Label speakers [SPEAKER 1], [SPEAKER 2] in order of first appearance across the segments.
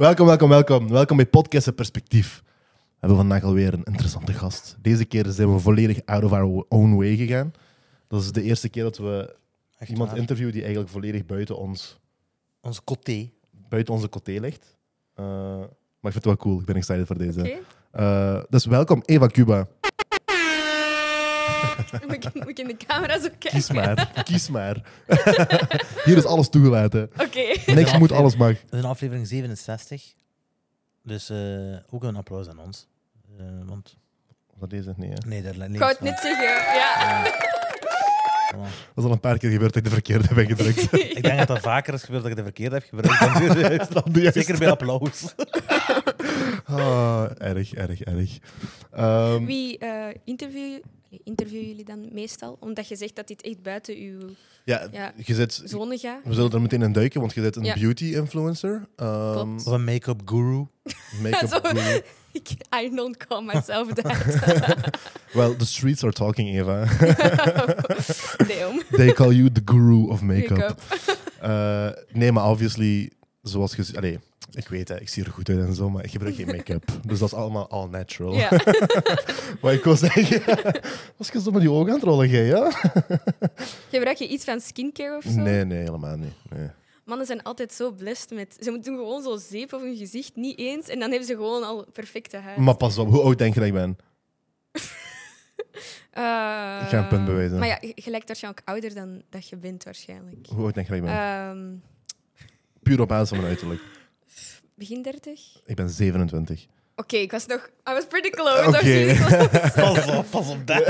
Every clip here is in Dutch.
[SPEAKER 1] Welkom, welkom, welkom. Welkom bij Podcast en Perspectief. We hebben vandaag alweer een interessante gast. Deze keer zijn we volledig out of our own way gegaan. Dat is de eerste keer dat we
[SPEAKER 2] Echt
[SPEAKER 1] iemand
[SPEAKER 2] waar.
[SPEAKER 1] interviewen die eigenlijk volledig buiten, ons,
[SPEAKER 2] Onze coté.
[SPEAKER 1] buiten onze coté ligt. Eh, maar ik vind het wel cool. Ik ben excited voor deze.
[SPEAKER 3] Oké,
[SPEAKER 1] Eh, dus welkom, Eva Cuba.
[SPEAKER 3] moet, ik- moet ik in de camera zo kijken?
[SPEAKER 1] Kies maar. Kies maar. Hier is alles toegelaten.
[SPEAKER 3] Oké.
[SPEAKER 1] Niks moet, alles mag.
[SPEAKER 2] Dat is een aflevering 67. Dus eh, ook een applaus aan ons. Eh, want
[SPEAKER 1] Wat deze? Nee, hè.
[SPEAKER 2] nee, daar
[SPEAKER 3] Ik
[SPEAKER 2] links.
[SPEAKER 3] wou het niet zeggen. Ja.
[SPEAKER 2] Voilà.
[SPEAKER 1] Dat is al een paar keer gebeurd dat ik de verkeerde heb ingedrukt.
[SPEAKER 2] Ik denk dat dat vaker is gebeurd dat ik de verkeerde heb gebruikt.
[SPEAKER 1] Dat doe je
[SPEAKER 2] Zeker bij applaus.
[SPEAKER 1] Ah, erg, erg, erg. Ehm,
[SPEAKER 3] Wie eh, interview, allee, interview jullie dan meestal? Omdat je zegt dat dit echt buiten uw
[SPEAKER 1] ja,
[SPEAKER 3] Ja.
[SPEAKER 1] je zit,
[SPEAKER 3] zone gaat.
[SPEAKER 1] we zullen er meteen in duiken, want je bent een
[SPEAKER 3] Ja.
[SPEAKER 1] beauty-influencer. ehm,
[SPEAKER 3] Klopt.
[SPEAKER 2] Of een make-up guru.
[SPEAKER 1] Make-up
[SPEAKER 3] Zo.
[SPEAKER 1] guru.
[SPEAKER 3] Ik, I don't call myself that.
[SPEAKER 1] Well, the streets are talking, Eva.
[SPEAKER 3] Damn.
[SPEAKER 1] They call you the guru of make-up.
[SPEAKER 3] Make-up.
[SPEAKER 1] Eh, nee, maar obviously, zoals je... Allee, ik weet het, ik zie er goed uit en zo, maar ik gebruik geen make-up. Dus dat is allemaal all natural.
[SPEAKER 3] Ja.
[SPEAKER 1] Maar ik wil zeggen... Was je zo met die ogen aan het rollen, jij, ja?
[SPEAKER 3] Gebruik je iets van skincare of zo?
[SPEAKER 1] Nee, nee, helemaal niet. Nee.
[SPEAKER 3] Mannen zijn altijd zo blessed met... Ze doen gewoon zo zeep op hun gezicht, niet eens. En dan hebben ze gewoon al perfecte huid.
[SPEAKER 1] Maar pas op, hoe oud denk je dat ik ben?
[SPEAKER 3] Eh,
[SPEAKER 1] Ik ga een punt bewijzen.
[SPEAKER 3] Ehm, Maar ja, je je lijkt waarschijnlijk ouder dan dat je bent, waarschijnlijk.
[SPEAKER 1] Hoe oud denk je dat ik ben?
[SPEAKER 3] Ehm,
[SPEAKER 1] Puur op basis van mijn uiterlijk.
[SPEAKER 3] begin 30?
[SPEAKER 1] Ik ben 27.
[SPEAKER 3] Oké, ik was nog. I was pretty close. I was
[SPEAKER 1] Oké.
[SPEAKER 3] really close.
[SPEAKER 2] Pas op, pas op dat.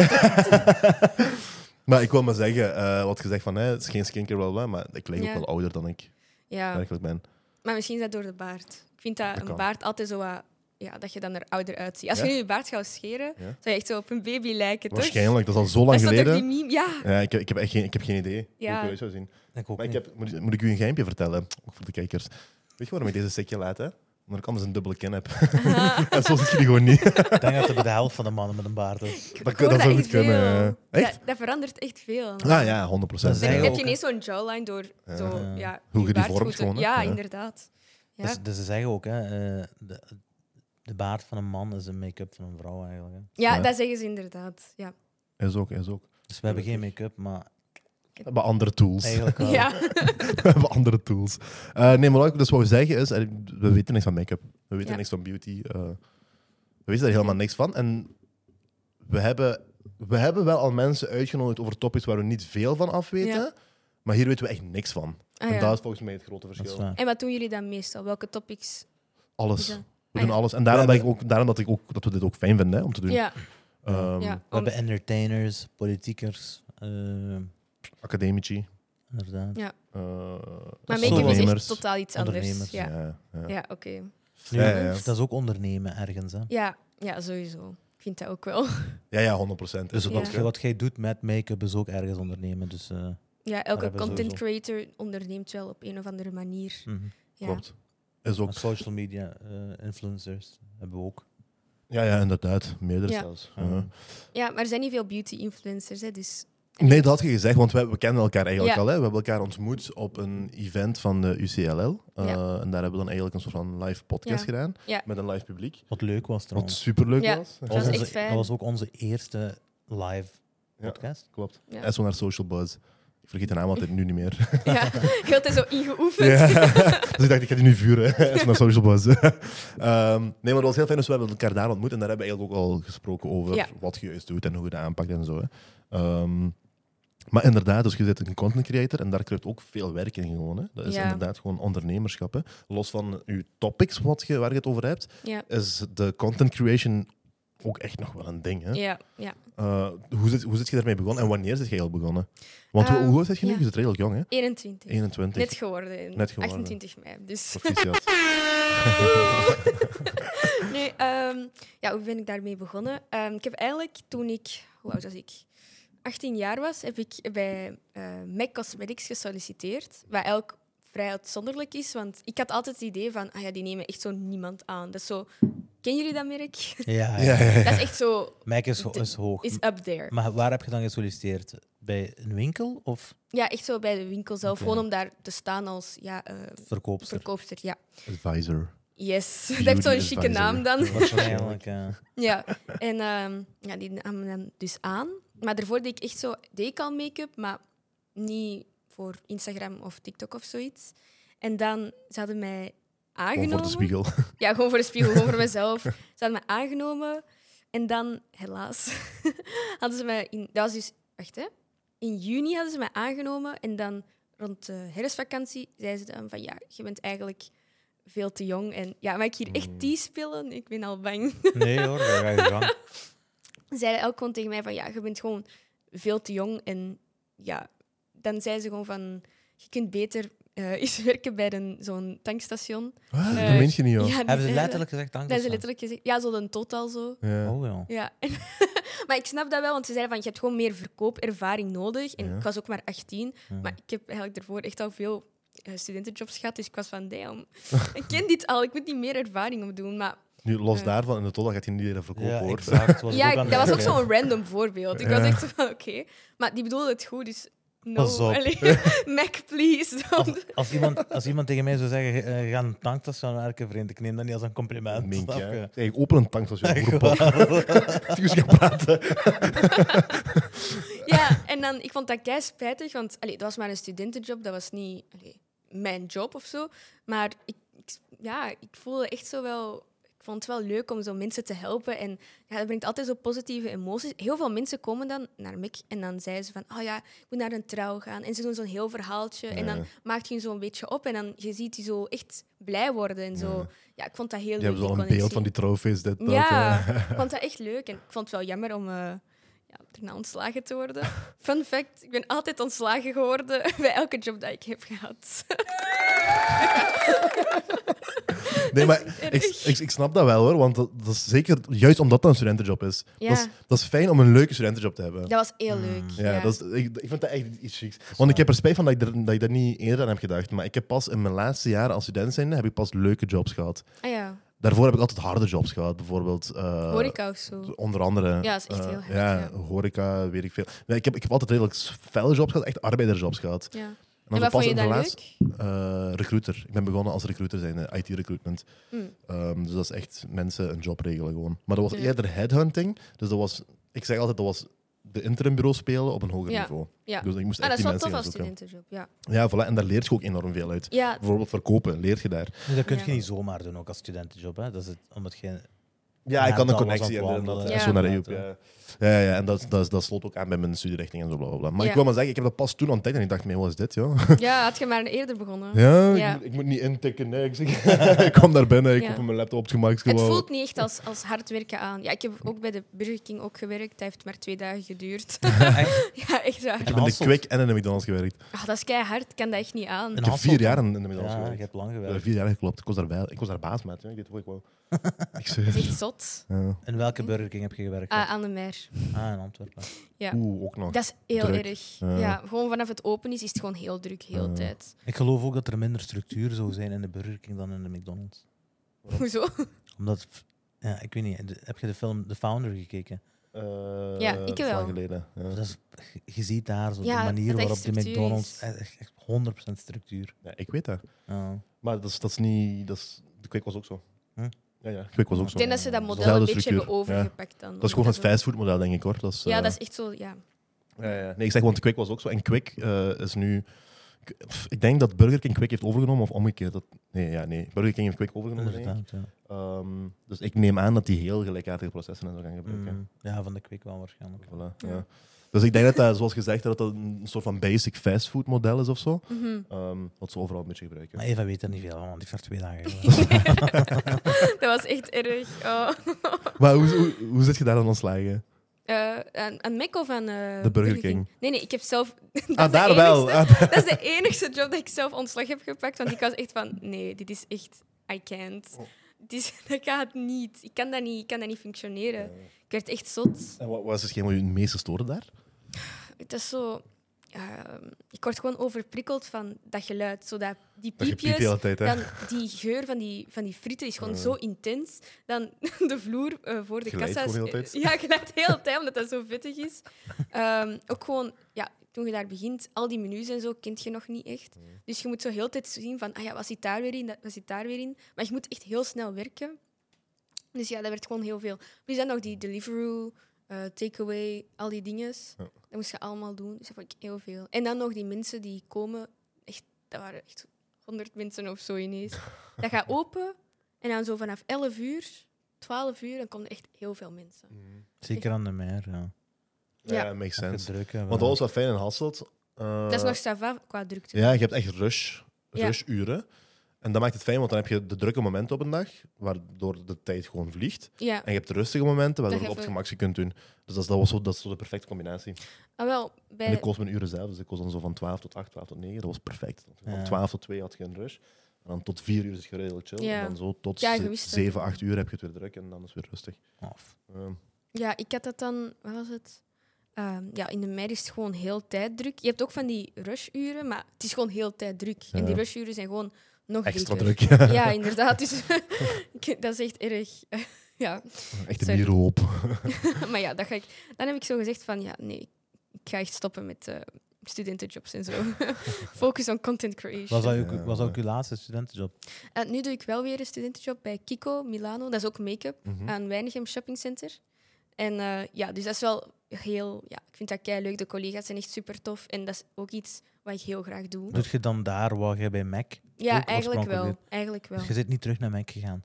[SPEAKER 1] Maar ik wil maar zeggen, eh, wat gezegd van, hè, het is geen skincare, bla, bla, bla, maar ik lijk
[SPEAKER 3] Ja.
[SPEAKER 1] ook wel ouder dan ik
[SPEAKER 3] ja,
[SPEAKER 1] werkelijk ben.
[SPEAKER 3] maar misschien is dat door de baard. Ik vind dat,
[SPEAKER 1] Dat
[SPEAKER 3] een
[SPEAKER 1] kan.
[SPEAKER 3] baard altijd zo wat. Ja, dat je dan er ouder uitziet. Als
[SPEAKER 1] Ja?
[SPEAKER 3] je nu je baard gaat scheren,
[SPEAKER 1] Ja.
[SPEAKER 3] zou je echt zo op een baby lijken, toch?
[SPEAKER 1] Waarschijnlijk, dat is al zo lang
[SPEAKER 3] Was Dus? dat toch die
[SPEAKER 1] geleden.
[SPEAKER 3] meme? Ja.
[SPEAKER 1] Ja, ik, heb- ik heb echt geen, ik heb geen idee
[SPEAKER 3] Ja.
[SPEAKER 1] hoe ik eruit zou zien.
[SPEAKER 2] Ik ook
[SPEAKER 1] Maar ik
[SPEAKER 2] niet.
[SPEAKER 1] heb, moet, moet ik u een geheimje vertellen? Ook voor de kijkers. Weet je waarom ik deze sikje laat, hè? Omdat ik anders een dubbele kin heb. en zo zit je die gewoon niet.
[SPEAKER 2] Ik denk dat het bij de helft van de mannen met een baard is.
[SPEAKER 3] Ik
[SPEAKER 1] Dat-
[SPEAKER 3] hoor
[SPEAKER 1] dat zou
[SPEAKER 3] echt
[SPEAKER 1] goed kunnen,
[SPEAKER 3] veel.
[SPEAKER 1] ja. Echt?
[SPEAKER 3] Dat, dat verandert echt veel.
[SPEAKER 1] Ah ja, 100
[SPEAKER 2] Dat is
[SPEAKER 3] Dan
[SPEAKER 2] Zij ook,
[SPEAKER 3] heb je
[SPEAKER 2] hè.
[SPEAKER 3] ineens zo'n jawline door zo,
[SPEAKER 2] Ja.
[SPEAKER 3] ja,
[SPEAKER 1] Hoe je die
[SPEAKER 3] baard
[SPEAKER 1] vormt
[SPEAKER 3] goed te-
[SPEAKER 1] gewoon, hè?
[SPEAKER 3] Ja,
[SPEAKER 1] Ja.
[SPEAKER 3] inderdaad. Ja.
[SPEAKER 2] Dus, dus ze zeggen ook, hè, eh, de, de baard van een man is een make-up van een vrouw eigenlijk. Hè.
[SPEAKER 3] ja,
[SPEAKER 1] Ja.
[SPEAKER 3] dat zeggen ze inderdaad. Ja.
[SPEAKER 1] Is ook, is ook.
[SPEAKER 2] Dus we hebben geen make-up, maar
[SPEAKER 1] We hebben andere tools.
[SPEAKER 2] eigenlijk wel.
[SPEAKER 3] Ja.
[SPEAKER 1] we hebben andere tools. Eh, nee, maar wat ik dus wou zeggen is, eh, we weten niks van make-up. We weten
[SPEAKER 3] Ja.
[SPEAKER 1] niks van beauty. eh, we weten er helemaal niks van. En we hebben, we hebben wel al mensen uitgenodigd over topics waar we niet veel van af weten.
[SPEAKER 3] Ja.
[SPEAKER 1] Maar hier weten we echt niks van.
[SPEAKER 3] Ah,
[SPEAKER 1] En
[SPEAKER 3] ja.
[SPEAKER 1] dat is volgens mij het grote
[SPEAKER 2] Dat is
[SPEAKER 1] verschil.
[SPEAKER 2] waar.
[SPEAKER 3] En wat doen jullie dan meestal? Welke topics?
[SPEAKER 1] Alles.
[SPEAKER 3] is dat?
[SPEAKER 1] We
[SPEAKER 3] Ah,
[SPEAKER 1] doen
[SPEAKER 3] ja.
[SPEAKER 1] alles. En daarom,
[SPEAKER 2] We
[SPEAKER 1] dat, ik ook, daarom dat, ik ook, dat we dit ook fijn vinden hè, om te doen.
[SPEAKER 3] Ja,
[SPEAKER 1] Ehm,
[SPEAKER 3] ja.
[SPEAKER 2] We
[SPEAKER 3] om-
[SPEAKER 2] hebben entertainers, politiekers, eh,
[SPEAKER 1] Academici.
[SPEAKER 2] inderdaad.
[SPEAKER 3] Ja.
[SPEAKER 1] eh,
[SPEAKER 3] Maar
[SPEAKER 2] Zo.
[SPEAKER 3] make-up is
[SPEAKER 1] ondernemers.
[SPEAKER 3] echt totaal iets anders.
[SPEAKER 2] Ondernemers,
[SPEAKER 3] Ja,
[SPEAKER 1] Ja, ja.
[SPEAKER 3] ja oké.
[SPEAKER 2] Nu,
[SPEAKER 1] Ja, ja.
[SPEAKER 2] Dat is ook ondernemen ergens. Hè.
[SPEAKER 3] Ja, ja, sowieso. Ik vind dat ook wel.
[SPEAKER 1] Ja, ja, 100%. Is
[SPEAKER 2] Dus
[SPEAKER 1] het
[SPEAKER 2] wat,
[SPEAKER 1] ook,
[SPEAKER 3] Ja.
[SPEAKER 2] jij-
[SPEAKER 1] hè.
[SPEAKER 2] wat jij doet met make-up is ook ergens ondernemen. Dus, eh,
[SPEAKER 3] Ja,
[SPEAKER 2] hebben
[SPEAKER 3] elke
[SPEAKER 2] we
[SPEAKER 3] content
[SPEAKER 2] sowieso.
[SPEAKER 3] creator onderneemt wel op een of andere manier.
[SPEAKER 2] mhm.
[SPEAKER 3] Ja.
[SPEAKER 1] Hm, Klopt. Is ook
[SPEAKER 2] Maar social media eh, influencers hebben we ook. Ehm,
[SPEAKER 1] Ja, ja, inderdaad. Meerdere
[SPEAKER 3] Ja.
[SPEAKER 1] zelfs.
[SPEAKER 2] Ja.
[SPEAKER 1] Ja.
[SPEAKER 3] Ja, maar er zijn niet veel beauty-influencers, hè, dus...
[SPEAKER 1] Nee, dat had je gezegd, want we, we kennen elkaar eigenlijk
[SPEAKER 3] Ja.
[SPEAKER 1] al. Hè? We hebben elkaar ontmoet op een event van de UCLL. Eh,
[SPEAKER 3] Ja.
[SPEAKER 1] En daar hebben we dan eigenlijk een soort van live podcast
[SPEAKER 3] Ja.
[SPEAKER 1] gedaan.
[SPEAKER 3] Ja.
[SPEAKER 1] Met een live publiek.
[SPEAKER 2] Wat leuk was
[SPEAKER 1] Wat
[SPEAKER 2] trouwens.
[SPEAKER 1] superleuk
[SPEAKER 3] Ja.
[SPEAKER 1] was.
[SPEAKER 3] Dat was
[SPEAKER 2] onze,
[SPEAKER 3] echt fijn.
[SPEAKER 2] dat was ook onze eerste live
[SPEAKER 1] Ja.
[SPEAKER 2] podcast.
[SPEAKER 1] Klopt.
[SPEAKER 3] Ja.
[SPEAKER 1] En zo naar Social Buzz. Ik vergeet de naam altijd nu niet meer.
[SPEAKER 3] Ja, heel het is zo ingeoefend.
[SPEAKER 1] Ja. dus ik dacht, ik ga die nu vuren. zo naar Social Buzz. Ehm, nee, maar dat was heel fijn. Dus we hebben elkaar daar ontmoet. En daar hebben we eigenlijk ook al gesproken over
[SPEAKER 3] Ja.
[SPEAKER 1] wat je juist doet en hoe je dat aanpakt en zo. Hè. Ehm, maar inderdaad, dus je bent een content creator en daar krijgt ook veel werk in gewoon. Hè. Dat is
[SPEAKER 3] Ja.
[SPEAKER 1] inderdaad gewoon ondernemerschap. Hè. Los van je topics wat je, waar je het over hebt,
[SPEAKER 3] Ja.
[SPEAKER 1] is de content creation ook echt nog wel een ding. Hè.
[SPEAKER 3] Ja, ja.
[SPEAKER 1] Eh, hoe, zit, hoe zit je daarmee begonnen en wanneer zit je al begonnen? Want hoe-
[SPEAKER 3] Ehm,
[SPEAKER 1] hoe oud zit je nu?
[SPEAKER 3] ja.
[SPEAKER 1] Je zit redelijk jong, hè?
[SPEAKER 3] 21.
[SPEAKER 1] 21.
[SPEAKER 3] Net geworden. in
[SPEAKER 1] Net geworden.
[SPEAKER 3] 28 mei, dus...
[SPEAKER 1] Proficiat.
[SPEAKER 3] Nee, ehm, ja, hoe ben ik daarmee begonnen? Ehm, ik heb eigenlijk toen ik, hoe oud was ik? 18 jaar was, heb ik bij eh MAC Cosmetics gesolliciteerd. Wat eigenlijk vrij uitzonderlijk is, want ik had altijd het idee van, ah ja, die nemen echt zo niemand aan. Dat is zo, ken jullie dat merk?
[SPEAKER 2] Ja, ja.
[SPEAKER 1] Ja, ja, ja.
[SPEAKER 3] Dat is echt zo,
[SPEAKER 2] Mike is, ho- is hoog.
[SPEAKER 3] is up there.
[SPEAKER 2] Maar waar heb je dan gesolliciteerd? Bij een winkel of
[SPEAKER 3] Ja, echt zo bij de winkel zelf,
[SPEAKER 2] Oké.
[SPEAKER 3] gewoon om daar te staan als ja, eh,
[SPEAKER 2] verkoopster?
[SPEAKER 3] verkoopster. Ja.
[SPEAKER 1] Advisor.
[SPEAKER 3] Yes, dat heeft zo'n chique
[SPEAKER 1] advisor.
[SPEAKER 3] naam dan.
[SPEAKER 2] Waarschijnlijk. eh,
[SPEAKER 3] Ja, en ehm, ja, die nam me dan dus aan. Maar daarvoor deed ik echt zo, deed ik al make-up, maar niet voor Instagram of TikTok of zoiets. En dan, ze hadden mij
[SPEAKER 1] Gewoon
[SPEAKER 3] aangenomen.
[SPEAKER 1] voor de spiegel.
[SPEAKER 3] Ja, gewoon voor de spiegel, gewoon voor mezelf. Ze hadden mij aangenomen. En dan, helaas, hadden ze mij... In, dat was dus... Wacht, hè. In juni hadden ze mij aangenomen. En dan rond de herfstvakantie zeiden ze dan van... Ja, je bent eigenlijk veel te jong. En ja, mag ik hier
[SPEAKER 1] Mm.
[SPEAKER 3] echt die spelen? Ik ben al bang.
[SPEAKER 2] nee hoor, daar ga je gang.
[SPEAKER 3] Ze zeiden elk gewoon tegen mij van... Ja, je bent gewoon veel te jong. En ja, dan zeiden ze gewoon van... Je kunt beter eh, eens werken bij een- zo'n tankstation.
[SPEAKER 1] Wat?
[SPEAKER 3] Eh,
[SPEAKER 1] Ah, dat meen je niet, joh.
[SPEAKER 3] die
[SPEAKER 2] Hebben ze
[SPEAKER 3] zeiden-
[SPEAKER 2] letterlijk gezegd dank
[SPEAKER 3] Dat is letterlijk gezegd. Ja, zo een totaal zo.
[SPEAKER 1] Ja.
[SPEAKER 2] Oh ja.
[SPEAKER 3] Ja. maar ik snap dat wel, want ze zeiden van je hebt gewoon meer verkoopervaring nodig. En
[SPEAKER 1] Ja.
[SPEAKER 3] ik was ook maar 18,
[SPEAKER 2] Ja.
[SPEAKER 3] maar ik heb eigenlijk daarvoor echt al veel eh, studentenjobs gehad. Dus ik was van, damn, ik ken dit al, ik moet niet meer ervaring opdoen. Maar
[SPEAKER 1] Nu, los
[SPEAKER 3] Eh.
[SPEAKER 1] daarvan, in de totdat gaat hij niet leren verkopen,
[SPEAKER 2] Ja,
[SPEAKER 1] hoor.
[SPEAKER 2] exact. Was ik
[SPEAKER 3] ja,
[SPEAKER 2] ook aan
[SPEAKER 3] ik- dat was ook
[SPEAKER 2] het denken.
[SPEAKER 3] zo'n random voorbeeld. Ik
[SPEAKER 1] Ja.
[SPEAKER 3] was echt zo van, oké. Maar die bedoelde het goed, dus no.
[SPEAKER 2] Pas op.
[SPEAKER 3] Allee, Mac, please. don't.
[SPEAKER 2] Als, als, iemand, als iemand tegen mij zou zeggen, eh, ga een tankstation werken, vriend, ik neem dat niet als een compliment.
[SPEAKER 1] Mink,
[SPEAKER 2] snap
[SPEAKER 1] hè.
[SPEAKER 2] je?
[SPEAKER 1] Hey, ik open een tank als je een
[SPEAKER 2] Echt
[SPEAKER 1] broer Excuse gaan praten.
[SPEAKER 3] Ja, en dan, ik vond dat kei spijtig, want allee, dat was maar een studentenjob, dat was niet allee, mijn job of zo. Maar ik, ik- ja, ik voelde echt zo wel. Ik vond het wel leuk om zo mensen te helpen. En ja, dat brengt altijd zo positieve emoties. Heel veel mensen komen dan naar Mick en dan zeiden ze van... Oh ja, ik moet naar een trouw gaan. En ze doen zo'n heel verhaaltje. En dan maakt je zo'n beetje op. En dan je ziet die zo echt blij worden. En zo. Ja, ik vond dat heel
[SPEAKER 1] Je
[SPEAKER 3] leuk.
[SPEAKER 1] hebt wel een
[SPEAKER 3] connectie.
[SPEAKER 1] beeld van die trofees, dit, dat.
[SPEAKER 3] Ja,
[SPEAKER 1] eh.
[SPEAKER 3] ik vond dat echt leuk. En ik vond het wel jammer om eh ja, erna ontslagen te worden. Fun fact, ik ben altijd ontslagen geworden bij elke job dat ik heb gehad.
[SPEAKER 1] Nee, maar ik, ik, ik snap dat wel, hoor. Want dat, dat is zeker juist omdat dat een studentenjob is.
[SPEAKER 3] Ja.
[SPEAKER 1] Dat, is. dat is fijn om een leuke studentenjob te hebben.
[SPEAKER 3] Dat was heel leuk.
[SPEAKER 1] Mm, Ja, Dat is, ik, ik vind dat echt iets chics. Want ik heb er spijt van dat ik, er, dat ik daar niet eerder aan heb gedacht. Maar ik heb pas in mijn laatste jaren als student zijn, heb ik pas leuke jobs gehad.
[SPEAKER 3] Ah, ja.
[SPEAKER 1] Daarvoor heb ik altijd harde jobs gehad. Bijvoorbeeld... eh,
[SPEAKER 3] Horeca of zo.
[SPEAKER 1] Onder andere.
[SPEAKER 3] Ja, is echt
[SPEAKER 1] eh,
[SPEAKER 3] heel hard,
[SPEAKER 1] ja,
[SPEAKER 3] ja.
[SPEAKER 1] horeca, weet ik veel. Nee, ik, heb, ik heb altijd redelijk felle jobs gehad, echt arbeidersjobs gehad.
[SPEAKER 3] Ja.
[SPEAKER 1] dan
[SPEAKER 3] En
[SPEAKER 1] zo
[SPEAKER 3] wat vond
[SPEAKER 1] pas
[SPEAKER 3] je
[SPEAKER 1] in de
[SPEAKER 3] dan
[SPEAKER 1] laatste-
[SPEAKER 3] leuk?
[SPEAKER 1] Eh, recruiter. Ik ben begonnen als recruiter zijn, eh, IT-recruitment.
[SPEAKER 3] Hmm.
[SPEAKER 1] dus dat is echt mensen een job regelen gewoon. Maar dat was
[SPEAKER 3] Ja.
[SPEAKER 1] eerder headhunting. Dus dat was, ik zeg altijd, dat was de interimbureau spelen op een hoger
[SPEAKER 3] Ja,
[SPEAKER 1] niveau.
[SPEAKER 3] ja.
[SPEAKER 1] Dus ik moest
[SPEAKER 3] Ah,
[SPEAKER 1] echt
[SPEAKER 3] dat is
[SPEAKER 1] die mensen
[SPEAKER 3] wel tof
[SPEAKER 1] gaan
[SPEAKER 3] als
[SPEAKER 1] zoeken.
[SPEAKER 3] studentenjob, ja.
[SPEAKER 1] Ja, voilà. En daar leert je ook enorm veel uit.
[SPEAKER 3] Ja,
[SPEAKER 1] Bijvoorbeeld verkopen, leert je daar.
[SPEAKER 2] Dus dat kun je
[SPEAKER 3] Ja.
[SPEAKER 2] niet zomaar doen, ook als studentenjob. Hè? Dat is het, omdat geen...
[SPEAKER 1] Ja,
[SPEAKER 2] Ja,
[SPEAKER 1] ik had een
[SPEAKER 2] dat was
[SPEAKER 1] connectie
[SPEAKER 2] aan
[SPEAKER 1] en
[SPEAKER 2] het
[SPEAKER 1] dat,
[SPEAKER 2] wandelen.
[SPEAKER 1] en
[SPEAKER 3] Ja.
[SPEAKER 1] zo naar de EOP, Ja. Ja, ja, en dat, dat, dat sloot ook aan bij mijn studierichting en zo. Bla, bla, bla. Maar ik
[SPEAKER 3] Ja.
[SPEAKER 1] wil maar zeggen, ik heb dat pas toen ontdekt en ik dacht, nee, wat is dit, joh?
[SPEAKER 3] ja, had je maar eerder begonnen.
[SPEAKER 1] Ja,
[SPEAKER 3] Ja.
[SPEAKER 1] Ik, ik moet niet intikken. Nee, ik, zeg, ik kom daar binnen, ik
[SPEAKER 3] Ja.
[SPEAKER 1] heb mijn laptop op het gemak.
[SPEAKER 3] Het
[SPEAKER 1] gewoon.
[SPEAKER 3] voelt niet echt als, als hard werken aan. Ja, ik heb ook bij de Burger King ook gewerkt. Dat heeft maar twee dagen geduurd.
[SPEAKER 2] Echt?
[SPEAKER 3] ja, echt
[SPEAKER 1] Ik
[SPEAKER 3] waar.
[SPEAKER 1] heb in de
[SPEAKER 2] Hasselt.
[SPEAKER 1] Kwik en in de McDonald's gewerkt.
[SPEAKER 3] Ah, dat is keihard. Ik kan dat echt niet aan.
[SPEAKER 1] Ik
[SPEAKER 2] Een
[SPEAKER 1] heb vier
[SPEAKER 2] Hasselt
[SPEAKER 1] jaar
[SPEAKER 2] dan?
[SPEAKER 1] in in de McDonald's
[SPEAKER 2] Ja, je
[SPEAKER 1] gewerkt.
[SPEAKER 2] hebt lang
[SPEAKER 1] Ik heb eh,
[SPEAKER 2] gewerkt.
[SPEAKER 1] vier jaar geklopt. Ik was daar, bij, ik was daar baas met. joh. Ik deed wat ik wou. ik
[SPEAKER 3] Dat is
[SPEAKER 1] zweer.
[SPEAKER 3] echt zot.
[SPEAKER 1] Ja.
[SPEAKER 2] In welke Burger King heb je gewerkt?
[SPEAKER 3] Ah, aan de mer.
[SPEAKER 2] Ah, in Antwerpen.
[SPEAKER 3] Ja.
[SPEAKER 1] Oeh, ook nog.
[SPEAKER 3] Dat is heel
[SPEAKER 1] Druk.
[SPEAKER 3] erg.
[SPEAKER 1] Ja.
[SPEAKER 3] Ja. gewoon vanaf het open is, is het gewoon heel druk, heel
[SPEAKER 1] Ja.
[SPEAKER 3] de tijd.
[SPEAKER 2] Ik geloof ook dat er minder structuur zou zijn in de Burger King dan in de McDonald's.
[SPEAKER 3] Hoezo?
[SPEAKER 2] Omdat, ja, ik weet niet, de- heb je de film The Founder gekeken?
[SPEAKER 1] Eh,
[SPEAKER 3] Ja, ik
[SPEAKER 1] dat is
[SPEAKER 3] wel.
[SPEAKER 1] lang geleden. Ja.
[SPEAKER 2] Dat is, je ziet daar zo
[SPEAKER 3] Ja,
[SPEAKER 2] de manier
[SPEAKER 3] dat echt
[SPEAKER 2] waarop de
[SPEAKER 3] structuur
[SPEAKER 2] McDonald's...
[SPEAKER 3] is.
[SPEAKER 2] eh, Echt, echt 100% structuur.
[SPEAKER 1] Ja, ik weet dat.
[SPEAKER 2] Ja.
[SPEAKER 1] Maar dat is, dat is niet... Dat is, de Kwik was ook zo.
[SPEAKER 2] Hm?
[SPEAKER 1] Ja, ja. Kwik was ook
[SPEAKER 2] Ik
[SPEAKER 1] zo.
[SPEAKER 3] Ik denk dat ze dat model
[SPEAKER 1] Dezelfde
[SPEAKER 3] een beetje
[SPEAKER 1] structuur,
[SPEAKER 3] hebben overgepakt dan.
[SPEAKER 1] Dat is gewoon het
[SPEAKER 3] Omdat
[SPEAKER 1] fastfoodmodel, denk ik, hoor. Dat is,
[SPEAKER 3] we- Ja,
[SPEAKER 1] eh,
[SPEAKER 3] dat is echt zo, ja.
[SPEAKER 1] Ja, ja. Nee, ik zeg, want Quick was ook zo. En Quick eh, is nu... K- pff, Ik denk dat Burger King Quick heeft overgenomen of omgekeerd. Dat... Nee, ja, nee. Burger King heeft Quick overgenomen. denk ik.
[SPEAKER 2] Inderdaad, ja.
[SPEAKER 1] Ehm, dus ik neem aan dat die heel gelijkaardige processen en zo gaan gebruiken.
[SPEAKER 2] Mm, ja, van de kwik wel waarschijnlijk.
[SPEAKER 1] Voilà, ja.
[SPEAKER 3] Ja.
[SPEAKER 1] Dus ik denk dat dat, zoals gezegd, dat dat een soort van basic fastfood model is of zo.
[SPEAKER 3] Mhm.
[SPEAKER 1] Ehm, wat ze overal een beetje gebruiken.
[SPEAKER 2] Maar Eva weet er niet veel van, want die heeft er twee dagen
[SPEAKER 3] dat was echt erg. Oh.
[SPEAKER 1] Maar hoe, hoe, hoe zit je daar dan ontslagen?
[SPEAKER 3] Eh, aan, aan Mac of aan eh,
[SPEAKER 1] Burger King.
[SPEAKER 3] Nee, nee, ik heb zelf... dat is
[SPEAKER 1] Ah,
[SPEAKER 3] de
[SPEAKER 1] daar wel.
[SPEAKER 3] enigste-
[SPEAKER 1] Ah, daar-
[SPEAKER 3] Dat is de enigste job dat ik zelf ontslag heb gepakt. Want ik was echt van, nee, dit is echt... I can't.
[SPEAKER 1] Oh.
[SPEAKER 3] Dit is, dat gaat niet. Ik kan dat niet, ik kan dat niet functioneren. Ik werd echt zot.
[SPEAKER 1] Ah. En wat was hetgeen wat je het meeste stoorde daar?
[SPEAKER 3] Het is zo. ehm, ik word gewoon overprikkeld van dat geluid. Zo dat, die
[SPEAKER 1] Dat je
[SPEAKER 3] piepjes.
[SPEAKER 1] piept de hele tijd, hè?
[SPEAKER 3] dan die geur van die, van die frieten is gewoon
[SPEAKER 1] Ja.
[SPEAKER 3] zo intens. Dan de vloer eh, voor de
[SPEAKER 1] Glijdt
[SPEAKER 3] kassa. is-
[SPEAKER 1] gewoon heel de tijd.
[SPEAKER 3] Ja, glijdt heel de tijd, omdat dat zo vettig is. Ehm, ook gewoon, ja, toen je daar begint, al die menus en zo kent je nog niet echt. Dus je moet zo heel de tijd zien van, ah ja, wat zit daar weer in, dat- wat zit daar weer in. Maar je moet echt heel snel werken. Dus ja, dat werd gewoon heel veel. Plus dan nog die Deliveroo, eh, takeaway, al die dingen.
[SPEAKER 1] Ja.
[SPEAKER 3] Dat moest je allemaal doen. Dus dat vond ik heel veel. En dan nog die mensen die komen. Echt, dat waren echt honderd mensen of zo ineens. dat gaat open en dan zo vanaf 11 uur, 12 uur, dan komen er echt heel veel mensen.
[SPEAKER 2] Zeker aan de meer, ja.
[SPEAKER 1] Ja,
[SPEAKER 3] Ja.
[SPEAKER 1] makes
[SPEAKER 2] Even
[SPEAKER 1] sense.
[SPEAKER 2] druk hebben.
[SPEAKER 1] Want dat was wel fijn in Hasselt. Eh,
[SPEAKER 3] dat is nog sava qua drukte.
[SPEAKER 1] Ja, je hebt echt rush,
[SPEAKER 3] Ja.
[SPEAKER 1] rushuren. En dat maakt het fijn, want dan heb je de drukke momenten op een dag, waardoor de tijd gewoon vliegt.
[SPEAKER 3] Ja.
[SPEAKER 1] En je hebt de rustige momenten, waardoor
[SPEAKER 3] Dat
[SPEAKER 1] je op het
[SPEAKER 3] even-
[SPEAKER 1] gemak ze kunt doen. Dus dat is, dat was zo, dat is zo de perfecte combinatie.
[SPEAKER 3] Ah, wel,
[SPEAKER 1] En ik
[SPEAKER 3] bij,
[SPEAKER 1] koos mijn uren zelf, dus ik koos dan zo van 12 tot 8, 12 tot 9. Dat was perfect. Van
[SPEAKER 2] Ja.
[SPEAKER 1] 12 tot 2 had je een rush. En dan tot 4 uur is het redelijk chill.
[SPEAKER 3] Ja.
[SPEAKER 1] En dan zo tot
[SPEAKER 3] Ja, je
[SPEAKER 1] ze-
[SPEAKER 3] wist het.
[SPEAKER 1] 7, 8 uur heb je het weer druk en dan is het weer rustig.
[SPEAKER 2] Af.
[SPEAKER 1] Ehm,
[SPEAKER 3] ja, ik had dat dan, wat was het? Ehm, ja, in de mei is het gewoon heel tijddruk. Je hebt ook van die rushuren, maar het is gewoon heel tijddruk. En die
[SPEAKER 1] Ja.
[SPEAKER 3] rushuren zijn gewoon nog
[SPEAKER 1] extra
[SPEAKER 3] drukker.
[SPEAKER 1] druk. Ja.
[SPEAKER 3] Ja, inderdaad. Dus, ik- dat is echt erg. ja.
[SPEAKER 1] Echt een
[SPEAKER 3] Sorry.
[SPEAKER 1] mierenhoop.
[SPEAKER 3] Maar ja, dat ga ik, dan heb ik zo gezegd van, ja, nee, ik ga echt stoppen met eh, studentenjobs en zo. Focus on content
[SPEAKER 2] Was
[SPEAKER 3] creation.
[SPEAKER 2] dat,
[SPEAKER 1] Ja,
[SPEAKER 2] ook, was dat
[SPEAKER 1] ja.
[SPEAKER 2] ook uw laatste studentenjob?
[SPEAKER 3] Eh, nu doe ik wel weer een studentenjob bij Kiko Milano. Dat is ook make-up
[SPEAKER 1] Mhm.
[SPEAKER 3] aan Weinigem Shopping Center. En eh, ja, dus dat is wel heel... Ja, ik vind dat kei leuk. De collega's zijn echt super tof. En dat is ook iets wat ik heel graag doe.
[SPEAKER 2] Doet je dan daar wat je bij Mac?
[SPEAKER 3] Ja,
[SPEAKER 2] Dus ook
[SPEAKER 3] eigenlijk wel.
[SPEAKER 2] oorspronkelijk
[SPEAKER 3] Eigenlijk wel.
[SPEAKER 2] Dus je zit niet terug naar Mac gegaan.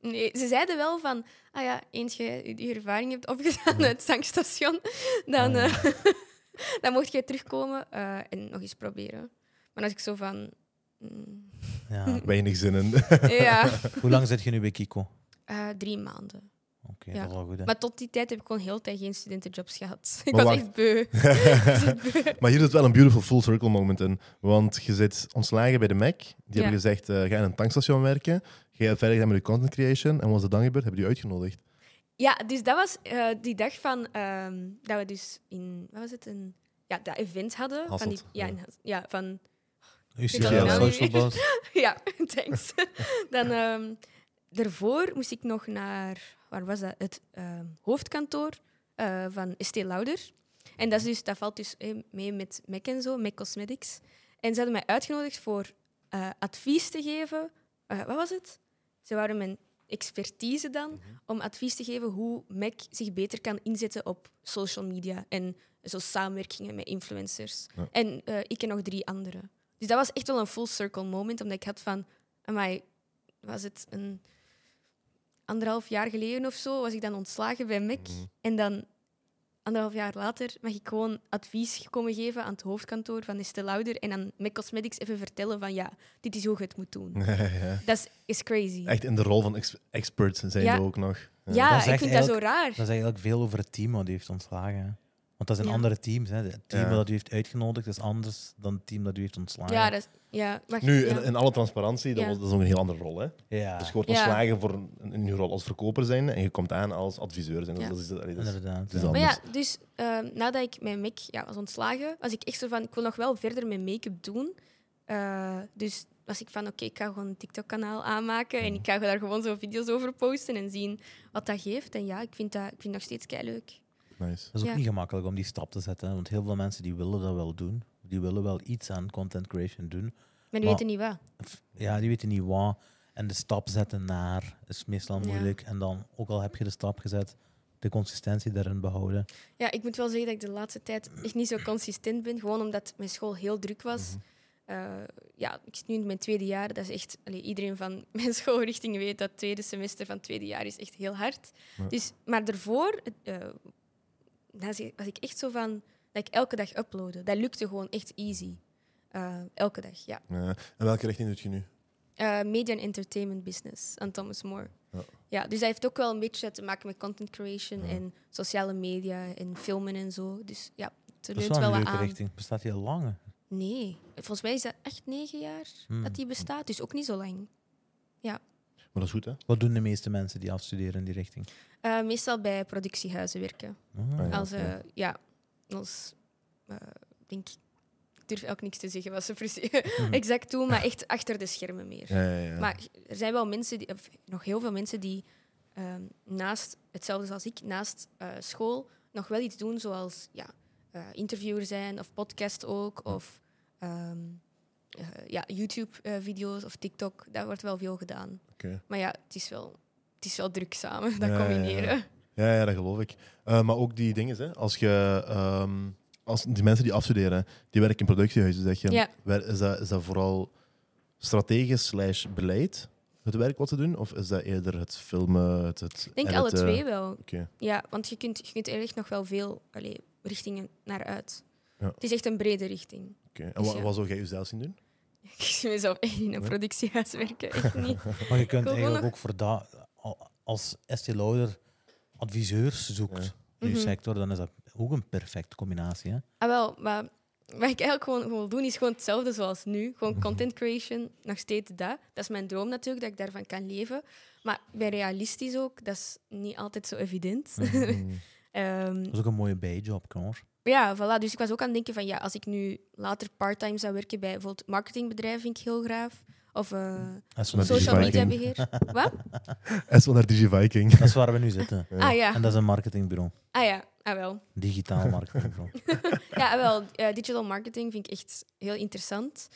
[SPEAKER 3] Nee, ze zeiden wel van... Ah ja, eens je je ervaring hebt opgedaan uit het tankstation, dan,
[SPEAKER 2] Ah,
[SPEAKER 3] eh, dan mocht je terugkomen eh, en nog eens proberen. Maar als ik zo van... mm,
[SPEAKER 2] Ja.
[SPEAKER 1] Weinig zin in.
[SPEAKER 3] ja,
[SPEAKER 2] Hoe lang zit je nu bij Kiko? Oké,
[SPEAKER 3] eh, drie maanden. Ja.
[SPEAKER 2] dat is al goed. Hè?
[SPEAKER 3] Maar tot die tijd heb ik gewoon heel de tijd geen studentenjobs gehad. Ik
[SPEAKER 1] Maar
[SPEAKER 3] was
[SPEAKER 1] wacht.
[SPEAKER 3] echt beu.
[SPEAKER 1] maar hier zit wel een beautiful full circle moment in. Want je zit ontslagen bij de Mac. Die hebben
[SPEAKER 3] Ja.
[SPEAKER 1] gezegd, eh, ga in een tankstation werken. Ga je verder gaan met je content creation. En wat is er dan gebeurd? Hebben die je uitgenodigd?
[SPEAKER 3] Ja, dus dat was eh, die dag van ehm, dat we dus in wat was het een ja dat event hadden van die
[SPEAKER 1] Hasselt,
[SPEAKER 3] ja,
[SPEAKER 1] ja.
[SPEAKER 3] in Has- ja van
[SPEAKER 2] Uw
[SPEAKER 3] zit al
[SPEAKER 2] sociale
[SPEAKER 1] nou
[SPEAKER 2] social
[SPEAKER 3] niet meer.
[SPEAKER 2] boss.
[SPEAKER 3] ja thanks. Dan ehm, daarvoor moest ik nog naar waar was dat het ehm, hoofdkantoor eh, van Estée Lauder en dat is dus dat valt dus eh, mee met Mac en zo Mac Cosmetics en ze hadden mij uitgenodigd voor eh, advies te geven Eh, wat was het ze waren mijn expertise dan
[SPEAKER 1] Mhm.
[SPEAKER 3] om advies te geven hoe Mac zich beter kan inzetten op social media en zo samenwerkingen met influencers.
[SPEAKER 1] Ja.
[SPEAKER 3] En eh, ik en nog drie anderen. Dus dat was echt wel een full circle moment, omdat ik had van, amai, was het een anderhalf jaar geleden of zo, was ik dan ontslagen bij Mac.
[SPEAKER 1] Mhm.
[SPEAKER 3] En dan anderhalf jaar later mag ik gewoon advies komen geven aan het hoofdkantoor van Estée Lauder en aan Mac Cosmetics even vertellen van, ja, dit is hoe je het moet doen.
[SPEAKER 1] Ja.
[SPEAKER 3] Dat is, is crazy.
[SPEAKER 1] Echt in de rol van ex- expert zijn
[SPEAKER 3] Ja.
[SPEAKER 1] we ook nog.
[SPEAKER 3] ja,
[SPEAKER 2] Dat
[SPEAKER 3] ik
[SPEAKER 2] is
[SPEAKER 3] vind
[SPEAKER 2] echt
[SPEAKER 3] dat zo
[SPEAKER 2] elk-
[SPEAKER 3] raar.
[SPEAKER 2] Dat is eigenlijk veel over het team wat u heeft ontslagen. hè. Want dat zijn
[SPEAKER 3] Ja.
[SPEAKER 2] andere teams. Hè. Het team
[SPEAKER 1] Ja.
[SPEAKER 2] dat u heeft uitgenodigd is anders dan het team dat u heeft ontslagen.
[SPEAKER 3] Ja, dat is, ja, maar-
[SPEAKER 1] Nu,
[SPEAKER 3] ja.
[SPEAKER 1] in, in alle transparantie, dat,
[SPEAKER 3] Ja.
[SPEAKER 1] was, dat is ook een heel andere rol. Hè?
[SPEAKER 2] Ja,
[SPEAKER 1] Dus je wordt
[SPEAKER 3] Ja.
[SPEAKER 1] ontslagen voor een, in je rol als verkoper zijn en je komt aan als adviseur zijn. Dus
[SPEAKER 3] Ja.
[SPEAKER 1] dat is, allee, dat is-
[SPEAKER 2] inderdaad.
[SPEAKER 1] dat is
[SPEAKER 2] ja.
[SPEAKER 1] al-
[SPEAKER 3] Maar ja,
[SPEAKER 1] anders.
[SPEAKER 3] dus ehm, nadat ik mijn make ja, was ontslagen, was ik echt zo van, ik wil nog wel verder mijn make-up doen. Eh, dus was ik van, oké, ik ga gewoon een TikTok-kanaal aanmaken en ik ga daar gewoon zo video's over posten en zien wat dat geeft. En ja, ik vind dat, ik vind dat nog steeds kei leuk.
[SPEAKER 1] nice.
[SPEAKER 2] Dat is ook
[SPEAKER 3] Ja.
[SPEAKER 2] niet gemakkelijk om die stap te zetten. hè, Want heel veel mensen die willen dat wel doen. Die willen wel iets aan content creation doen.
[SPEAKER 3] Maar die
[SPEAKER 2] Maar-
[SPEAKER 3] weten niet wat.
[SPEAKER 2] F- Ja, die weten niet wat. En de stap zetten naar is meestal
[SPEAKER 3] Ja.
[SPEAKER 2] moeilijk. En dan, ook al heb je de stap gezet, de consistentie daarin behouden.
[SPEAKER 3] Ja, ik moet wel zeggen dat ik de laatste tijd echt niet zo consistent ben. Gewoon omdat mijn school heel druk was. Eh, ja, ik zit nu in mijn tweede jaar. Dat is echt, allee, iedereen van mijn schoolrichting weet dat het tweede semester van het tweede jaar is echt heel hard.
[SPEAKER 1] Ja.
[SPEAKER 3] Dus, maar daarvoor eh, was ik- was ik echt zo van dat ik elke dag uploadde. Dat lukte gewoon echt easy. Eh, elke dag, ja.
[SPEAKER 1] Ja. En welke richting doet je nu?
[SPEAKER 3] Eh, media en entertainment business aan Thomas More.
[SPEAKER 1] Ja.
[SPEAKER 3] Ja. dus dat heeft ook wel een beetje te maken met content creation
[SPEAKER 1] Ja.
[SPEAKER 3] en sociale media en filmen en zo. Dus ja, het
[SPEAKER 2] Dat is
[SPEAKER 3] leunt
[SPEAKER 2] wel
[SPEAKER 3] wel
[SPEAKER 2] een
[SPEAKER 3] wat
[SPEAKER 2] leuke
[SPEAKER 3] aan.
[SPEAKER 2] richting. Bestaat heel lang. hè.
[SPEAKER 3] Nee, volgens mij is dat echt negen jaar
[SPEAKER 2] Hmm.
[SPEAKER 3] dat die bestaat, dus ook niet zo lang.
[SPEAKER 1] Maar dat is goed, hè?
[SPEAKER 2] Wat doen de meeste mensen die afstuderen in die richting?
[SPEAKER 3] Eh, meestal bij productiehuizen werken.
[SPEAKER 2] Ah,
[SPEAKER 1] Ah, Ja,
[SPEAKER 3] als,
[SPEAKER 1] oké.
[SPEAKER 3] eh, ja, als, eh, ik denk, ik durf ook niks te zeggen wat ze precies
[SPEAKER 2] Hmm.
[SPEAKER 3] exact doen, maar echt achter de schermen meer.
[SPEAKER 1] Ja, ja, ja.
[SPEAKER 3] Maar er zijn wel mensen, die, of nog heel veel mensen die ehm, naast, hetzelfde als ik, naast eh, school nog wel iets doen, zoals ja, eh, eh, interviewer zijn of podcast ook. Of ehm, eh, ja, YouTube-video's of TikTok. Daar wordt wel veel gedaan.
[SPEAKER 1] Oké.
[SPEAKER 3] Maar ja, het is wel, het is wel druk samen, dat
[SPEAKER 1] Ja, ja, ja.
[SPEAKER 3] combineren.
[SPEAKER 1] Ja, ja, dat geloof ik. Eh, maar ook die dingen, hè, als je. ehm, als die mensen die afstuderen, die werken in productiehuizen, zeg je.
[SPEAKER 3] Ja.
[SPEAKER 1] wer- Is, dat, is dat vooral strategisch slash beleid, het werk wat ze doen? Of is dat eerder het filmen, het, het eh,
[SPEAKER 3] Ik denk alle
[SPEAKER 1] editen?
[SPEAKER 3] twee wel.
[SPEAKER 1] Oké.
[SPEAKER 3] Ja, want je kunt, je kunt er echt nog wel veel allee, richtingen naar uit.
[SPEAKER 1] Ja.
[SPEAKER 3] Het is echt een brede richting.
[SPEAKER 1] oké. En wa-
[SPEAKER 3] Dus ja.
[SPEAKER 1] wat zou jij jezelf zien doen?
[SPEAKER 3] Ik zie mezelf echt in een
[SPEAKER 1] Nee.
[SPEAKER 3] productiehuis werken. Echt niet.
[SPEAKER 2] Maar je kunt
[SPEAKER 3] wil
[SPEAKER 2] eigenlijk
[SPEAKER 3] nog-
[SPEAKER 2] ook voor dat, al- als Estee Lauder adviseurs zoekt
[SPEAKER 1] Ja.
[SPEAKER 2] in die
[SPEAKER 3] Mhm.
[SPEAKER 2] sector, dan is dat ook een perfecte combinatie. Hè?
[SPEAKER 3] Ah, wel, maar wat ik eigenlijk gewoon gewoon wil doen, is gewoon hetzelfde zoals nu. Gewoon content creation, nog steeds dat. Dat is mijn droom natuurlijk, dat ik daarvan kan leven. Maar ik ben realistisch ook, dat is niet altijd zo evident.
[SPEAKER 1] Mm.
[SPEAKER 3] Ehm,
[SPEAKER 2] Dat is ook een mooie bijjob, hoor.
[SPEAKER 3] ja, voilà. Dus ik was ook aan het denken van, ja, als ik nu later part-time zou werken bij bijvoorbeeld marketingbedrijf, vind ik heel graag. Of eh,
[SPEAKER 2] Dat is,
[SPEAKER 1] Maar die
[SPEAKER 3] social media
[SPEAKER 1] Viking.
[SPEAKER 3] beheer. Wat?
[SPEAKER 1] En zo naar DigiViking.
[SPEAKER 2] dat is waar we nu zitten.
[SPEAKER 3] Ah
[SPEAKER 2] En
[SPEAKER 3] ja,
[SPEAKER 2] dat is een marketingbureau.
[SPEAKER 3] ah ja, ah wel.
[SPEAKER 2] Digitaal marketingbureau.
[SPEAKER 3] Ja, ah, wel, eh, digital marketing vind ik echt heel interessant.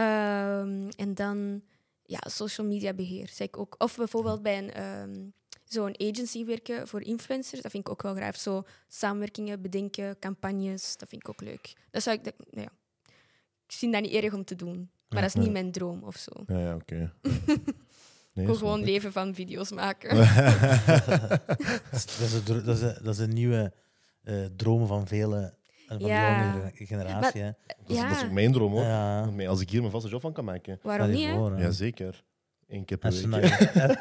[SPEAKER 3] Ehm, en dan ja, social media beheer, zei ik ook. Of bijvoorbeeld bij een, ehm, zo'n agency werken voor influencers. Dat vind ik ook wel graag. Zo samenwerkingen bedenken, campagnes, dat vind ik ook leuk. Dat zou ik, dat, nou ja. ik vind dat niet erg om te doen. Maar dat is
[SPEAKER 1] Ja.
[SPEAKER 3] niet mijn droom of zo.
[SPEAKER 1] Ja, ja oké. Nee,
[SPEAKER 3] Ik wil
[SPEAKER 1] snap
[SPEAKER 3] gewoon
[SPEAKER 1] ik.
[SPEAKER 3] leven van video's maken.
[SPEAKER 2] dat, is, dat, is een, dro- dat, is een, dat is een nieuwe eh droom van vele van de
[SPEAKER 3] Ja.
[SPEAKER 2] jongere generatie. hè.
[SPEAKER 1] Dat, is, dat is
[SPEAKER 3] Ja.
[SPEAKER 1] ook mijn droom, hoor.
[SPEAKER 2] Ja.
[SPEAKER 1] Want mij- Als ik hier mijn vaste job van kan maken.
[SPEAKER 3] Waarom
[SPEAKER 2] Stel je
[SPEAKER 3] niet, hè?
[SPEAKER 2] voor, hè.
[SPEAKER 1] Jazeker. Eén keer per
[SPEAKER 2] Als ze
[SPEAKER 1] week.
[SPEAKER 2] dan-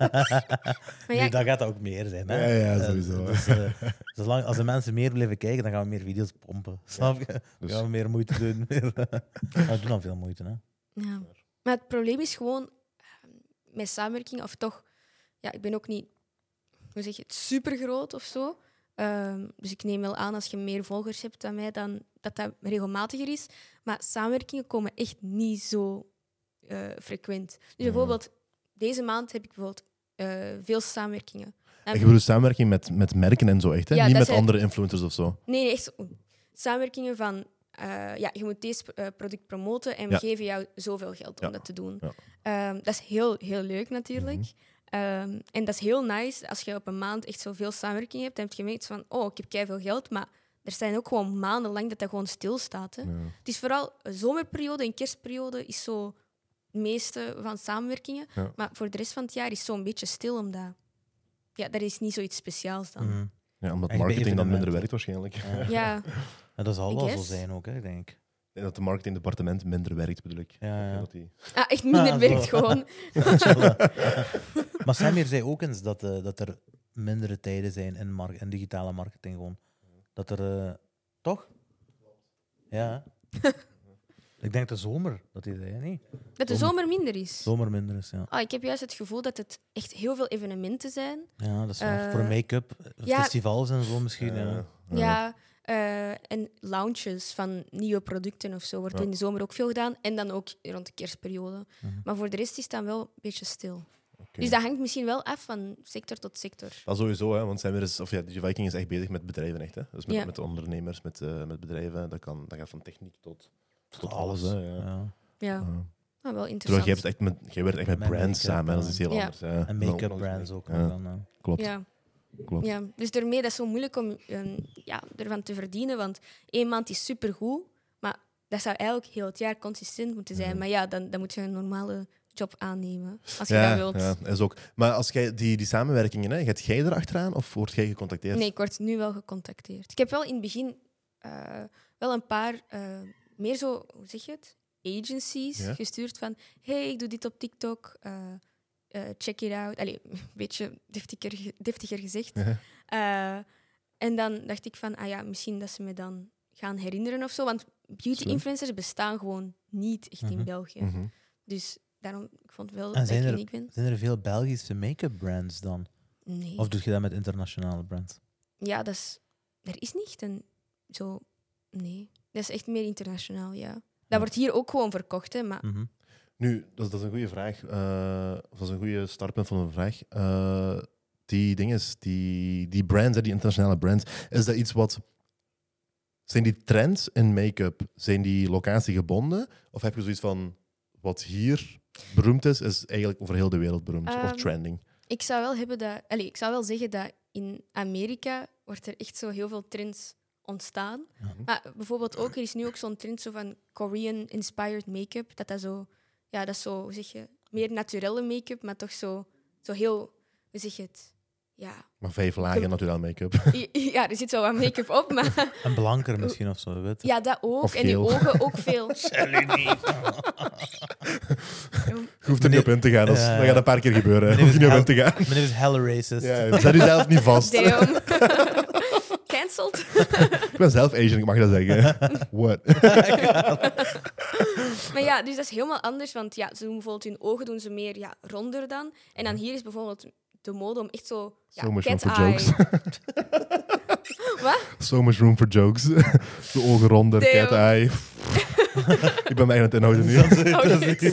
[SPEAKER 3] Maar ja,
[SPEAKER 2] nu, dan gaat dat ook meer zijn. Hè?
[SPEAKER 1] Ja, ja,
[SPEAKER 2] Eh,
[SPEAKER 1] sowieso.
[SPEAKER 2] Dus, eh, zolang, als de mensen meer blijven kijken, dan gaan we meer video's pompen. Snap je? Dan
[SPEAKER 1] Dus-
[SPEAKER 2] gaan we meer moeite doen. Meer, eh. maar we doen dan veel moeite. Hè?
[SPEAKER 3] Ja. Maar het probleem is gewoon ehm, met samenwerking, of toch, ja, ik ben ook niet, hoe zeg je het, super groot of zo. Ehm, dus ik neem wel aan als je meer volgers hebt dan mij, dan, dat dat regelmatiger is. Maar samenwerkingen komen echt niet zo eh, frequent. Dus bijvoorbeeld, deze maand heb ik bijvoorbeeld eh, veel samenwerkingen. Dan
[SPEAKER 1] Ik bedoel samenwerking met, met merken en zo echt, hè?
[SPEAKER 3] Ja,
[SPEAKER 1] niet
[SPEAKER 3] dat
[SPEAKER 1] met
[SPEAKER 3] zijn-
[SPEAKER 1] andere influencers of zo.
[SPEAKER 3] Nee, nee, echt zo- samenwerkingen van... eh, ja, je moet deze eh, product promoten en we
[SPEAKER 1] Ja.
[SPEAKER 3] geven jou zoveel geld om
[SPEAKER 1] Ja.
[SPEAKER 3] dat te doen.
[SPEAKER 1] Ja.
[SPEAKER 3] Ehm, dat is heel, heel leuk natuurlijk. Ehm, en dat is heel nice als je op een maand echt zoveel samenwerking hebt. Dan heb je gemerkt van, oh, ik heb keihard geld, maar er zijn ook gewoon maandenlang dat dat gewoon stilstaat. Hè. Het is vooral zomerperiode en kerstperiode is zo het meeste van samenwerkingen.
[SPEAKER 1] Ja.
[SPEAKER 3] Maar voor de rest van het jaar is zo'n beetje stil omdat... Ja, dat is niet zoiets speciaals
[SPEAKER 1] Mm.
[SPEAKER 3] dan.
[SPEAKER 2] Mhm.
[SPEAKER 1] Ja, omdat
[SPEAKER 2] Echt bij
[SPEAKER 1] marketing dan minder
[SPEAKER 2] evenementen.
[SPEAKER 1] werkt waarschijnlijk.
[SPEAKER 2] Ja.
[SPEAKER 3] Ja,
[SPEAKER 2] En dat zal
[SPEAKER 3] I
[SPEAKER 2] wel zo
[SPEAKER 3] guess.
[SPEAKER 2] zijn ook, hè, ik denk ik.
[SPEAKER 1] En dat de marketingdepartement minder werkt, bedoel ik.
[SPEAKER 2] Ja, ja.
[SPEAKER 1] Dat die...
[SPEAKER 3] ah, echt minder
[SPEAKER 2] Ah, zo.
[SPEAKER 3] werkt gewoon.
[SPEAKER 2] Chillen. maar Samir zei ook eens dat, eh, dat er mindere tijden zijn in, mar- in digitale marketing. Gewoon. Dat er... eh, toch? Ja. hè? ik denk de zomer, dat hij zei. hè? Nee,
[SPEAKER 3] Dat de zomer minder is.
[SPEAKER 2] zomer minder is, ja.
[SPEAKER 3] Ah, ik heb juist het gevoel dat het echt heel veel evenementen zijn.
[SPEAKER 2] Ja, dat is waar.
[SPEAKER 3] Eh,
[SPEAKER 2] Voor make-up, eh,
[SPEAKER 3] ja.
[SPEAKER 2] festivals en zo misschien.
[SPEAKER 1] Ja,
[SPEAKER 2] ja.
[SPEAKER 1] ja.
[SPEAKER 3] Ja. eh, en launches van nieuwe producten of zo wordt
[SPEAKER 1] Ja.
[SPEAKER 3] in de zomer ook veel gedaan. En dan ook rond de kerstperiode.
[SPEAKER 2] Mhm.
[SPEAKER 3] Maar voor de rest is het dan wel een beetje stil. Dus dat hangt misschien wel af van sector tot sector.
[SPEAKER 1] Dat sowieso, hè, want zijn we dus, of ja, Viking is echt bezig met bedrijven, echt. Hè? Dus met,
[SPEAKER 3] Ja.
[SPEAKER 1] met ondernemers, met, eh, met bedrijven. Dat, kan, dat gaat van techniek tot, tot alles.
[SPEAKER 2] alles.
[SPEAKER 1] hè, ja.
[SPEAKER 2] Ja.
[SPEAKER 3] Ja, Dus
[SPEAKER 1] Ja.
[SPEAKER 3] maar wel
[SPEAKER 1] Terwijl
[SPEAKER 3] interessant.
[SPEAKER 1] jij, hebt echt met, jij werkt echt met,
[SPEAKER 2] Met
[SPEAKER 1] brands
[SPEAKER 2] make-up,
[SPEAKER 1] samen, hè, dat is iets heel
[SPEAKER 3] ja.
[SPEAKER 1] anders. Ja.
[SPEAKER 2] En make-up brands ook. nog
[SPEAKER 1] Ja,
[SPEAKER 2] Dan, eh. ja.
[SPEAKER 1] klopt,
[SPEAKER 3] ja.
[SPEAKER 1] klopt.
[SPEAKER 3] Ja, dus daarmee dat is zo moeilijk om ehm, ja, ervan te verdienen. Want één maand is supergoed, maar dat zou eigenlijk heel het jaar consistent moeten
[SPEAKER 1] Mhm.
[SPEAKER 3] zijn. Maar ja, dan, dan moet je een normale job aannemen, als je dat wilt.
[SPEAKER 1] ja, is ook. Maar als jij die, die samenwerkingen, hè, gaat jij erachteraan of word jij gecontacteerd?
[SPEAKER 3] Nee, ik word nu wel gecontacteerd. Ik heb wel in het begin eh, wel een paar eh, meer zo, hoe zeg je het? Agencies
[SPEAKER 1] Ja.
[SPEAKER 3] gestuurd van: hey, ik doe dit op TikTok, eh, eh, check it out. Allee, een beetje deftiger, ge- deftiger gezegd.
[SPEAKER 1] Ja.
[SPEAKER 3] Eh, en dan dacht ik van: ah ja, misschien dat ze me dan gaan herinneren of zo. Want beauty
[SPEAKER 1] Slim.
[SPEAKER 3] influencers bestaan gewoon niet echt
[SPEAKER 2] Mhm.
[SPEAKER 3] in België.
[SPEAKER 1] Mhm.
[SPEAKER 3] Dus daarom, ik vond wel
[SPEAKER 2] En
[SPEAKER 3] dat
[SPEAKER 2] zijn
[SPEAKER 3] ik
[SPEAKER 2] er-
[SPEAKER 3] uniek ben.
[SPEAKER 2] Zijn er veel Belgische make-up brands dan?
[SPEAKER 3] Nee.
[SPEAKER 2] Of doe je dat met internationale brands?
[SPEAKER 3] Ja, dat is, er is niet echt een zo. Nee, dat is echt meer internationaal, ja. Dat
[SPEAKER 2] Ja.
[SPEAKER 3] wordt hier ook gewoon verkocht, hè, maar
[SPEAKER 2] Mhm.
[SPEAKER 1] Nu, dat, dat is een goede vraag. eh, of dat is een goede startpunt van een vraag. Eh, die dingen, die, die brands, hè, die internationale brands, is dat iets wat Zijn die trends in make-up, zijn die locatiegebonden? Of heb je zoiets van, wat hier beroemd is, is eigenlijk over heel de wereld beroemd? of
[SPEAKER 3] Ehm,
[SPEAKER 1] trending?
[SPEAKER 3] Ik zou wel hebben dat. Allee, ik zou wel zeggen dat in Amerika wordt er echt zo heel veel trends ontstaan. Maar bijvoorbeeld ook, er is nu ook zo'n trend zo van Korean inspired make-up. Dat dat zo, ja, dat is zo, hoe zeg je, meer naturelle make-up, maar toch zo, zo heel, hoe zeg je het? Ja.
[SPEAKER 1] Maar vijf lagen
[SPEAKER 3] ik-
[SPEAKER 1] natuurlijk make-up.
[SPEAKER 3] I- i- ja, er zit wel wat make-up op, maar
[SPEAKER 2] Een blanker misschien of zo, weet je.
[SPEAKER 3] Eh, ja, dat ook.
[SPEAKER 1] Of
[SPEAKER 3] en die
[SPEAKER 1] geel.
[SPEAKER 3] ogen ook veel.
[SPEAKER 1] Je hoeft er niet op in te gaan. Dat, is- dat gaat een paar keer gebeuren. Je hoeft er niet op in te gaan.
[SPEAKER 2] Meneer is hella racist.
[SPEAKER 1] Ja, zet jezelf niet vast.
[SPEAKER 3] Damn. Cancelled.
[SPEAKER 1] Ik ben zelf Asian, ik mag dat zeggen. What?
[SPEAKER 3] Maar ja, dus dat is helemaal anders. Want ja, ze doen bijvoorbeeld hun ogen doen ze meer ja, ronder dan. En dan hier is bijvoorbeeld de mode om echt zo... Ja,
[SPEAKER 1] So much room
[SPEAKER 3] cat
[SPEAKER 1] for
[SPEAKER 3] eye.
[SPEAKER 1] jokes.
[SPEAKER 3] Wat?
[SPEAKER 1] So much room for jokes. De ogen ronder,
[SPEAKER 3] Damn.
[SPEAKER 1] cat eye. ik ben mij aan het inhouden nu. Dat
[SPEAKER 3] Oh, shit.
[SPEAKER 1] is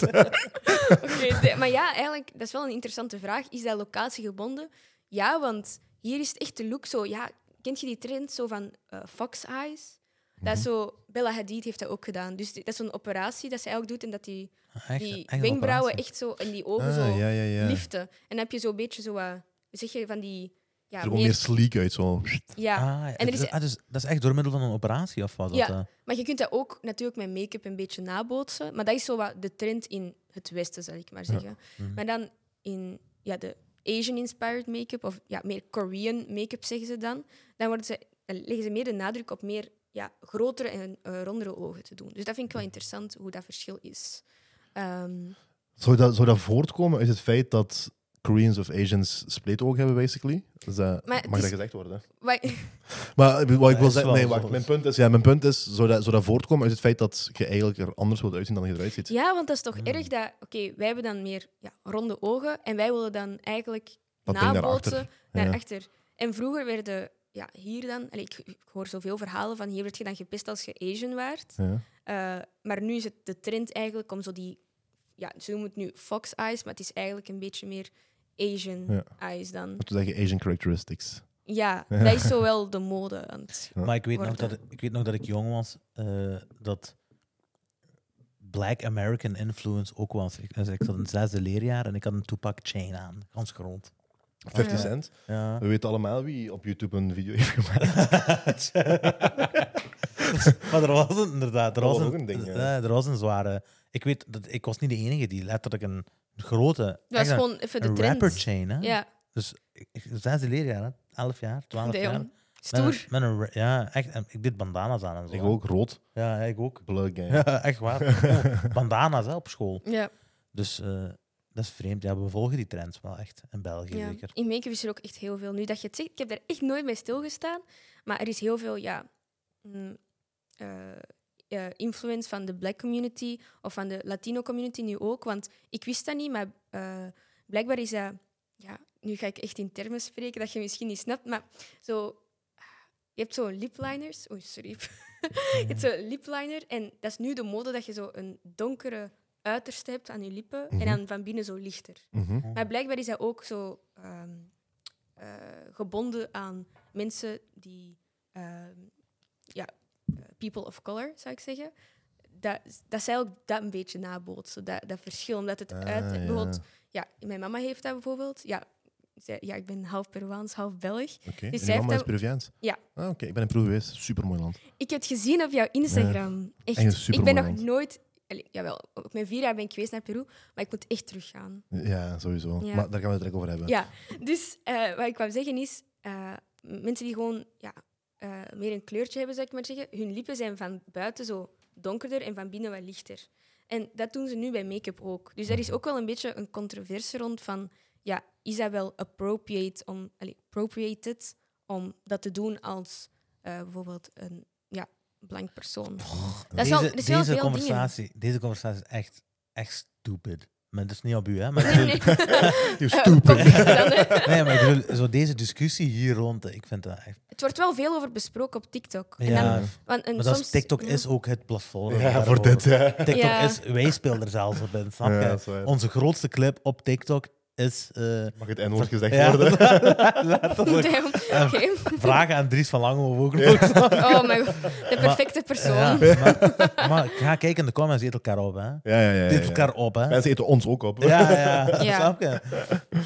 [SPEAKER 1] het.
[SPEAKER 3] Oké, de- maar ja, eigenlijk, dat is wel een interessante vraag. Is dat locatiegebonden? Ja, want hier is het echt de look zo... Ja, kent je die trend zo van eh, fox eyes? Dat
[SPEAKER 1] Mhm.
[SPEAKER 3] is zo, Bella Hadid heeft dat ook gedaan. Dus die- dat is zo'n operatie dat ze eigenlijk doet en dat die,
[SPEAKER 2] Echt,
[SPEAKER 3] die
[SPEAKER 2] echt een
[SPEAKER 3] wenkbrauwen
[SPEAKER 2] operatie.
[SPEAKER 3] echt zo en die ogen
[SPEAKER 1] Ah,
[SPEAKER 3] zo
[SPEAKER 1] ja, ja, ja.
[SPEAKER 3] liften. En dan heb je zo'n beetje zo, wat- hoe zeg je, van die... Ja,
[SPEAKER 1] Er komt meer sleek uit, zo.
[SPEAKER 3] ja,
[SPEAKER 2] Ah,
[SPEAKER 3] En er
[SPEAKER 2] dus-
[SPEAKER 3] is-
[SPEAKER 2] ah, dus dat is echt door middel van een operatie of wat?
[SPEAKER 3] Ja.
[SPEAKER 2] Dat, eh?
[SPEAKER 3] Maar je kunt dat ook natuurlijk met make-up een beetje nabootsen. Maar dat is zo wat de trend in het Westen, zal ik maar zeggen. Maar dan in ja, de Asian-inspired make-up, of ja, meer Korean make-up zeggen ze dan, dan, worden ze, dan leggen ze meer de nadruk op meer ja, grotere en eh, rondere ogen te doen. Dus dat vind ik wel interessant, hoe dat verschil is. Ehm,
[SPEAKER 1] Zou dat, zou dat voortkomen uit het feit dat Koreans of Asians spleetoog hebben, basically? Dus dat,
[SPEAKER 3] Maar het
[SPEAKER 1] mag
[SPEAKER 3] is-
[SPEAKER 1] dat gezegd worden?
[SPEAKER 3] wat-
[SPEAKER 1] Maar wat ik wil
[SPEAKER 2] is
[SPEAKER 1] zeggen, nee,
[SPEAKER 2] wel
[SPEAKER 1] wacht,
[SPEAKER 2] zo.
[SPEAKER 1] mijn punt is, ja, mijn punt is zou, dat, zou dat voortkomen uit het feit dat je eigenlijk er anders wilt uitzien dan je eruit ziet?
[SPEAKER 3] ja, want dat is toch erg dat... Oké, wij hebben dan meer ja, ronde ogen en wij willen dan eigenlijk
[SPEAKER 1] Dat ding daarachter.
[SPEAKER 3] nabootsen naar
[SPEAKER 1] Ja.
[SPEAKER 3] achter. En vroeger werden ja, hier dan, allee, ik, ik hoor zoveel verhalen van hier werd je dan gepest als je Asian waart.
[SPEAKER 1] Ja.
[SPEAKER 3] Eh, maar nu is het de trend eigenlijk om zo die, ja, ze noemen het nu fox eyes, maar het is eigenlijk een beetje meer Asian
[SPEAKER 1] Ja.
[SPEAKER 3] eyes dan.
[SPEAKER 1] Om te zeggen Asian characteristics.
[SPEAKER 3] Ja, dat is zo wel de mode. Want,
[SPEAKER 1] Ja.
[SPEAKER 2] eh, Maar ik weet, nog
[SPEAKER 3] Worden.
[SPEAKER 2] dat, ik weet nog dat ik jong was, eh, dat Black American influence ook was. Ik, dus ik zat in het zesde leerjaar en ik had een Tupac chain aan, gans groot.
[SPEAKER 1] 50
[SPEAKER 3] Ja.
[SPEAKER 1] cent.
[SPEAKER 2] Ja.
[SPEAKER 1] We weten allemaal wie op YouTube een video heeft gemaakt.
[SPEAKER 2] maar er was een, inderdaad, er
[SPEAKER 1] Dat was
[SPEAKER 2] was, een,
[SPEAKER 1] ook een ding, ja.
[SPEAKER 2] eh, er was een zware. Ik weet dat ik was niet de enige die letterlijk een grote.
[SPEAKER 3] dat
[SPEAKER 2] echt
[SPEAKER 3] is
[SPEAKER 2] een-
[SPEAKER 3] gewoon even de
[SPEAKER 2] een
[SPEAKER 3] trend.
[SPEAKER 2] rapper chain, hè?
[SPEAKER 3] Ja,
[SPEAKER 2] Dus ik, ik- zesde leerjaar, hè? elf jaar, twaalf jaar.
[SPEAKER 3] damn.
[SPEAKER 2] Met een-
[SPEAKER 3] Stoer.
[SPEAKER 2] Met een, ra- ja, echt. En ik deed bandana's aan en zo.
[SPEAKER 1] Ik
[SPEAKER 2] hè.
[SPEAKER 1] ook rood.
[SPEAKER 2] Ja, ik ook.
[SPEAKER 1] Blood gang.
[SPEAKER 2] Ja, echt waar. Ja, bandana's hè, op school.
[SPEAKER 3] Ja,
[SPEAKER 2] Dus eh, dat is vreemd. Ja, we volgen die trends wel echt. In België
[SPEAKER 3] ja.
[SPEAKER 2] zeker.
[SPEAKER 3] In make-up is er ook echt heel veel. Nu dat je het zegt, ik heb daar echt nooit bij stilgestaan, maar er is heel veel, ja... mm, eh, eh, influence van de black community of van de Latino community nu ook. Want ik wist dat niet, maar eh, blijkbaar is dat. Ja, nu ga ik echt in termen spreken dat je misschien niet snapt, maar zo. Je hebt zo lipliners. Oei, sorry. je hebt zo'n lipliner en dat is nu de mode dat je zo een donkere uiterste hebt aan je lippen
[SPEAKER 2] Mhm.
[SPEAKER 3] en dan van binnen zo lichter.
[SPEAKER 1] Mhm.
[SPEAKER 3] Maar blijkbaar is dat ook zo ehm, eh, gebonden aan mensen die, ehm, ja, eh, people of color, zou ik zeggen. Dat, dat zij ook dat een beetje nabootsen, dat, dat verschil. Omdat het
[SPEAKER 1] Ah,
[SPEAKER 3] uit...
[SPEAKER 1] ja.
[SPEAKER 3] Bijvoorbeeld, ja, mijn mama heeft dat bijvoorbeeld. Ja, zij- ja ik ben half Peruaans, half Belg.
[SPEAKER 1] Oké.
[SPEAKER 3] Dus
[SPEAKER 1] En
[SPEAKER 3] zij
[SPEAKER 1] je mama is
[SPEAKER 3] heeft dat-
[SPEAKER 1] Peruviaans?
[SPEAKER 3] Ja.
[SPEAKER 1] Ah, Oké, ik ben in Peru geweest. Supermooi land.
[SPEAKER 3] Ik heb het gezien op jouw Instagram.
[SPEAKER 1] echt een
[SPEAKER 3] Echt, ik ben
[SPEAKER 1] supermooi
[SPEAKER 3] nog
[SPEAKER 1] land.
[SPEAKER 3] nooit... Allee, jawel, op mijn vier jaar ben ik geweest naar Peru, maar ik moet echt teruggaan.
[SPEAKER 1] Ja, sowieso.
[SPEAKER 3] Ja.
[SPEAKER 1] Maar daar gaan we het direct over hebben.
[SPEAKER 3] Ja, dus eh, wat ik wou zeggen is, eh, mensen die gewoon ja, eh, meer een kleurtje hebben, zou ik maar zeggen, hun lippen zijn van buiten zo donkerder en van binnen wat lichter. En dat doen ze nu bij make-up ook. Dus daar is ook wel een beetje een controverse rond van, ja, is dat wel appropriate om, allee, appropriated om dat te doen als eh, bijvoorbeeld een ja, blank persoon? dat is wel,
[SPEAKER 2] deze,
[SPEAKER 3] er is wel
[SPEAKER 2] deze,
[SPEAKER 3] veel
[SPEAKER 2] conversatie, deze conversatie is echt, echt stupid. Maar dat is niet op u, hè? Maar ik
[SPEAKER 3] dingen.
[SPEAKER 2] bedoel-
[SPEAKER 3] Nee, nee.
[SPEAKER 1] You
[SPEAKER 3] Eh,
[SPEAKER 1] stupid.
[SPEAKER 3] kom, dan, eh.
[SPEAKER 2] nee, maar ik bedoel, zo deze discussie hier rond, ik vind dat echt...
[SPEAKER 3] Het wordt wel veel over besproken op TikTok. En
[SPEAKER 2] Ja,
[SPEAKER 3] dan, want, en
[SPEAKER 2] maar dat is-
[SPEAKER 3] soms- Mm.
[SPEAKER 2] TikTok
[SPEAKER 3] ja.
[SPEAKER 2] is ook het platform.
[SPEAKER 1] Ja, voor
[SPEAKER 2] daarvoor.
[SPEAKER 1] dit. hè.
[SPEAKER 2] TikTok
[SPEAKER 3] Ja.
[SPEAKER 2] is... Wij spelen er zelfs op in, snap
[SPEAKER 1] Ja,
[SPEAKER 2] je?
[SPEAKER 1] dat is waar.
[SPEAKER 2] Onze grootste clip op TikTok is... eh,
[SPEAKER 1] Mag het N-woord gezegd
[SPEAKER 2] ja,
[SPEAKER 1] worden?
[SPEAKER 2] letterlijk.
[SPEAKER 3] Damn. Oké.
[SPEAKER 2] Vragen aan Dries van Langenhoven ook nog.
[SPEAKER 3] Oh mijn god, de perfecte persoon.
[SPEAKER 2] Ja, maar, maar ga kijken in de comments, eet elkaar op, hè.
[SPEAKER 1] Ja, ja, ja. ja,
[SPEAKER 2] Eet
[SPEAKER 1] ja.
[SPEAKER 2] elkaar op, hè.
[SPEAKER 1] Mensen eten ons ook op.
[SPEAKER 2] Ja, ja,
[SPEAKER 3] Ja.
[SPEAKER 2] snap je?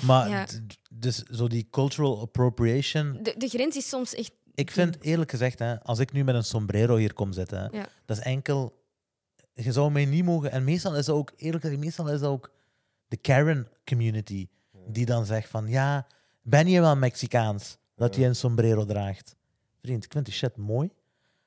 [SPEAKER 2] Maar
[SPEAKER 3] Ja.
[SPEAKER 2] d- d- dus zo die cultural appropriation.
[SPEAKER 3] De, de grens is soms echt...
[SPEAKER 2] Ik vind eerlijk gezegd, hè, als ik nu met een sombrero hier kom zitten, hè,
[SPEAKER 3] Ja.
[SPEAKER 2] dat is enkel. Je zou mij niet mogen. En meestal is dat ook, eerlijk gezegd, meestal is dat ook de Karen community die dan zegt van ja, ben je wel Mexicaans dat je een sombrero draagt? Vriend, ik vind die shit mooi.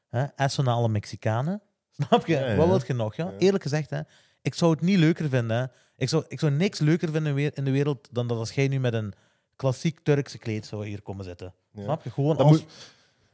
[SPEAKER 2] Hè? Esso naar alle Mexicanen. Snap je?
[SPEAKER 1] Ja, ja.
[SPEAKER 2] Wat wil je nog? Ja? Eerlijk gezegd, hè, ik zou het niet leuker vinden. Hè? Ik, zou, ik zou niks leuker vinden weer- in de wereld dan dat als jij nu met een klassiek Turkse kleed zou hier komen zitten.
[SPEAKER 1] Ja.
[SPEAKER 2] Snap je? Gewoon
[SPEAKER 1] Dat
[SPEAKER 2] als...
[SPEAKER 1] moet,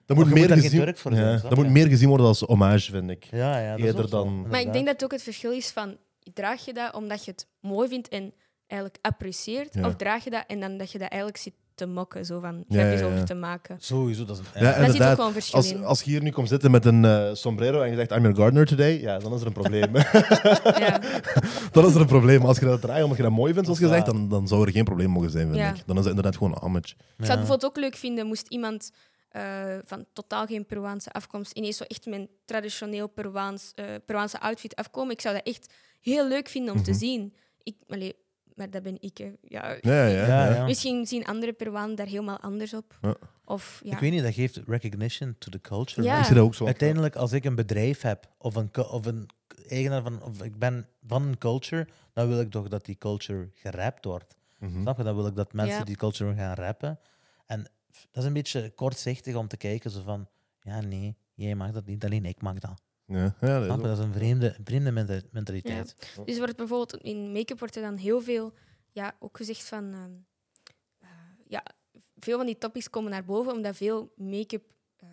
[SPEAKER 1] dat moet
[SPEAKER 2] je moet
[SPEAKER 1] meer
[SPEAKER 2] daar geen
[SPEAKER 1] gezien,
[SPEAKER 2] Turk voor
[SPEAKER 1] ja,
[SPEAKER 2] zijn, snap
[SPEAKER 1] dat moet
[SPEAKER 2] je?
[SPEAKER 1] meer gezien worden als hommage, vind ik.
[SPEAKER 2] ja, ja, dat is
[SPEAKER 1] eerder
[SPEAKER 2] ook zo,
[SPEAKER 1] dan-
[SPEAKER 3] Maar ik denk
[SPEAKER 2] inderdaad.
[SPEAKER 3] dat het ook het verschil is van... Draag je dat omdat je het mooi vindt en eigenlijk apprecieert?
[SPEAKER 1] Ja.
[SPEAKER 3] Of draag je dat en dan dat je dat eigenlijk zit te mokken, zo van
[SPEAKER 1] Ja,
[SPEAKER 3] grapjes
[SPEAKER 1] ja, ja.
[SPEAKER 3] over te maken?
[SPEAKER 2] Sowieso, dat is
[SPEAKER 1] Ja,
[SPEAKER 2] een...
[SPEAKER 3] Daar zit ook
[SPEAKER 1] inderdaad.
[SPEAKER 3] wel een verschil
[SPEAKER 1] Als,
[SPEAKER 3] in.
[SPEAKER 1] als je hier nu komt zitten met een eh, sombrero en je zegt I'm your gardener today, ja, dan is er een probleem.
[SPEAKER 3] Ja.
[SPEAKER 1] dan is er een probleem. Als je dat draait omdat je dat mooi vindt,
[SPEAKER 2] Dat
[SPEAKER 1] zoals
[SPEAKER 2] is
[SPEAKER 1] je zegt,
[SPEAKER 2] waar.
[SPEAKER 1] dan, dan zou er geen probleem mogen zijn, vind
[SPEAKER 3] Ja.
[SPEAKER 1] ik. Dan is het inderdaad gewoon een homage.
[SPEAKER 3] Ik zou het bijvoorbeeld ook leuk vinden moest iemand eh, van totaal geen Peruaanse afkomst ineens zo echt met een traditioneel Peruaans, eh, Peruaanse outfit afkomen. Ik zou dat echt heel leuk vinden om
[SPEAKER 2] Mhm.
[SPEAKER 3] te zien. Ik, allee, maar dat ben ik. hè. Ja.
[SPEAKER 1] Ja, ja, ja.
[SPEAKER 2] ja.
[SPEAKER 3] Misschien zien andere Peruanen daar helemaal anders op.
[SPEAKER 1] Ja.
[SPEAKER 3] Of, ja.
[SPEAKER 2] Ik weet niet, dat geeft recognition to the culture.
[SPEAKER 3] Ja.
[SPEAKER 1] Ik zie dat ook zo.
[SPEAKER 2] Uiteindelijk, als ik een bedrijf heb, of een, cu- of een eigenaar van, of ik ben van een culture, dan wil ik toch dat die culture gerapt wordt.
[SPEAKER 1] Mhm.
[SPEAKER 2] Snap je? Dan wil ik dat mensen
[SPEAKER 3] Ja.
[SPEAKER 2] die culture gaan rappen. En f- dat is een beetje kortzichtig om te kijken, zo van, ja, nee, jij mag dat niet, alleen ik mag dat.
[SPEAKER 1] Ja, ja, dat is
[SPEAKER 2] Snap je?
[SPEAKER 1] ook-
[SPEAKER 2] Dat is een vreemde, vreemde menta- mentaliteit.
[SPEAKER 3] Dus wordt bijvoorbeeld in make-up wordt er dan heel veel ja, ook gezegd van. ehm, eh, ja, veel van die topics komen naar boven omdat veel make-up eh,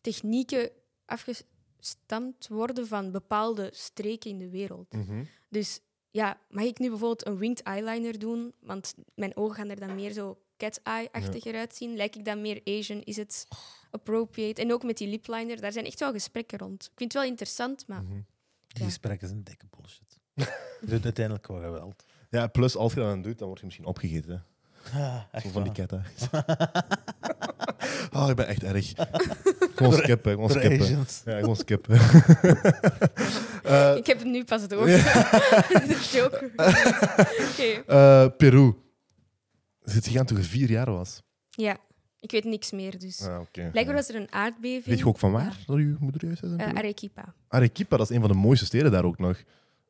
[SPEAKER 3] technieken afgestamd worden van bepaalde streken in de wereld.
[SPEAKER 1] Mhm.
[SPEAKER 3] Dus ja, mag ik nu bijvoorbeeld een winged eyeliner doen? Want mijn ogen gaan er dan meer zo cat-eye-achtiger uitzien. Lijk ik dan meer Asian? Is het appropriate? En ook met die lip liner, daar zijn echt wel gesprekken rond. Ik vind het wel interessant, maar...
[SPEAKER 1] Mhm.
[SPEAKER 2] Die
[SPEAKER 3] Ja.
[SPEAKER 2] gesprekken zijn dikke bullshit. Je doet uiteindelijk wel geweld.
[SPEAKER 1] Ja, plus als je dat dan doet, dan word je misschien opgegeten. hè.
[SPEAKER 2] Ah, echt
[SPEAKER 1] Zo van die
[SPEAKER 2] waar.
[SPEAKER 1] ketten. oh, ik ben echt erg. gewoon skippen, gewoon
[SPEAKER 2] Door
[SPEAKER 1] skippen.
[SPEAKER 2] Asians.
[SPEAKER 1] Ja, gewoon skippen. Eh,
[SPEAKER 3] Ik heb het nu pas door. de joker. Oké.
[SPEAKER 1] eh, Peru. Zit gegaan toen je vier jaar was.
[SPEAKER 3] Ja, ik weet niks meer, dus...
[SPEAKER 1] Ah, oké.
[SPEAKER 3] Blijkbaar was er een aardbeving.
[SPEAKER 1] Weet je ook van waar dat je moeder juist is? in
[SPEAKER 3] Eh,
[SPEAKER 1] Peru?
[SPEAKER 3] Arequipa.
[SPEAKER 1] Arequipa, dat is een van de mooiste steden daar ook nog.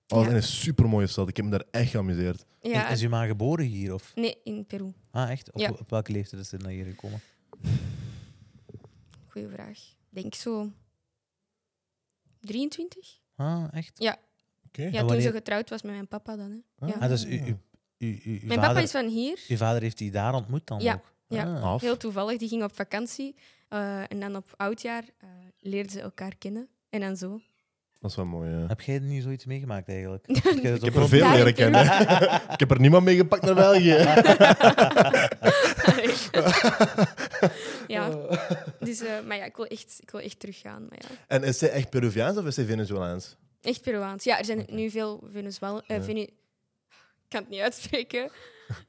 [SPEAKER 1] Oh, dat is
[SPEAKER 3] Ja.
[SPEAKER 1] een supermooie stad. Ik heb me daar echt geamuseerd.
[SPEAKER 3] Ja.
[SPEAKER 2] Is, is uw ma geboren hier? Of?
[SPEAKER 3] Nee, in Peru.
[SPEAKER 2] Ah, echt? Op,
[SPEAKER 3] Ja.
[SPEAKER 2] op welke leeftijd is ze naar hier gekomen?
[SPEAKER 3] Goeie vraag. Denk zo... 23?
[SPEAKER 2] Ah, echt?
[SPEAKER 1] Oké.
[SPEAKER 3] Ja,
[SPEAKER 2] En
[SPEAKER 3] toen ze
[SPEAKER 2] wanneer-
[SPEAKER 3] getrouwd was met mijn papa dan. Hè. ja.
[SPEAKER 2] Ah, dus u, u, u, u- uw
[SPEAKER 3] Mijn
[SPEAKER 2] vader,
[SPEAKER 3] papa is van hier.
[SPEAKER 2] uw vader heeft die daar ontmoet dan
[SPEAKER 3] Ja,
[SPEAKER 2] ook?
[SPEAKER 3] ja.
[SPEAKER 2] Ah.
[SPEAKER 1] Af.
[SPEAKER 3] Heel toevallig. Die ging op vakantie. eh, en dan op oudjaar eh, leerden ze elkaar kennen. En dan zo.
[SPEAKER 1] Dat is wel mooi, ja.
[SPEAKER 2] Heb jij niet zoiets meegemaakt eigenlijk? Heb jij dat
[SPEAKER 1] Ik heb
[SPEAKER 2] ook
[SPEAKER 1] er veel
[SPEAKER 3] Ja, in
[SPEAKER 1] leren kennen. ik heb er niemand mee gepakt naar België.
[SPEAKER 3] ja.
[SPEAKER 1] Oh.
[SPEAKER 3] Dus, eh, maar ja, ik wil echt, ik wil echt teruggaan. Maar ja.
[SPEAKER 1] En is zij echt Peruviaans of is zij Venezolaans?
[SPEAKER 3] Echt Peruaans. Ja, er zijn nu veel Venezuela... eh,
[SPEAKER 1] Ja.
[SPEAKER 3] Vene- Ik kan het niet uitspreken.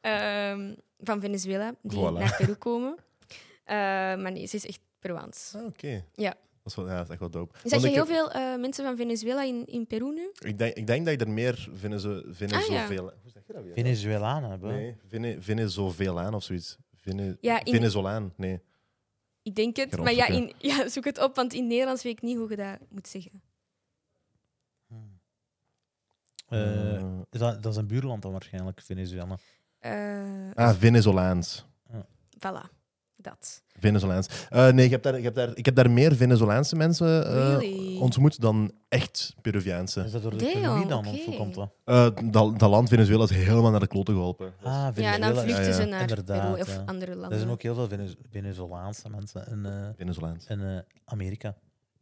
[SPEAKER 3] Ehm, van Venezuela, die
[SPEAKER 1] Voilà.
[SPEAKER 3] naar Peru komen. Eh, maar nee, ze is echt Peruaans.
[SPEAKER 1] Ah, Oké.
[SPEAKER 3] Ja.
[SPEAKER 1] Dat is, wel, ja, dat is echt wel dope.
[SPEAKER 3] Zeg je
[SPEAKER 1] ik,
[SPEAKER 3] heel
[SPEAKER 1] heb-
[SPEAKER 3] veel eh, mensen van Venezuela in, in Peru nu?
[SPEAKER 1] Ik, denk, ik denk dat ik er meer Venezolaans...
[SPEAKER 3] Ah,
[SPEAKER 1] Hoe zeg je dat weer?
[SPEAKER 2] Venezolanen hebben?
[SPEAKER 1] Nee, Vene, Venezovelaan of zoiets. Vene,
[SPEAKER 3] Ja, in-
[SPEAKER 1] Venezolaan, nee.
[SPEAKER 3] Ik denk het,
[SPEAKER 1] Gaan
[SPEAKER 3] maar ja, in,
[SPEAKER 1] opzoeken.
[SPEAKER 3] ja, zoek het op, want in Nederlands weet ik niet hoe je dat moet zeggen.
[SPEAKER 2] Eh,
[SPEAKER 1] Eh,
[SPEAKER 2] is dat, dat is een buurland dan waarschijnlijk, Venezuela.
[SPEAKER 3] Eh
[SPEAKER 1] ah, Venezolaans.
[SPEAKER 3] Voilà, dat.
[SPEAKER 1] Venezolaans. Eh, nee, ik heb, daar, ik, heb daar, ik heb daar meer Venezolaanse mensen eh,
[SPEAKER 3] Really?
[SPEAKER 1] ontmoet dan echt Peruviaanse.
[SPEAKER 2] Is dat door de
[SPEAKER 3] Damn,
[SPEAKER 2] economie dan? Of hoe
[SPEAKER 3] oké.
[SPEAKER 2] komt dat?
[SPEAKER 1] Eh, dat, dat land Venezuela is helemaal naar de kloten geholpen.
[SPEAKER 2] Ah,
[SPEAKER 3] Ja, nou, en
[SPEAKER 2] Venezuela.
[SPEAKER 3] dan vluchten
[SPEAKER 1] ja, ja.
[SPEAKER 3] ze naar
[SPEAKER 2] Inderdaad,
[SPEAKER 3] Peru of
[SPEAKER 2] ja.
[SPEAKER 3] andere
[SPEAKER 2] Er zijn
[SPEAKER 3] landen.
[SPEAKER 2] ook heel veel Venez- Venezolaanse mensen in, eh,
[SPEAKER 1] Venezolaans.
[SPEAKER 2] in eh, Amerika.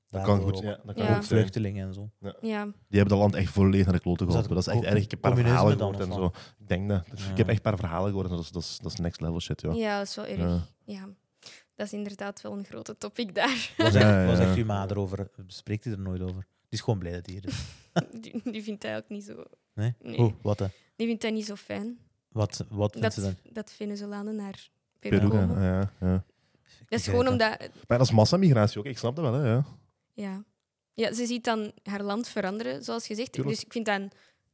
[SPEAKER 1] Dat kan
[SPEAKER 2] Daardoor
[SPEAKER 1] goed,
[SPEAKER 2] ook.
[SPEAKER 1] ja, dat kan
[SPEAKER 3] Ja.
[SPEAKER 1] goed zijn.
[SPEAKER 2] Vluchtelingen en zo.
[SPEAKER 3] Ja,
[SPEAKER 1] Die hebben dat land echt volledig naar de kloten
[SPEAKER 2] Is dat
[SPEAKER 1] geholpen. Dat is echt
[SPEAKER 2] co-
[SPEAKER 1] erg. Ik heb een paar
[SPEAKER 2] communisme
[SPEAKER 1] verhalen
[SPEAKER 2] dan,
[SPEAKER 1] gehoord en
[SPEAKER 2] of
[SPEAKER 1] zo. Ik denk dat.
[SPEAKER 2] Ja.
[SPEAKER 1] Ik heb echt een paar verhalen gehoord en dat is, dat is, dat is next level shit, joh.
[SPEAKER 3] ja, dat is wel erg.
[SPEAKER 1] Ja.
[SPEAKER 3] Ja. Dat is inderdaad wel een grote topic daar.
[SPEAKER 2] Wat
[SPEAKER 1] Ja,
[SPEAKER 2] zegt,
[SPEAKER 1] ja,
[SPEAKER 2] wat
[SPEAKER 1] ja.
[SPEAKER 2] zegt uw ma erover? Spreekt hij er nooit over? Die is gewoon blij dat hij hier is.
[SPEAKER 3] Die, die vindt hij ook niet zo...
[SPEAKER 2] Nee?
[SPEAKER 3] Nee.
[SPEAKER 2] Oeh, wat hè?
[SPEAKER 3] Die vindt hij niet zo fijn.
[SPEAKER 2] Wat, wat vindt ze
[SPEAKER 3] Dat,
[SPEAKER 2] dan?
[SPEAKER 3] dat Venezolanen naar Peru,
[SPEAKER 1] Peru,
[SPEAKER 3] komen.
[SPEAKER 1] ja, ja, ja.
[SPEAKER 3] Dat is gewoon omdat...
[SPEAKER 1] Maar dat is massamigratie ook, ik snap dat wel. Hè, ja.
[SPEAKER 3] Ja. ja, ze ziet dan haar land veranderen, zoals gezegd.
[SPEAKER 1] Tuurlijk.
[SPEAKER 3] Dus ik vind dan...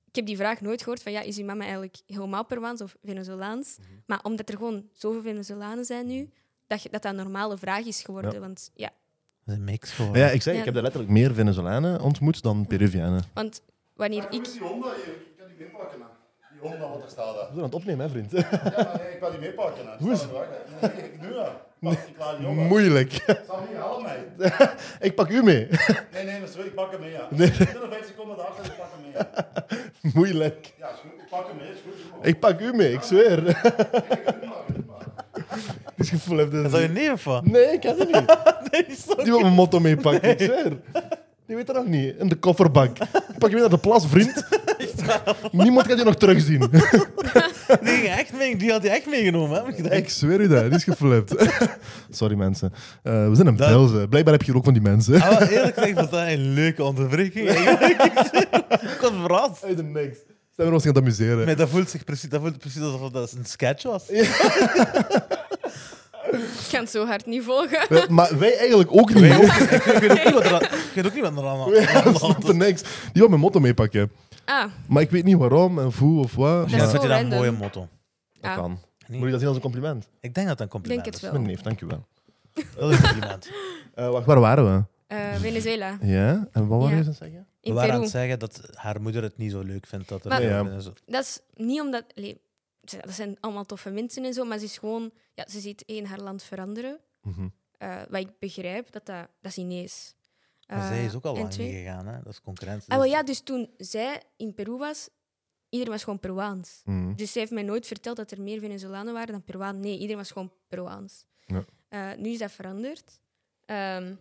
[SPEAKER 3] Ik heb die vraag nooit gehoord van, ja, is uw mama eigenlijk helemaal Peruaans of Venezolaans?
[SPEAKER 2] Mhm.
[SPEAKER 3] Maar omdat er gewoon zoveel Venezolanen zijn nu, dat je- dat, dat een normale vraag is geworden.
[SPEAKER 1] Ja.
[SPEAKER 3] Want, ja,
[SPEAKER 2] Dat is een mix gewoon.
[SPEAKER 1] Maar ja, ik zeg,
[SPEAKER 3] Ja.
[SPEAKER 1] ik heb daar letterlijk meer Venezolanen ontmoet dan Peruvianen. We
[SPEAKER 3] want wanneer ik...
[SPEAKER 4] Die Honda hier, ik kan die meepakken. hè. Die Honda, wat er staat. hè.
[SPEAKER 1] zijn aan het opnemen, hè, vriend.
[SPEAKER 4] Ja, maar nee, ik kan die meepakken. hè.
[SPEAKER 1] Hoe is
[SPEAKER 4] Staat er wel, hè. Nee, Nu, hè. Pak die kleine jongen.
[SPEAKER 1] Moeilijk.
[SPEAKER 4] Sam, hier, haal mij.
[SPEAKER 1] ik pak u mee.
[SPEAKER 4] Nee, nee, dat is goed, ik pak hem mee. Ja. Nee. Ik ben er vijf seconden achter, ik pak hem mee. hè.
[SPEAKER 1] Moeilijk.
[SPEAKER 4] Ja, is goed, ik pak hem mee, is goed. Is goed.
[SPEAKER 1] Ik pak u mee, ik zweer. Het
[SPEAKER 4] Ik kan het maken, maar.
[SPEAKER 1] is gevoel heeft dit-
[SPEAKER 2] Is dat je neef of wat?
[SPEAKER 1] Nee, ik kan het niet.
[SPEAKER 2] Nee, is dat-
[SPEAKER 1] Die wil mijn motto meepakken, ik zweer. Die weet dat nog niet. In de kofferbak. Ik pak je mee naar de plas, vriend. Niemand kan je nog terugzien.
[SPEAKER 2] Die, ging echt mee, die had hij echt meegenomen. Hè? Want ik dacht,
[SPEAKER 1] Ik zweer u dat, die is geflipt. Sorry mensen. Eh, we zijn een
[SPEAKER 2] Dat-
[SPEAKER 1] Belze. Blijkbaar heb je hier ook van die mensen.
[SPEAKER 2] ah, maar eerlijk gezegd, was dat een leuke onderbreking. ik was verrast.
[SPEAKER 1] Uit de niks. Zijn we ons gaan amuseren?
[SPEAKER 2] Maar dat voelt, zich precies, dat voelt precies alsof dat een sketch was.
[SPEAKER 3] Ik kan het zo hard niet volgen.
[SPEAKER 1] We- maar wij eigenlijk ook niet.
[SPEAKER 2] Wij ook- Ik weet- ik weet ook niet wat er aan- ik weet ook niet wat er aan
[SPEAKER 1] Wij
[SPEAKER 2] aan de hand
[SPEAKER 1] snappen
[SPEAKER 2] is.
[SPEAKER 1] niks. Die wil mijn motto meepakken.
[SPEAKER 3] Ah,
[SPEAKER 1] Maar ik weet niet waarom en hoe of wat.
[SPEAKER 3] is
[SPEAKER 1] maar
[SPEAKER 2] Misschien
[SPEAKER 3] zo
[SPEAKER 2] vond je dat een
[SPEAKER 3] random.
[SPEAKER 2] mooie motto.
[SPEAKER 1] dat
[SPEAKER 3] ah.
[SPEAKER 1] kan.
[SPEAKER 2] Nee.
[SPEAKER 1] Moet je dat zien als een compliment?
[SPEAKER 2] Ik denk dat dat een
[SPEAKER 3] denk
[SPEAKER 2] compliment
[SPEAKER 3] het
[SPEAKER 2] is.
[SPEAKER 3] wel.
[SPEAKER 1] Mijn neef, dankjewel.
[SPEAKER 2] Dat is een compliment.
[SPEAKER 1] Eh wacht, waar waren we?
[SPEAKER 3] Eh, Venezuela,
[SPEAKER 1] Ja? En wat waren
[SPEAKER 3] Ja.
[SPEAKER 1] je aan het zeggen?
[SPEAKER 2] We
[SPEAKER 3] in
[SPEAKER 2] waren aan het
[SPEAKER 3] Peru.
[SPEAKER 2] zeggen dat haar moeder het niet zo leuk vindt. Dat er
[SPEAKER 3] Maar-
[SPEAKER 1] Nee, ja.
[SPEAKER 2] en zo.
[SPEAKER 3] Dat is niet omdat... allee, ze- dat zijn allemaal toffe mensen en zo, maar ze is gewoon... Ja, ze ziet één haar land veranderen.
[SPEAKER 1] Mhm.
[SPEAKER 3] Eh, wat ik begrijp, dat dat, dat is Inees.
[SPEAKER 2] Maar zij is ook al
[SPEAKER 3] Ah, en
[SPEAKER 2] lang
[SPEAKER 3] twee-
[SPEAKER 2] meegegaan, hè? Dat is concurrentie.
[SPEAKER 3] Ah, wel
[SPEAKER 2] Dat is-
[SPEAKER 3] ja, dus toen zij in Peru was, iedereen was gewoon Peruaans.
[SPEAKER 1] Mhm.
[SPEAKER 3] Dus zij heeft mij nooit verteld dat er meer Venezolanen waren dan Peruaan. Nee, iedereen was gewoon Peruaans.
[SPEAKER 1] Ja.
[SPEAKER 3] Eh, nu is dat veranderd. Ehm,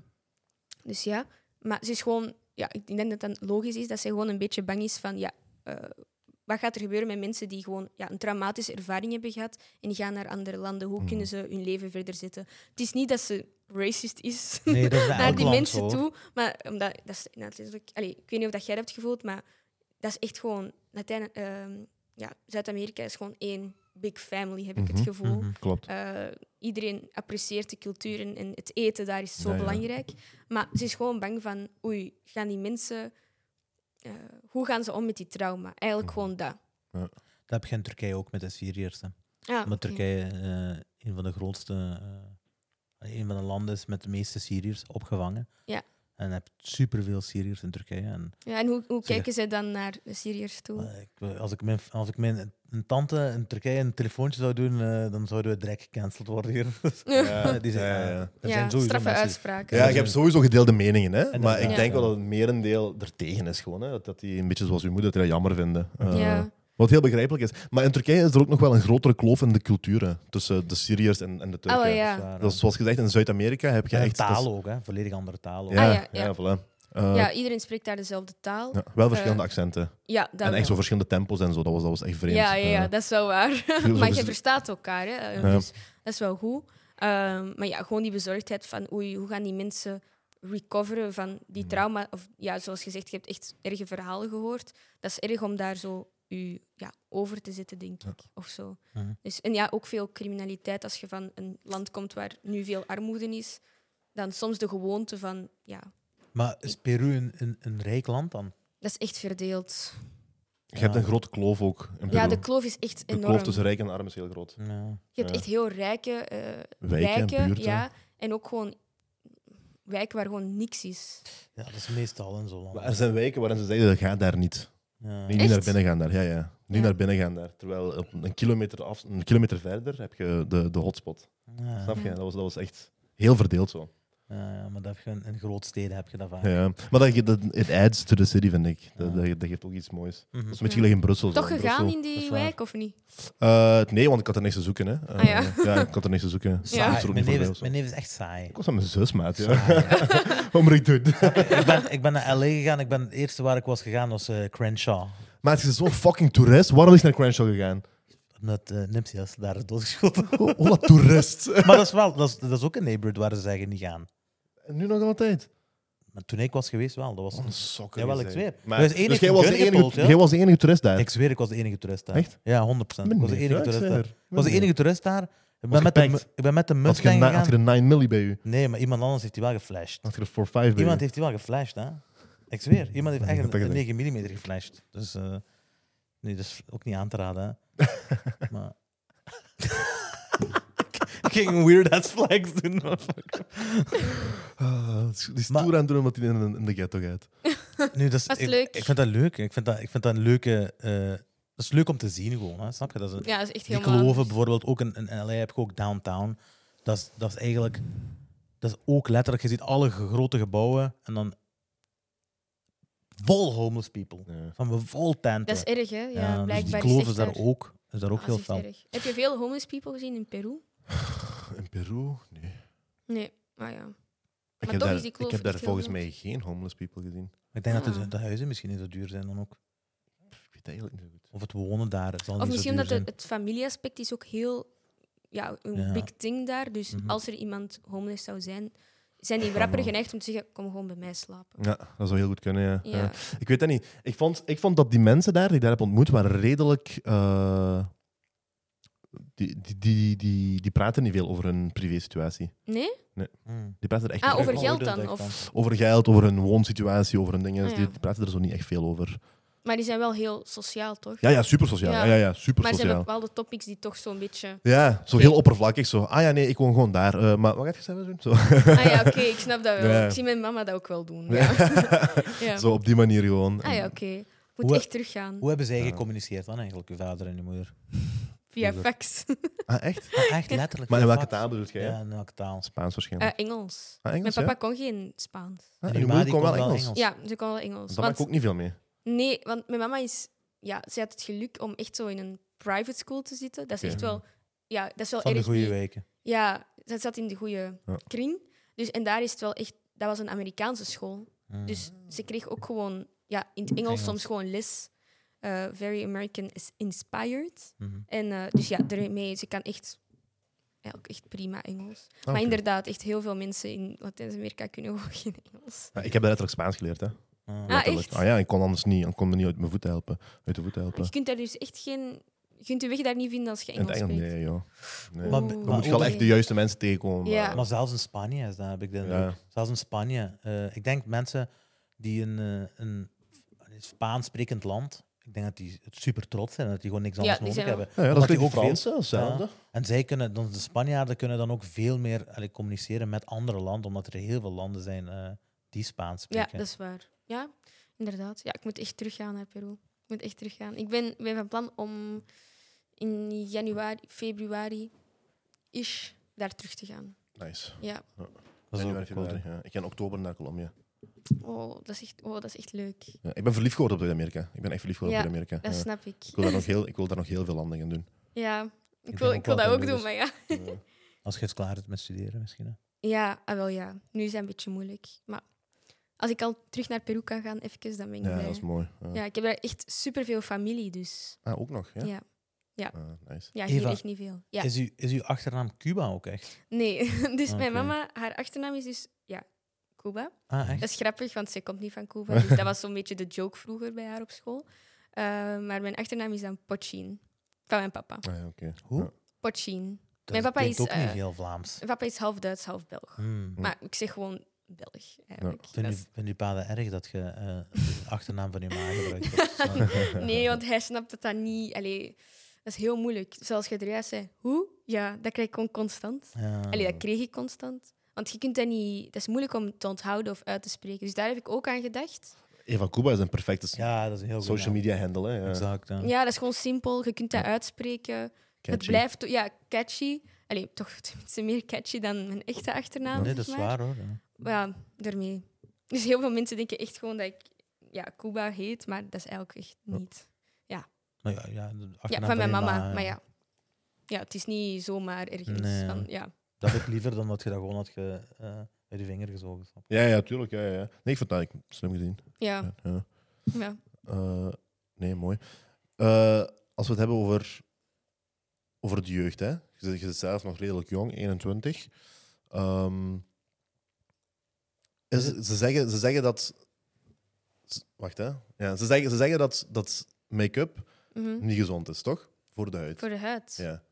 [SPEAKER 3] dus ja, maar ze is gewoon... Ja, ik denk dat het dan logisch is dat zij gewoon een beetje bang is van... Ja, eh, wat gaat er gebeuren met mensen die gewoon ja, een traumatische ervaring hebben gehad en die gaan naar andere landen? Hoe kunnen ze hun leven verder zetten? Het is niet dat ze racist is
[SPEAKER 2] Dus- Nee, dat is bij
[SPEAKER 3] naar
[SPEAKER 2] elk
[SPEAKER 3] die
[SPEAKER 2] land zo.
[SPEAKER 3] mensen toe. Maar omdat, dat is natuurlijk, allee, ik weet niet of dat jij dat hebt gevoeld, maar dat is echt gewoon. Latijn, ehm, ja, Zuid-Amerika is gewoon één big family, heb ik het
[SPEAKER 1] Mhm,
[SPEAKER 3] gevoel.
[SPEAKER 1] Klopt.
[SPEAKER 3] Eh, iedereen apprecieert de cultuur en, en het eten daar is zo
[SPEAKER 1] Ja, ja.
[SPEAKER 3] belangrijk. Maar ze is gewoon bang van, oei, gaan die mensen, eh, hoe gaan ze om met die trauma? Eigenlijk
[SPEAKER 2] Mhm.
[SPEAKER 3] gewoon dat.
[SPEAKER 2] Dat begint Turkije ook met de Syriërs. Hè.
[SPEAKER 3] Ah,
[SPEAKER 2] Omdat
[SPEAKER 3] oké.
[SPEAKER 2] Turkije eh, een van de grootste, eh, een van de landen is met de meeste Syriërs opgevangen.
[SPEAKER 3] Ja.
[SPEAKER 2] En je hebt superveel Syriërs in Turkije. En,
[SPEAKER 3] Ja, en hoe, hoe
[SPEAKER 2] Zeg.
[SPEAKER 3] kijken zij dan naar de Syriërs toe?
[SPEAKER 2] eh, ik- als ik mijn, als ik mijn een tante in Turkije een telefoontje zou doen, eh, dan zouden we direct gecanceld worden hier. Eh, die zijn,
[SPEAKER 1] ja, ja.
[SPEAKER 2] eh, er zijn
[SPEAKER 3] ja,
[SPEAKER 2] sowieso
[SPEAKER 3] straffe
[SPEAKER 2] mensen-
[SPEAKER 3] uitspraken.
[SPEAKER 1] Ja, ik heb sowieso gedeelde meningen, hè.
[SPEAKER 2] En
[SPEAKER 1] maar
[SPEAKER 2] dat-
[SPEAKER 1] ik
[SPEAKER 3] ja.
[SPEAKER 1] denk
[SPEAKER 2] Ja.
[SPEAKER 1] wel dat het merendeel er tegen is, gewoon. Hè. Dat- Dat die een beetje zoals uw moeder, dat die dat jammer vinden. Eh,
[SPEAKER 3] Ja.
[SPEAKER 1] Wat heel begrijpelijk is. Maar in Turkije is er ook nog wel een grotere kloof in de culturen. Tussen de Syriërs en, en de
[SPEAKER 3] Oh
[SPEAKER 1] Turken.
[SPEAKER 2] dat is
[SPEAKER 3] ja.
[SPEAKER 2] waar,
[SPEAKER 1] Dat is, zoals gezegd, in Zuid-Amerika heb je
[SPEAKER 2] En
[SPEAKER 1] echt... dat is-
[SPEAKER 2] taal ook, hè? volledig andere taal. ook.
[SPEAKER 1] Ja,
[SPEAKER 3] Ah,
[SPEAKER 1] ja,
[SPEAKER 3] ja,
[SPEAKER 1] ja.
[SPEAKER 3] ja.
[SPEAKER 1] voilà. Eh,
[SPEAKER 3] ja, iedereen spreekt daar dezelfde taal.
[SPEAKER 1] ja, wel verschillende accenten.
[SPEAKER 3] Ja, dat
[SPEAKER 1] En echt zo
[SPEAKER 3] wel.
[SPEAKER 1] verschillende tempos en zo. Dat was, dat was echt vreemd.
[SPEAKER 3] Ja, ja, ja,
[SPEAKER 1] Eh,
[SPEAKER 3] dat is wel waar.
[SPEAKER 1] zo
[SPEAKER 3] maar
[SPEAKER 1] is
[SPEAKER 3] je
[SPEAKER 1] het.
[SPEAKER 3] verstaat elkaar, hè. Eh,
[SPEAKER 1] Ja.
[SPEAKER 3] dus dat is wel goed. Ehm, maar ja, gewoon die bezorgdheid van oei, hoe gaan die mensen recoveren van die
[SPEAKER 1] Mm.
[SPEAKER 3] trauma? Of ja, zoals gezegd, je hebt echt erge verhalen gehoord. Dat is erg om daar zo u ja, over te zitten, denk ik. Of zo.
[SPEAKER 2] Mhm.
[SPEAKER 3] Dus, en ja, ook veel criminaliteit. Als je van een land komt waar nu veel armoede is, dan soms de gewoonte van ja,
[SPEAKER 2] Maar is Peru een, een, een rijk land dan?
[SPEAKER 3] dat is echt verdeeld.
[SPEAKER 1] Je hebt een grote kloof ook in
[SPEAKER 3] Ja,
[SPEAKER 1] Peru.
[SPEAKER 3] de kloof is echt
[SPEAKER 1] De
[SPEAKER 3] enorm.
[SPEAKER 1] kloof tussen rijk en arm is heel groot.
[SPEAKER 2] Ja.
[SPEAKER 3] Je hebt
[SPEAKER 1] Ja.
[SPEAKER 3] echt heel rijke eh
[SPEAKER 1] Wijken en
[SPEAKER 3] wijken,
[SPEAKER 1] buurten.
[SPEAKER 3] ja, en ook gewoon wijken waar gewoon niks is.
[SPEAKER 2] ja, dat is meestal in zo'n land.
[SPEAKER 1] Maar er zijn wijken waarin ze zeggen, dat gaat daar niet.
[SPEAKER 2] Ja.
[SPEAKER 1] Niet, niet
[SPEAKER 3] Echt?
[SPEAKER 1] naar binnen gaan daar, ja, ja. Niet
[SPEAKER 3] Ja.
[SPEAKER 1] naar binnen gaan daar. Terwijl op een kilometer, af, een kilometer verder heb je de, de hotspot.
[SPEAKER 2] Ja.
[SPEAKER 1] Snap je?
[SPEAKER 3] Ja.
[SPEAKER 1] Dat was, dat was echt heel verdeeld zo.
[SPEAKER 2] Ja, ja, maar dat heb je in, in grootsteden heb je dat vaak.
[SPEAKER 1] Ja, ja. Maar dat, ge- dat, it adds to the city, vind ik. Dat,
[SPEAKER 2] Ja.
[SPEAKER 1] dat, ge- dat geeft ook iets moois.
[SPEAKER 2] Mhm.
[SPEAKER 1] Dat is een beetje gelijk in Brussel.
[SPEAKER 3] Toch
[SPEAKER 1] zo. In
[SPEAKER 3] gegaan
[SPEAKER 1] Brussel-
[SPEAKER 3] in
[SPEAKER 2] dat is
[SPEAKER 3] die
[SPEAKER 2] waar.
[SPEAKER 3] wijk of niet?
[SPEAKER 1] Eh, nee, want ik had er niks te zoeken. Hè. Eh,
[SPEAKER 3] Ah, ja.
[SPEAKER 1] ik had er niks te zoeken. Ik was er ook
[SPEAKER 2] Saai.
[SPEAKER 1] niet
[SPEAKER 2] Mijn,
[SPEAKER 1] voorbij
[SPEAKER 2] neef
[SPEAKER 1] of
[SPEAKER 2] is,
[SPEAKER 1] zo.
[SPEAKER 2] mijn neef is echt saai.
[SPEAKER 1] Ik was aan mijn zus, maat. Ja.
[SPEAKER 2] Saai.
[SPEAKER 1] Wat moet ik doen?
[SPEAKER 2] ik, ben, ik ben naar LA gegaan. Ik ben, het eerste waar ik was gegaan was eh, Crenshaw.
[SPEAKER 1] Maar het is zo'n fucking toerist. Waarom is hij naar Crenshaw gegaan?
[SPEAKER 2] Omdat eh Nipsey Hussle daar is doodgeschoten.
[SPEAKER 1] Ho- Hola, toerist.
[SPEAKER 2] maar dat is, wel, dat, is, dat is ook een neighborhood waar ze zeggen niet gaan.
[SPEAKER 1] En nu nog altijd.
[SPEAKER 2] Maar Maar toen ik was geweest wel, dat was...
[SPEAKER 1] Wat een sokker.
[SPEAKER 2] Jawel,
[SPEAKER 1] je
[SPEAKER 2] ik
[SPEAKER 1] zei.
[SPEAKER 2] zweer.
[SPEAKER 1] Maar-
[SPEAKER 2] Er is één
[SPEAKER 1] dus
[SPEAKER 2] heeft
[SPEAKER 1] jij
[SPEAKER 2] een
[SPEAKER 1] was, de
[SPEAKER 2] gun gepold,
[SPEAKER 1] enige,
[SPEAKER 2] ja.
[SPEAKER 1] jij was de enige toerist daar?
[SPEAKER 2] Ik zweer, ik was de enige toerist daar.
[SPEAKER 1] Echt?
[SPEAKER 2] Ja, 100%. Ik was de enige toerist daar. Ik was de enige toerist daar. Ik
[SPEAKER 1] Was
[SPEAKER 2] ben, met de,
[SPEAKER 1] gepakt?
[SPEAKER 2] mu- ik ben met de
[SPEAKER 1] Had je,
[SPEAKER 2] Mustang
[SPEAKER 1] een, had
[SPEAKER 2] gegaan.
[SPEAKER 1] je een 9 milli bij u?
[SPEAKER 2] Nee, maar iemand anders heeft die wel geflasht.
[SPEAKER 1] Had je er 4-5 bij
[SPEAKER 2] Iemand
[SPEAKER 1] u?
[SPEAKER 2] heeft die wel geflasht, hè? Ik zweer, iemand heeft
[SPEAKER 1] Ja, ik
[SPEAKER 2] echt
[SPEAKER 1] heb
[SPEAKER 2] een,
[SPEAKER 1] dat
[SPEAKER 2] 9 mm geflasht. Dus eh, nee, dat is ook niet aan te raden, hè? maar. ik ging een weird ass flags doen. hoor.
[SPEAKER 1] Ah, het is- die is
[SPEAKER 2] Maar-
[SPEAKER 1] toer aan het doen omdat hij in, in de ghetto gaat.
[SPEAKER 2] Nu, dat is,
[SPEAKER 3] Dat is
[SPEAKER 2] ik,
[SPEAKER 3] leuk.
[SPEAKER 2] Ik vind dat leuk. Ik vind dat, ik vind dat een leuke. eh, dat is leuk om te zien, gewoon. Hè? Snap je? Dat is een-
[SPEAKER 3] Ja, dat is echt
[SPEAKER 2] Die
[SPEAKER 3] helemaal...
[SPEAKER 2] kloven bijvoorbeeld ook in, in LA heb je ook downtown. Dat is, dat is eigenlijk, dat is ook letterlijk, je ziet alle ge- grote gebouwen en dan vol homeless people.
[SPEAKER 1] Ja.
[SPEAKER 2] Van vol tenten.
[SPEAKER 3] Dat is erg, hè? Ja,
[SPEAKER 2] Ja, dus
[SPEAKER 3] blijkbaar
[SPEAKER 2] die kloven
[SPEAKER 3] is
[SPEAKER 2] is
[SPEAKER 3] het Ah,
[SPEAKER 2] daar ook, is daar ook heel fel.
[SPEAKER 3] Heb je veel homeless people gezien in Peru?
[SPEAKER 1] In Peru? Nee.
[SPEAKER 3] Nee, maar ja.
[SPEAKER 1] Ik
[SPEAKER 3] Maar
[SPEAKER 1] heb,
[SPEAKER 3] toch
[SPEAKER 1] daar,
[SPEAKER 3] is die kloof
[SPEAKER 1] ik heb daar
[SPEAKER 3] echt heel
[SPEAKER 1] volgens
[SPEAKER 3] groot.
[SPEAKER 1] mij geen homeless people gezien.
[SPEAKER 2] Ik denk dat de,
[SPEAKER 3] Ah.
[SPEAKER 2] de huizen misschien niet zo duur zijn dan ook.
[SPEAKER 1] Ik weet het eigenlijk niet zo goed.
[SPEAKER 2] Of het wonen daar zal niet
[SPEAKER 3] Of
[SPEAKER 2] zo
[SPEAKER 3] misschien
[SPEAKER 2] duur
[SPEAKER 3] omdat
[SPEAKER 2] zijn.
[SPEAKER 3] het, het familieaspect is ook heel... Ja, een
[SPEAKER 2] Ja.
[SPEAKER 3] big thing daar. Dus
[SPEAKER 2] Mhm.
[SPEAKER 3] als er iemand homeless zou zijn, zijn die
[SPEAKER 1] Ja,
[SPEAKER 3] rapper
[SPEAKER 1] man.
[SPEAKER 3] geneigd om te zeggen, kom gewoon bij mij slapen.
[SPEAKER 1] Ja, dat zou heel goed kunnen, ja.
[SPEAKER 3] Ja.
[SPEAKER 1] Ja. Ik weet dat niet. Ik vond, ik vond dat die mensen daar, die ik daar heb ontmoet, waren redelijk... eh, die, die, die, die, die praten niet veel over hun privé-situatie.
[SPEAKER 3] Nee?
[SPEAKER 2] Hmm.
[SPEAKER 1] Die praten er echt
[SPEAKER 3] Ah,
[SPEAKER 1] niet
[SPEAKER 3] over
[SPEAKER 1] veel
[SPEAKER 3] geld dan?
[SPEAKER 2] Denk
[SPEAKER 3] Of...
[SPEAKER 1] Over geld, over hun woonsituatie, over hun dingen. Dus
[SPEAKER 3] Ah, ja.
[SPEAKER 1] Die praten er zo niet echt veel over.
[SPEAKER 3] Maar die zijn wel heel sociaal, toch?
[SPEAKER 1] Ja, ja, super sociaal.
[SPEAKER 3] Ja.
[SPEAKER 1] Ja, ja, ja super
[SPEAKER 3] maar er zijn
[SPEAKER 1] sociaal.
[SPEAKER 3] bepaalde topics die toch zo'n beetje...
[SPEAKER 1] Ja, zo heel oppervlakkig. Zo. Ah ja, nee, ik woon gewoon daar. Eh, maar wat gaat je zelf doen? Zo.
[SPEAKER 3] Ah ja, oké, ik snap dat wel.
[SPEAKER 1] Ja.
[SPEAKER 3] Ik zie mijn mama dat ook wel doen. Ja. Ja.
[SPEAKER 1] zo op die manier gewoon.
[SPEAKER 3] Ah ja, oké. Ik moet
[SPEAKER 2] Hoe-
[SPEAKER 3] echt teruggaan.
[SPEAKER 2] Hoe hebben zij gecommuniceerd dan eigenlijk, je vader en je moeder?
[SPEAKER 3] Via
[SPEAKER 2] hoe-
[SPEAKER 3] fax.
[SPEAKER 1] Ah, echt?
[SPEAKER 2] Ah, echt letterlijk.
[SPEAKER 1] Maar in
[SPEAKER 2] via
[SPEAKER 1] welke
[SPEAKER 2] fax.
[SPEAKER 1] taal bedoel jij?
[SPEAKER 2] Ja, in welke taal.
[SPEAKER 1] Spaans
[SPEAKER 3] Eh,
[SPEAKER 1] waarschijnlijk.
[SPEAKER 3] Engels.
[SPEAKER 1] ah, Engels,
[SPEAKER 3] Mijn
[SPEAKER 1] ja?
[SPEAKER 3] papa kon geen Spaans.
[SPEAKER 1] Ah,
[SPEAKER 2] En
[SPEAKER 1] en
[SPEAKER 2] uw
[SPEAKER 1] uw
[SPEAKER 2] ma,
[SPEAKER 1] moeder
[SPEAKER 2] die
[SPEAKER 1] kon wel
[SPEAKER 2] kon wel
[SPEAKER 1] Engels.
[SPEAKER 2] Engels.
[SPEAKER 3] Ja, ze kon wel Engels.
[SPEAKER 1] Daar maak ik
[SPEAKER 3] Want,
[SPEAKER 1] ook niet veel mee.
[SPEAKER 3] Nee, want mijn mama is... Ja, zij had het geluk om echt zo in een private school te zitten. Dat is
[SPEAKER 1] Oké.
[SPEAKER 3] echt wel... Ja, dat is wel
[SPEAKER 2] Van de
[SPEAKER 3] erg
[SPEAKER 2] goede
[SPEAKER 3] niet-
[SPEAKER 2] weken.
[SPEAKER 3] Ja, zij zat in de goede
[SPEAKER 1] Ja.
[SPEAKER 3] kring. Dus, en daar is het wel echt... Dat was een Amerikaanse school.
[SPEAKER 1] Ah.
[SPEAKER 2] Hmm.
[SPEAKER 3] Dus ze kreeg ook gewoon... Ja, in het Engels
[SPEAKER 2] Engels.
[SPEAKER 3] soms gewoon les. Eh, very American is inspired.
[SPEAKER 2] Mhm.
[SPEAKER 3] En eh, dus ja, daarmee, ze kan echt... Ja, ook echt prima Engels. Maar
[SPEAKER 1] Ah, oké.
[SPEAKER 3] inderdaad, echt heel veel mensen in Latijns-Amerika kunnen gewoon geen Engels.
[SPEAKER 1] Ja, ik heb daar letterlijk Spaans geleerd, hè.
[SPEAKER 2] Ah.
[SPEAKER 3] Ah,
[SPEAKER 1] Letterlijk.
[SPEAKER 3] echt?
[SPEAKER 1] Ah ja, ik kon anders niet. Ik kon me niet uit mijn voeten helpen. Uit de voeten helpen.
[SPEAKER 3] Je kunt daar dus echt geen... Je kunt de weg daar niet vinden als je
[SPEAKER 1] In het
[SPEAKER 3] Engels
[SPEAKER 1] Engels,
[SPEAKER 3] spreekt.
[SPEAKER 1] nee, joh. Nee.
[SPEAKER 2] Maar-
[SPEAKER 3] Oeh.
[SPEAKER 1] Dan moet je
[SPEAKER 2] ook-
[SPEAKER 1] wel echt de juiste mensen tegenkomen.
[SPEAKER 3] Ja.
[SPEAKER 1] maar-
[SPEAKER 2] Maar zelfs in Spanje is dat, heb ik de indruk.
[SPEAKER 1] Ja.
[SPEAKER 2] Zelfs in Spanje. eh, ik denk mensen die in eh, een Spaans sprekend land, ik denk dat die het super trots zijn en dat die gewoon niks
[SPEAKER 3] Ja,
[SPEAKER 2] anders
[SPEAKER 3] die
[SPEAKER 2] nodig
[SPEAKER 3] zijn wel-
[SPEAKER 2] hebben.
[SPEAKER 1] Ja, ja, dat
[SPEAKER 2] Omdat
[SPEAKER 1] is
[SPEAKER 2] die
[SPEAKER 1] ook
[SPEAKER 2] ook
[SPEAKER 1] Fransen, hetzelfde.
[SPEAKER 2] Ja. En zij kunnen, dan, de Spanjaarden kunnen dan ook veel meer allee, communiceren met andere landen, omdat er heel veel landen zijn eh, die Spaans
[SPEAKER 3] Ja,
[SPEAKER 2] spreken.
[SPEAKER 3] dat is waar. Ja, inderdaad. Ja, ik moet echt teruggaan naar Peru. Ik moet echt teruggaan. Ik ben, ben van plan om in januari, februari is daar terug te gaan.
[SPEAKER 1] Nice.
[SPEAKER 3] Ja.
[SPEAKER 2] Dat is
[SPEAKER 1] Januari,
[SPEAKER 2] ook cool.
[SPEAKER 1] februari, ja. Ik ga in oktober naar Colombia.
[SPEAKER 3] Oh, dat is echt, oh, dat is echt leuk.
[SPEAKER 1] Ja, ik ben verliefd geworden op Amerika. Ik ben echt verliefd geworden
[SPEAKER 3] Ja,
[SPEAKER 1] op Amerika.
[SPEAKER 3] Dat
[SPEAKER 1] Ja.
[SPEAKER 3] snap ik.
[SPEAKER 1] Ik wil, daar nog heel, ik wil daar nog heel veel landen gaan doen.
[SPEAKER 3] Ja, ik
[SPEAKER 2] denk
[SPEAKER 3] wil,
[SPEAKER 2] ook
[SPEAKER 3] ik wil
[SPEAKER 2] wel
[SPEAKER 3] dat ook
[SPEAKER 2] dat
[SPEAKER 3] doen,
[SPEAKER 2] is-
[SPEAKER 3] maar ja.
[SPEAKER 2] Als je het klaar hebt met studeren misschien. hè.
[SPEAKER 3] Ja, ah, wel ja. Nu is dat een beetje moeilijk. Maar als ik al terug naar Peru kan gaan, even, dan ben ik
[SPEAKER 1] Ja,
[SPEAKER 3] blij.
[SPEAKER 1] dat is mooi. Ja.
[SPEAKER 3] Ja, ik heb daar echt superveel familie, dus...
[SPEAKER 1] Ah, ook nog, ja?
[SPEAKER 3] Ja. Ja.
[SPEAKER 1] Ah, nice.
[SPEAKER 3] Ja, hier
[SPEAKER 2] Eva.
[SPEAKER 3] echt niet veel. Ja.
[SPEAKER 2] Is, uw, is uw achternaam Cuba ook echt?
[SPEAKER 3] Nee, dus
[SPEAKER 2] Oké.
[SPEAKER 3] mijn mama, haar achternaam is dus ja, Cuba.
[SPEAKER 2] Ah, echt?
[SPEAKER 3] Dat is grappig, want zij komt niet van Cuba. Dus dat was zo'n beetje de joke vroeger bij haar op school. Eh, maar mijn achternaam is dan Pochin. Van mijn papa.
[SPEAKER 1] Ah, ja, oké.
[SPEAKER 2] Hoe?
[SPEAKER 1] Ja.
[SPEAKER 3] Pochin.
[SPEAKER 2] Dat
[SPEAKER 3] Mijn papa
[SPEAKER 2] klinkt
[SPEAKER 3] is,
[SPEAKER 2] ook niet
[SPEAKER 3] eh,
[SPEAKER 2] heel Vlaams.
[SPEAKER 3] Mijn papa is half Duits, half Belg.
[SPEAKER 2] Hmm.
[SPEAKER 3] Maar ik zeg gewoon Belg, eigenlijk.
[SPEAKER 2] Vind
[SPEAKER 3] Dat
[SPEAKER 2] je,
[SPEAKER 3] is-
[SPEAKER 2] vind je pa dat erg dat je eh, de achternaam van je ma gebruikt? Dat is, eh,
[SPEAKER 3] Nee, want hij snapt het dan niet. Allee, dat is heel moeilijk. Zoals je er juist zei, hoe? Ja, dat krijg ik gewoon constant.
[SPEAKER 2] ja.
[SPEAKER 3] Allee, dat kreeg ik constant. Want je kunt dat niet... Dat is moeilijk om te onthouden of uit te spreken. Dus daar heb ik ook aan gedacht.
[SPEAKER 1] Eva Cuba is een perfecte s-
[SPEAKER 2] Ja, dat is een heel goed.
[SPEAKER 1] social
[SPEAKER 2] ja.
[SPEAKER 1] media handle, hè? Ja.
[SPEAKER 2] Exact. Ja.
[SPEAKER 3] Ja, dat is gewoon simpel. Je kunt dat uitspreken. Het
[SPEAKER 1] Catchy.
[SPEAKER 3] blijft... Ja, catchy. Allee, toch tenminste meer catchy dan mijn echte achternaam,
[SPEAKER 2] nee,
[SPEAKER 3] zeg
[SPEAKER 2] dat is
[SPEAKER 3] maar.
[SPEAKER 2] waar hoor. ja.
[SPEAKER 3] Maar ja, daarmee. Dus heel veel mensen denken echt gewoon dat ik ja, Cuba heet, maar dat is eigenlijk echt niet.
[SPEAKER 2] Maar ja, ja, de
[SPEAKER 3] Ja,
[SPEAKER 2] achternaam
[SPEAKER 3] van mijn
[SPEAKER 2] je
[SPEAKER 3] mama,
[SPEAKER 2] ma,
[SPEAKER 3] maar ja. Ja, het is niet zomaar ergens.
[SPEAKER 2] Nee, ja.
[SPEAKER 3] van, ja.
[SPEAKER 2] Dat heb ik liever dan dat je dat gewoon had ge, eh, uit je vinger gezogen. snap je?
[SPEAKER 1] Ja, ja, tuurlijk. Ja, ja. ja. Nee, ik vond dat eigenlijk slim gezien.
[SPEAKER 3] Ja,
[SPEAKER 1] Ja. ja.
[SPEAKER 3] ja.
[SPEAKER 1] Eh, nee, mooi. Eh, als we het hebben over, over de jeugd, hè? Je, zit- je zit zelf nog redelijk jong, 21. Ehm, Is- ze, zeggen, ze zeggen dat. z- Wacht, hè? Ja, ze zeggen, ze zeggen dat, dat make-up
[SPEAKER 3] Mhm.
[SPEAKER 1] niet gezond is, toch? Voor de huid.
[SPEAKER 3] Voor de huid. Ja,
[SPEAKER 1] Ja.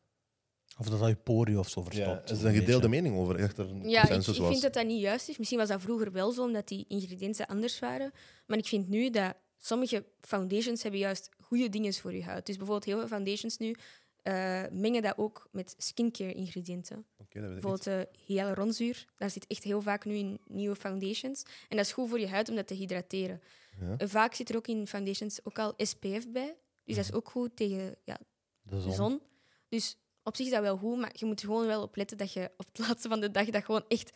[SPEAKER 2] Of dat dat je poriën of zo
[SPEAKER 1] ja.
[SPEAKER 2] verstopt.
[SPEAKER 1] Er is
[SPEAKER 2] zo'n
[SPEAKER 1] een gedeelde
[SPEAKER 2] beetje.
[SPEAKER 1] mening over. Ik dacht dat er een
[SPEAKER 3] ik,
[SPEAKER 1] consensus
[SPEAKER 3] ik
[SPEAKER 1] was.
[SPEAKER 3] vind dat dat niet juist is. Misschien was dat vroeger wel zo, omdat die ingrediënten anders waren. Maar ik vind nu dat sommige foundations hebben juist goede dingen voor je huid. Dus bijvoorbeeld heel veel foundations nu eh, mengen dat ook met skincare-ingrediënten.
[SPEAKER 1] Oké, dat weet ik niet.
[SPEAKER 3] Bijvoorbeeld eh, hyaluronzuur, daar zit echt heel vaak nu in nieuwe foundations. En dat is goed voor je huid om dat te hydrateren.
[SPEAKER 1] Ja.
[SPEAKER 3] En Vaak zit er ook in foundations ook al SPF bij. Dus dat is
[SPEAKER 1] Mhm.
[SPEAKER 3] ook goed tegen ja,
[SPEAKER 2] De
[SPEAKER 3] de
[SPEAKER 2] zon.
[SPEAKER 3] zon. Dus op zich is dat wel goed, maar je moet er gewoon wel op letten dat je op het laatste van de dag dat gewoon echt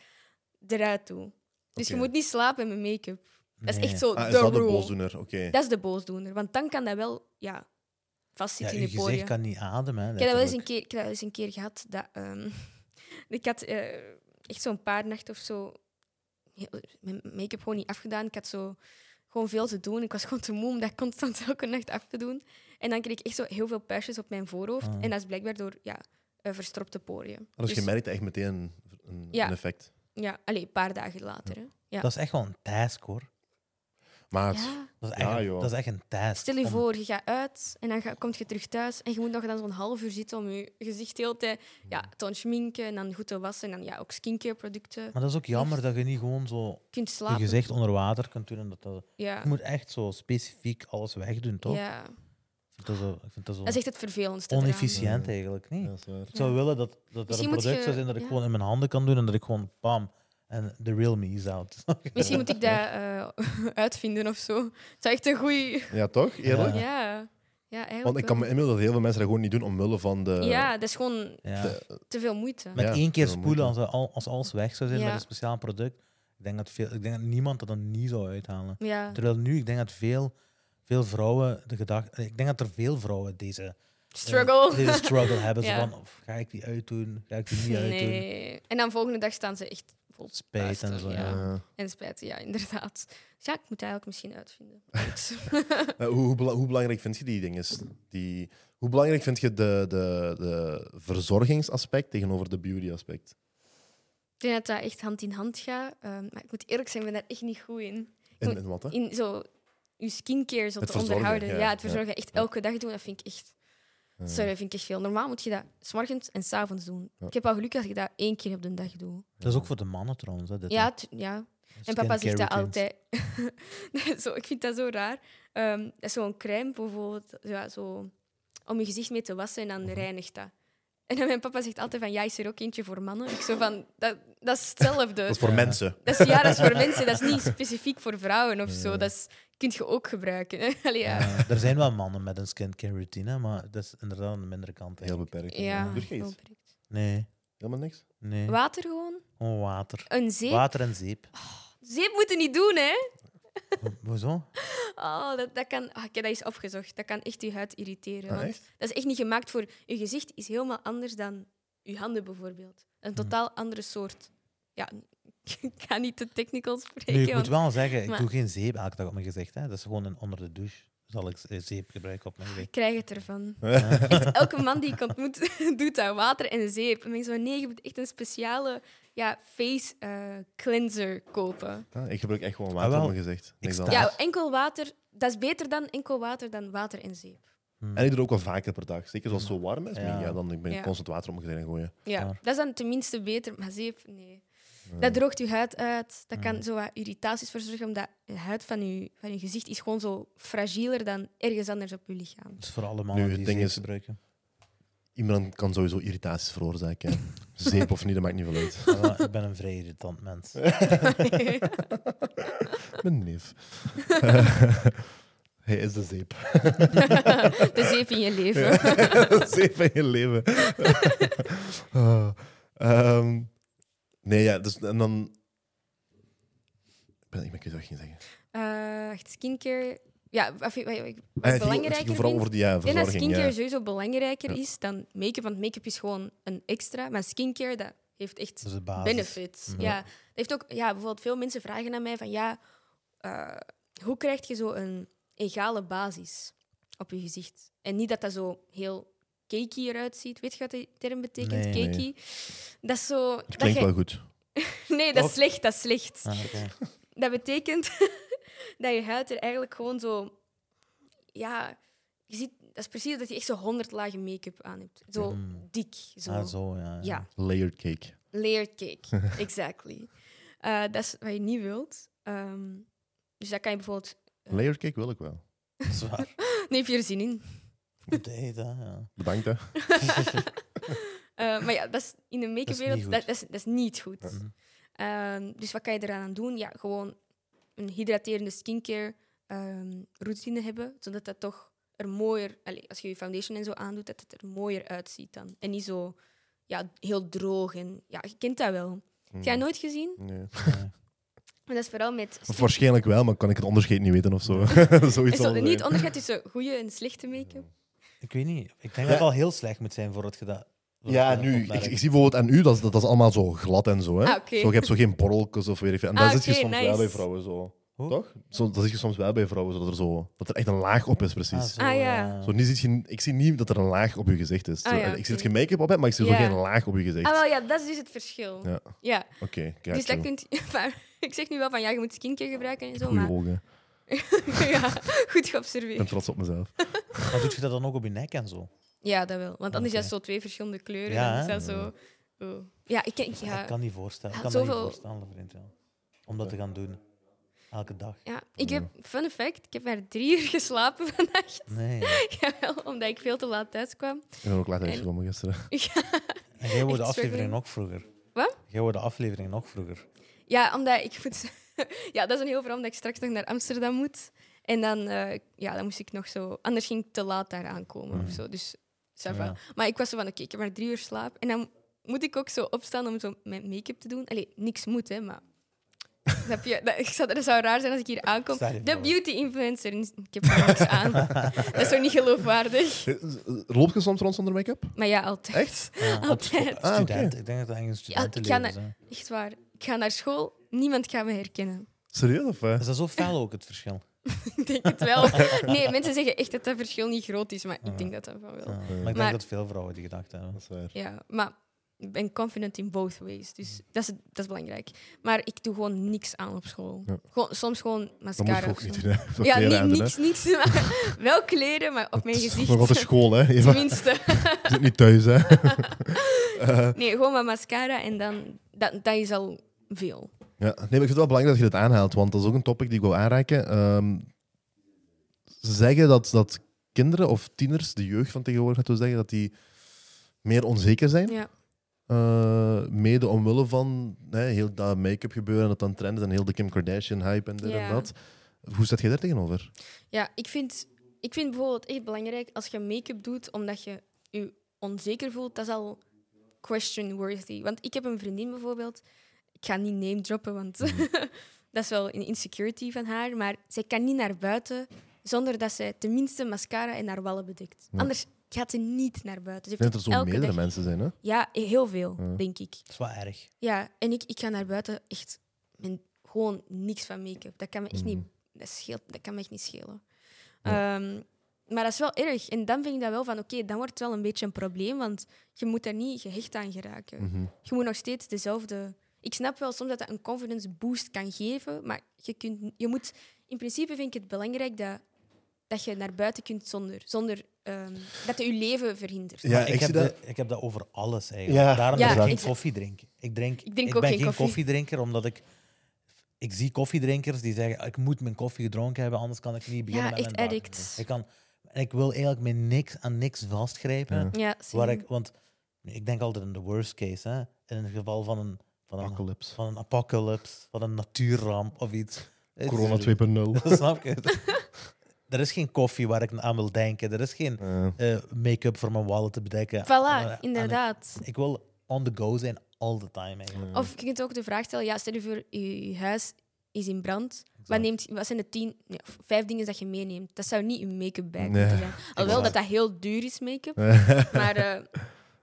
[SPEAKER 3] eruit doet. Dus je
[SPEAKER 1] Oké.
[SPEAKER 3] moet niet slapen met make-up. Dat is
[SPEAKER 2] Nee.
[SPEAKER 3] echt zo
[SPEAKER 1] Ah, is
[SPEAKER 3] de
[SPEAKER 1] dat een
[SPEAKER 3] rule.
[SPEAKER 1] boosdoener? Oké.
[SPEAKER 3] Dat is de boosdoener, want dan kan dat wel ja,
[SPEAKER 2] Ja,
[SPEAKER 3] vastzitten
[SPEAKER 2] je
[SPEAKER 3] in je poriën.
[SPEAKER 2] gezicht kan niet ademen. Hè,
[SPEAKER 3] Ik heb dat wel eens
[SPEAKER 2] letterlijk.
[SPEAKER 3] een keer, ik heb dat wel eens een keer gehad. Dat, ehm, ik had eh, echt zo'n paar nachten of zo heel- mijn make-up gewoon niet afgedaan. Ik had zo gewoon veel te doen. Ik was gewoon te moe om dat constant elke nacht af te doen. En dan kreeg ik echt zo heel veel puistjes op mijn voorhoofd.
[SPEAKER 2] Ah.
[SPEAKER 3] En dat is blijkbaar door ja, eh, verstropte poriën.
[SPEAKER 1] Ah, dus
[SPEAKER 3] Dus-
[SPEAKER 1] je merkt echt meteen een, een,
[SPEAKER 3] Ja.
[SPEAKER 1] een effect.
[SPEAKER 3] Ja, alleen een paar dagen later. hè. Ja.
[SPEAKER 2] Dat is echt wel een task, hoor.
[SPEAKER 1] Maar
[SPEAKER 3] Ja.
[SPEAKER 2] Dat is
[SPEAKER 1] Ja,
[SPEAKER 2] echt, een-
[SPEAKER 1] joh.
[SPEAKER 2] dat is echt een task.
[SPEAKER 3] Stel je
[SPEAKER 2] Om-
[SPEAKER 3] voor, je gaat uit en dan ga, kom je terug thuis en je moet nog dan zo'n half uur zitten om je gezicht heel te,
[SPEAKER 2] Mm.
[SPEAKER 3] ja, te ontschminken en dan goed te wassen en dan ja, ook skincare producten.
[SPEAKER 2] Maar dat is ook jammer dat je niet gewoon zo
[SPEAKER 3] kunt
[SPEAKER 2] je
[SPEAKER 3] slapen.
[SPEAKER 2] gezicht onder water kunt doen. en Dat dat...
[SPEAKER 3] Ja.
[SPEAKER 2] Je moet echt zo specifiek alles wegdoen, toch?
[SPEAKER 3] Ja.
[SPEAKER 2] Ik vind dat zo, ik vind dat zo
[SPEAKER 3] Dat is echt het vervelendste. eraan.
[SPEAKER 2] onefficiënt eigenlijk. Nee.
[SPEAKER 1] Ja, dat is waar.
[SPEAKER 2] Ik zou willen dat, dat er
[SPEAKER 3] Misschien
[SPEAKER 2] een
[SPEAKER 3] moet
[SPEAKER 2] product
[SPEAKER 3] je-
[SPEAKER 2] zou zijn dat ik
[SPEAKER 3] ja.
[SPEAKER 2] gewoon in mijn handen kan doen en dat ik gewoon bam, en the real me is out.
[SPEAKER 3] Misschien moet ik dat eh, uitvinden of zo. Het is echt een goeie.
[SPEAKER 1] Ja, toch? Eerlijk?
[SPEAKER 3] Ja, ja, eigenlijk.
[SPEAKER 1] Want ik kan eh, me
[SPEAKER 3] wel.
[SPEAKER 1] inmiddelen dat heel veel mensen dat gewoon niet doen omwille van de...
[SPEAKER 3] Ja, dat is gewoon
[SPEAKER 2] ja.
[SPEAKER 3] te veel moeite.
[SPEAKER 2] Met
[SPEAKER 1] Ja,
[SPEAKER 2] één keer
[SPEAKER 1] dat moet
[SPEAKER 2] spoelen
[SPEAKER 1] wel.
[SPEAKER 2] als, al- als alles weg zou zijn
[SPEAKER 3] Ja.
[SPEAKER 2] met een speciaal product. Ik denk, dat veel, ik denk dat niemand dat dan niet zou uithalen.
[SPEAKER 3] Ja,
[SPEAKER 2] Terwijl nu, ik denk dat veel, veel vrouwen de gedachte... Ik denk dat er veel vrouwen deze, eh,
[SPEAKER 3] struggle.
[SPEAKER 2] deze struggle hebben.
[SPEAKER 3] Ja.
[SPEAKER 2] Zo van, of ga ik die uitdoen? Ga ik die niet uitdoen?
[SPEAKER 3] Nee. En dan volgende dag staan ze echt vol
[SPEAKER 2] Spijt en
[SPEAKER 3] puisten,
[SPEAKER 2] zo,
[SPEAKER 3] Ja.
[SPEAKER 1] Eh,
[SPEAKER 3] En spijt, ja, inderdaad. Dus ja, ik moet dat eigenlijk misschien uitvinden. Goed.
[SPEAKER 1] eh, hoe, hoe, bela- hoe belangrijk vind je die dingen? Die, hoe belangrijk vind je de, de, de verzorgingsaspect tegenover de beauty-aspect?
[SPEAKER 3] ik denk dat dat echt hand in hand gaat. Ehm, maar ik moet eerlijk zijn, ik ben daar echt niet goed in.
[SPEAKER 1] In, in wat, hè?
[SPEAKER 3] in zo je skincare zo
[SPEAKER 1] Het
[SPEAKER 3] te
[SPEAKER 1] verzorgen,
[SPEAKER 3] onderhouden.
[SPEAKER 1] ja,
[SPEAKER 3] Ja,
[SPEAKER 1] ja.
[SPEAKER 3] het verzorgen echt elke dag doen, dat vind ik echt. Sorry, dat vind ik echt veel. Normaal moet je dat s'morgens en s'avonds doen.
[SPEAKER 1] Ja.
[SPEAKER 3] Ik heb al geluk als ik dat één keer op de dag doe.
[SPEAKER 2] Dat is ook voor de mannen trouwens. Hè, dit, hè.
[SPEAKER 3] Ja, het- ja. en papa
[SPEAKER 2] Skincare
[SPEAKER 3] zegt dat
[SPEAKER 2] routines.
[SPEAKER 3] altijd. Nee, zo, ik vind dat zo raar. Ehm, dat is zo'n crème bijvoorbeeld, ja, zo, om je gezicht mee te wassen en dan
[SPEAKER 1] Mhm.
[SPEAKER 3] reinigt dat. En dan mijn papa zegt altijd van, ja, is er ook eentje voor mannen? Ik zo van, dat, dat is hetzelfde.
[SPEAKER 1] Dat is voor mensen.
[SPEAKER 3] Dat is, ja, dat is voor mensen, dat is niet specifiek voor vrouwen of zo. Dat is, kun je ook gebruiken. hè. Allee, ja.
[SPEAKER 2] Ja, er zijn wel mannen met een skincare routine, maar dat is inderdaad aan de mindere kant.
[SPEAKER 1] Heel
[SPEAKER 2] eigenlijk.
[SPEAKER 1] beperkt.
[SPEAKER 3] Ja,
[SPEAKER 1] Doe je
[SPEAKER 3] heel
[SPEAKER 1] iets?
[SPEAKER 3] beperkt.
[SPEAKER 2] Nee,
[SPEAKER 1] Helemaal niks?
[SPEAKER 2] nee.
[SPEAKER 3] Water gewoon.
[SPEAKER 2] Gewoon water.
[SPEAKER 3] Een zeep. Ah.
[SPEAKER 2] Water en zeep.
[SPEAKER 3] Zeep moeten niet doen, hè?
[SPEAKER 2] Ho- Hoezo?
[SPEAKER 3] Oh, dat, dat kan... ah, ik heb dat eens opgezocht. Dat kan echt je huid irriteren.
[SPEAKER 1] Ah,
[SPEAKER 3] want
[SPEAKER 1] echt?
[SPEAKER 3] dat is echt niet gemaakt voor... Je gezicht is helemaal anders dan je handen, bijvoorbeeld. Een totaal andere soort... Ja, ik ga niet te technical spreken.
[SPEAKER 2] Nu, ik moet
[SPEAKER 3] want-
[SPEAKER 2] wel zeggen, ik
[SPEAKER 3] maar-
[SPEAKER 2] doe geen zeep elke dag op mijn gezicht. Hè. Dat is gewoon een onder de douche. Zal ik eh, zeep gebruiken op mijn
[SPEAKER 3] Ik
[SPEAKER 2] gezicht?
[SPEAKER 3] krijg het ervan. Echt, elke man die ik ontmoet doet dat. Water en zeep. En ik zo, nee, je moet echt een speciale ja, face eh, cleanser kopen.
[SPEAKER 1] Ah, ik gebruik echt gewoon water
[SPEAKER 2] Ah,
[SPEAKER 1] op
[SPEAKER 2] wel.
[SPEAKER 1] mijn gezicht. Niks
[SPEAKER 2] sta-
[SPEAKER 1] anders.
[SPEAKER 3] Ja, enkel water... Dat is beter dan enkel water dan water en zeep.
[SPEAKER 1] En ik doe het ook wel vaker per dag. Zeker als het zo warm is,
[SPEAKER 2] Ja.
[SPEAKER 1] ja, dan ben ik
[SPEAKER 3] Ja.
[SPEAKER 1] constant water op mijn gezicht aan het gooien.
[SPEAKER 3] Ja,
[SPEAKER 2] Waar.
[SPEAKER 3] dat is dan tenminste beter. Maar zeep, nee. Dat droogt je huid uit. Dat kan zo wat irritaties verzorgen, omdat de huid van je, van je gezicht is gewoon zo fragieler dan ergens anders op je lichaam.
[SPEAKER 2] Dat is voor alle mannen
[SPEAKER 1] Nu, het
[SPEAKER 2] Oh, die
[SPEAKER 1] ding
[SPEAKER 2] zeep
[SPEAKER 1] is-
[SPEAKER 2] gebruiken.
[SPEAKER 1] Iemand kan sowieso irritaties veroorzaken. Zeep of niet, dat maakt niet veel uit.
[SPEAKER 2] Maar wel, ik ben een vrij irritant mens.
[SPEAKER 1] Mijn neef. Hij is de zeep.
[SPEAKER 3] De zeep in je leven.
[SPEAKER 1] Zeep in je leven. Ah, ehm, nee, ja, dus en dan. Ik ben, ik ben kwijt wat ik ging zeggen.
[SPEAKER 3] Eh, echt skincare. Ja, wat, vind- wat, wat ik
[SPEAKER 1] Ah, het ging- het
[SPEAKER 3] belangrijker
[SPEAKER 1] ging vooral
[SPEAKER 3] vind.
[SPEAKER 1] over die ja,
[SPEAKER 3] Ik denk dat
[SPEAKER 1] verzorging.
[SPEAKER 3] skincare
[SPEAKER 1] Ja.
[SPEAKER 3] sowieso belangrijker
[SPEAKER 1] Ja.
[SPEAKER 3] is dan make-up, want make-up is gewoon een extra. Maar skincare, dat heeft echt
[SPEAKER 2] Dat is de basis.
[SPEAKER 3] benefits.
[SPEAKER 2] Mhm.
[SPEAKER 3] Ja. Dat heeft ook, ja, bijvoorbeeld veel mensen vragen aan mij van ja, eh, hoe krijg je zo een egale basis op je gezicht? En niet dat dat zo heel cakey eruit ziet. Weet je wat die term betekent?
[SPEAKER 2] Nee.
[SPEAKER 3] cakey? Dat is zo.
[SPEAKER 1] Het
[SPEAKER 3] dat
[SPEAKER 1] klinkt
[SPEAKER 3] jij-
[SPEAKER 1] wel goed.
[SPEAKER 3] Nee, dat
[SPEAKER 1] Toch?
[SPEAKER 3] is slecht, dat is slecht.
[SPEAKER 2] Ah, oké.
[SPEAKER 3] Dat betekent dat je huid er eigenlijk gewoon zo... Ja, je ziet, dat is precies dat je echt zo honderd lagen make-up aan hebt. Zo
[SPEAKER 2] Mm.
[SPEAKER 3] dik. Zo.
[SPEAKER 2] Ah, zo, ja. ja.
[SPEAKER 3] Ja,
[SPEAKER 1] Layered cake.
[SPEAKER 3] layered cake. exactly. Eh, dat is wat je niet wilt. Ehm, dus dat kan je bijvoorbeeld...
[SPEAKER 1] Layered cake wil ik wel.
[SPEAKER 2] Zwaar.
[SPEAKER 3] Nee, heb je er zin in.
[SPEAKER 2] Moet eten, ja.
[SPEAKER 1] Bedankt, hè.
[SPEAKER 3] Eh, maar ja, dat is in de
[SPEAKER 2] Dat is
[SPEAKER 3] make-up-wereld
[SPEAKER 2] niet
[SPEAKER 3] dat,
[SPEAKER 2] goed.
[SPEAKER 3] dat, is, dat is niet goed.
[SPEAKER 2] Mhm.
[SPEAKER 3] Ehm, dus wat kan je eraan doen? Ja, gewoon een hydraterende skincare ehm, routine hebben, zodat dat toch er mooier, allee, als je je foundation en zo aandoet, dat het er mooier uitziet dan. En niet zo ja, heel droog. En, ja, je kent dat wel. Heb jij nooit gezien?
[SPEAKER 1] Mm. Nee.
[SPEAKER 3] Maar dat is vooral met.
[SPEAKER 1] Of waarschijnlijk wel, maar kan ik het onderscheid niet weten of zo.
[SPEAKER 3] Er
[SPEAKER 1] Zoiets
[SPEAKER 3] zal
[SPEAKER 1] zal
[SPEAKER 3] er
[SPEAKER 1] het
[SPEAKER 3] niet
[SPEAKER 1] zijn.
[SPEAKER 3] onderscheid tussen goede en slechte make-up.
[SPEAKER 2] Ik weet niet. Ik denk dat het al heel slecht moet zijn voordat je dat... voordat
[SPEAKER 1] Ja,
[SPEAKER 2] je dat
[SPEAKER 1] nu, ik,
[SPEAKER 2] opmerkt.
[SPEAKER 1] ik zie bijvoorbeeld aan u, dat is, dat is allemaal zo glad en zo. Hè?
[SPEAKER 3] Ah, oké.
[SPEAKER 1] zo je hebt zo geen borreltjes of weet ik veel. En dat
[SPEAKER 3] Ah,
[SPEAKER 1] zit je
[SPEAKER 3] oké,
[SPEAKER 1] soms wel
[SPEAKER 3] nice.
[SPEAKER 1] bij vrouwen zo.
[SPEAKER 2] Hoe?
[SPEAKER 1] Toch? Zo, dat zit je soms wel bij vrouwen, zo, dat er, zo, dat er echt een laag op is, precies.
[SPEAKER 2] Ah,
[SPEAKER 1] zo.
[SPEAKER 2] zo,
[SPEAKER 3] Ah, ja.
[SPEAKER 2] ja.
[SPEAKER 1] niet zit je, ik zie niet dat er een laag op je gezicht is. Zo,
[SPEAKER 3] Ah, ja,
[SPEAKER 1] Ik
[SPEAKER 3] oké.
[SPEAKER 1] zie dat je make-up op hebt, maar ik zie
[SPEAKER 3] Ja.
[SPEAKER 1] zo geen laag op je gezicht.
[SPEAKER 3] Ah, wel ja, dat is dus het verschil.
[SPEAKER 1] Ja.
[SPEAKER 3] ja.
[SPEAKER 1] Oké, kijk.
[SPEAKER 3] Dus dat kunt maar ik zeg nu wel van ja, je moet skincare gebruiken en zo,
[SPEAKER 1] Goeie
[SPEAKER 3] maar
[SPEAKER 1] ogen. Ik
[SPEAKER 3] ja, goed
[SPEAKER 1] ben
[SPEAKER 3] geobserveerd.
[SPEAKER 1] trots op mezelf.
[SPEAKER 2] Maar doet je dat dan ook op je nek en zo?
[SPEAKER 3] Ja, dat wel. Want anders
[SPEAKER 2] Oké.
[SPEAKER 3] is dat zo twee verschillende kleuren.
[SPEAKER 2] Ja, Mm.
[SPEAKER 3] dan is dat zo... oh. Ja, ik, ik,
[SPEAKER 2] Ik
[SPEAKER 3] ja,
[SPEAKER 2] kan niet voorstellen. Ik
[SPEAKER 3] Ja,
[SPEAKER 2] kan dat niet
[SPEAKER 3] zoveel-
[SPEAKER 2] voorstellen, vriend. Ja. Om dat te gaan doen. Elke dag.
[SPEAKER 3] ja, ik heb...
[SPEAKER 2] Mm.
[SPEAKER 3] Fun fact, ik heb maar drie uur geslapen vannacht.
[SPEAKER 2] Nee.
[SPEAKER 3] Jawel, omdat ik veel te laat thuis kwam.
[SPEAKER 1] Ik ben ook laat uitgekomen gisteren.
[SPEAKER 2] En jij wordt de
[SPEAKER 3] Echt
[SPEAKER 2] aflevering
[SPEAKER 3] struggling.
[SPEAKER 2] nog vroeger.
[SPEAKER 3] Wat?
[SPEAKER 2] Jij wordt de aflevering nog vroeger.
[SPEAKER 3] Ja, omdat ik moet... ja, dat is een heel verhaal, omdat ik straks nog naar Amsterdam moet. En dan, eh, ja, dan moest ik nog zo... Anders ging ik te laat daar aankomen of zo. Dus, ça va.
[SPEAKER 2] Mhm. Ja.
[SPEAKER 3] Maar ik was zo van, oké, ik heb maar drie uur slaap. En dan moet ik ook zo opstaan om zo mijn make-up te doen. Allee, niks moet, hè, maar... Snap je? Dat, ik zou, dat zou raar zijn als ik hier aankom.
[SPEAKER 2] Stel je
[SPEAKER 3] De
[SPEAKER 2] voor.
[SPEAKER 3] beauty-influencer. Ik heb daar niks aan. dat is toch niet geloofwaardig?
[SPEAKER 1] Loop je soms rond zonder make-up?
[SPEAKER 3] Maar ja, altijd.
[SPEAKER 1] Echt?
[SPEAKER 2] Ja, op
[SPEAKER 3] Altijd.
[SPEAKER 2] school-
[SPEAKER 1] Ah, oké.
[SPEAKER 2] student. Ik denk dat dat eigenlijk een studentenleven
[SPEAKER 3] Ja,
[SPEAKER 2] is.
[SPEAKER 3] ik
[SPEAKER 2] hè.
[SPEAKER 3] Echt waar. Ik ga naar school, niemand gaat me herkennen.
[SPEAKER 1] Serieus of eh?
[SPEAKER 2] Is dat zo fel ook, het verschil?
[SPEAKER 3] Ik denk het wel. Nee, mensen zeggen echt dat dat verschil niet groot is, maar
[SPEAKER 1] Mhm.
[SPEAKER 3] ik denk dat dat wel
[SPEAKER 2] Ja.
[SPEAKER 3] wel.
[SPEAKER 2] Maar ik denk
[SPEAKER 3] Maar-
[SPEAKER 2] dat veel vrouwen die gedachte hebben.
[SPEAKER 1] Dat is waar.
[SPEAKER 3] Ja, maar ik ben confident in both ways, dus
[SPEAKER 1] Mhm.
[SPEAKER 3] dat is, dat is belangrijk. Maar ik doe gewoon niks aan op school.
[SPEAKER 1] Ja.
[SPEAKER 3] Gewoon, soms gewoon
[SPEAKER 1] Dat moet je
[SPEAKER 3] mascara of
[SPEAKER 1] ook
[SPEAKER 3] zo.
[SPEAKER 1] niet doen. hè. Veel
[SPEAKER 3] Ja,
[SPEAKER 1] kleren
[SPEAKER 3] ni-
[SPEAKER 1] aan doen, hè.
[SPEAKER 3] niks, niks. maar wel kleren, maar op mijn
[SPEAKER 1] Het is
[SPEAKER 3] gezicht.
[SPEAKER 1] Nog altijd school, hè? Eva? Je
[SPEAKER 3] Tenminste.
[SPEAKER 1] zit niet thuis, hè?
[SPEAKER 3] Nee, gewoon wat mascara en dan... Dat, dat is al veel.
[SPEAKER 1] Ja, nee, maar ik vind het wel belangrijk dat je dit aanhaalt, want dat is ook een topic die ik wil aanraken. Ehm, ze zeggen dat, dat kinderen of tieners, de jeugd van tegenwoordig, laten we zeggen, dat die meer onzeker zijn.
[SPEAKER 3] Ja.
[SPEAKER 1] Eh, mede omwille van hè, heel dat make-up gebeuren, dat dan trend is en heel de Kim Kardashian-hype en dit
[SPEAKER 3] Ja.
[SPEAKER 1] en dat. Hoe staat jij daar tegenover?
[SPEAKER 3] Ja, ik vind, ik vind bijvoorbeeld echt belangrijk als je make-up doet omdat je je onzeker voelt, dat is al question-worthy. Want ik heb een vriendin bijvoorbeeld, ik ga niet name droppen, want
[SPEAKER 1] Mhm.
[SPEAKER 3] dat is wel een insecurity van haar, maar zij kan niet naar buiten zonder dat zij tenminste mascara en haar wallen bedekt.
[SPEAKER 1] Ja.
[SPEAKER 3] Anders gaat ze niet naar buiten. Ze
[SPEAKER 1] Ik denk dat
[SPEAKER 3] heeft
[SPEAKER 1] er
[SPEAKER 3] het
[SPEAKER 1] zo
[SPEAKER 3] elke
[SPEAKER 1] meerdere
[SPEAKER 3] dag.
[SPEAKER 1] mensen zijn, hè?
[SPEAKER 3] Ja, heel veel, denk ik.
[SPEAKER 2] Dat is wel erg.
[SPEAKER 3] Ja, en ik, ik ga naar buiten echt met gewoon niks van make-up. Dat kan me echt niet,
[SPEAKER 2] Mhm.
[SPEAKER 3] dat scheelt, dat kan me echt niet schelen. Ehm, maar dat is wel erg. En dan vind ik dat wel van, oké, dan wordt het wel een beetje een probleem, want je moet daar niet gehecht aan geraken.
[SPEAKER 2] Mhm.
[SPEAKER 3] Je moet nog steeds dezelfde... Ik snap wel soms dat dat een confidence boost kan geven, maar je, kunt, je moet... In principe vind ik het belangrijk dat, dat je naar buiten kunt zonder... zonder ehm, dat het je leven verhindert.
[SPEAKER 1] Ja,
[SPEAKER 2] Maar
[SPEAKER 1] ik
[SPEAKER 2] ik, heb
[SPEAKER 1] zie dat-
[SPEAKER 2] de- ik heb dat over alles eigenlijk.
[SPEAKER 1] Ja,
[SPEAKER 2] Daarom
[SPEAKER 3] Ja,
[SPEAKER 2] dat ik geen
[SPEAKER 3] exact.
[SPEAKER 2] koffie drink. Ik, drink,
[SPEAKER 3] Ik drink ook
[SPEAKER 2] ben
[SPEAKER 3] geen
[SPEAKER 2] geen
[SPEAKER 3] koffie.
[SPEAKER 2] koffiedrinker, omdat ik... Ik zie koffiedrinkers die zeggen, ik moet mijn koffie gedronken hebben, anders kan ik niet beginnen
[SPEAKER 3] Ja,
[SPEAKER 2] met
[SPEAKER 3] echt
[SPEAKER 2] mijn dag."
[SPEAKER 3] addicts.
[SPEAKER 2] Ik, kan, en ik wil eigenlijk me niks, aan niks vastgrijpen.
[SPEAKER 1] Ja.
[SPEAKER 3] Ja,
[SPEAKER 2] Waar
[SPEAKER 3] same.
[SPEAKER 2] ik, want ik denk altijd in de worst case, hè, in het geval van een, van een,
[SPEAKER 1] Apocalypse.
[SPEAKER 2] van een apocalypse, van een natuurramp of iets. Het-
[SPEAKER 1] Corona 2.0.
[SPEAKER 2] Snap je? Er is geen koffie waar ik aan wil denken. Er is geen
[SPEAKER 1] Eh,
[SPEAKER 2] eh, make-up voor mijn wallet te bedekken. Eh,
[SPEAKER 3] Voilà,
[SPEAKER 2] En- en
[SPEAKER 3] inderdaad.
[SPEAKER 2] Ik wil on the go zijn all the time eigenlijk.
[SPEAKER 3] Of je kunt ook de vraag stellen: ja, stel je voor, je, je huis is in brand. Wat, neemt, wat zijn de tien, nee, of vijf dingen dat je meeneemt? Dat zou niet je make-up bij
[SPEAKER 1] Nee.
[SPEAKER 3] moeten zijn. Alhoewel dat dat heel duur is, make-up. Maar eh, dat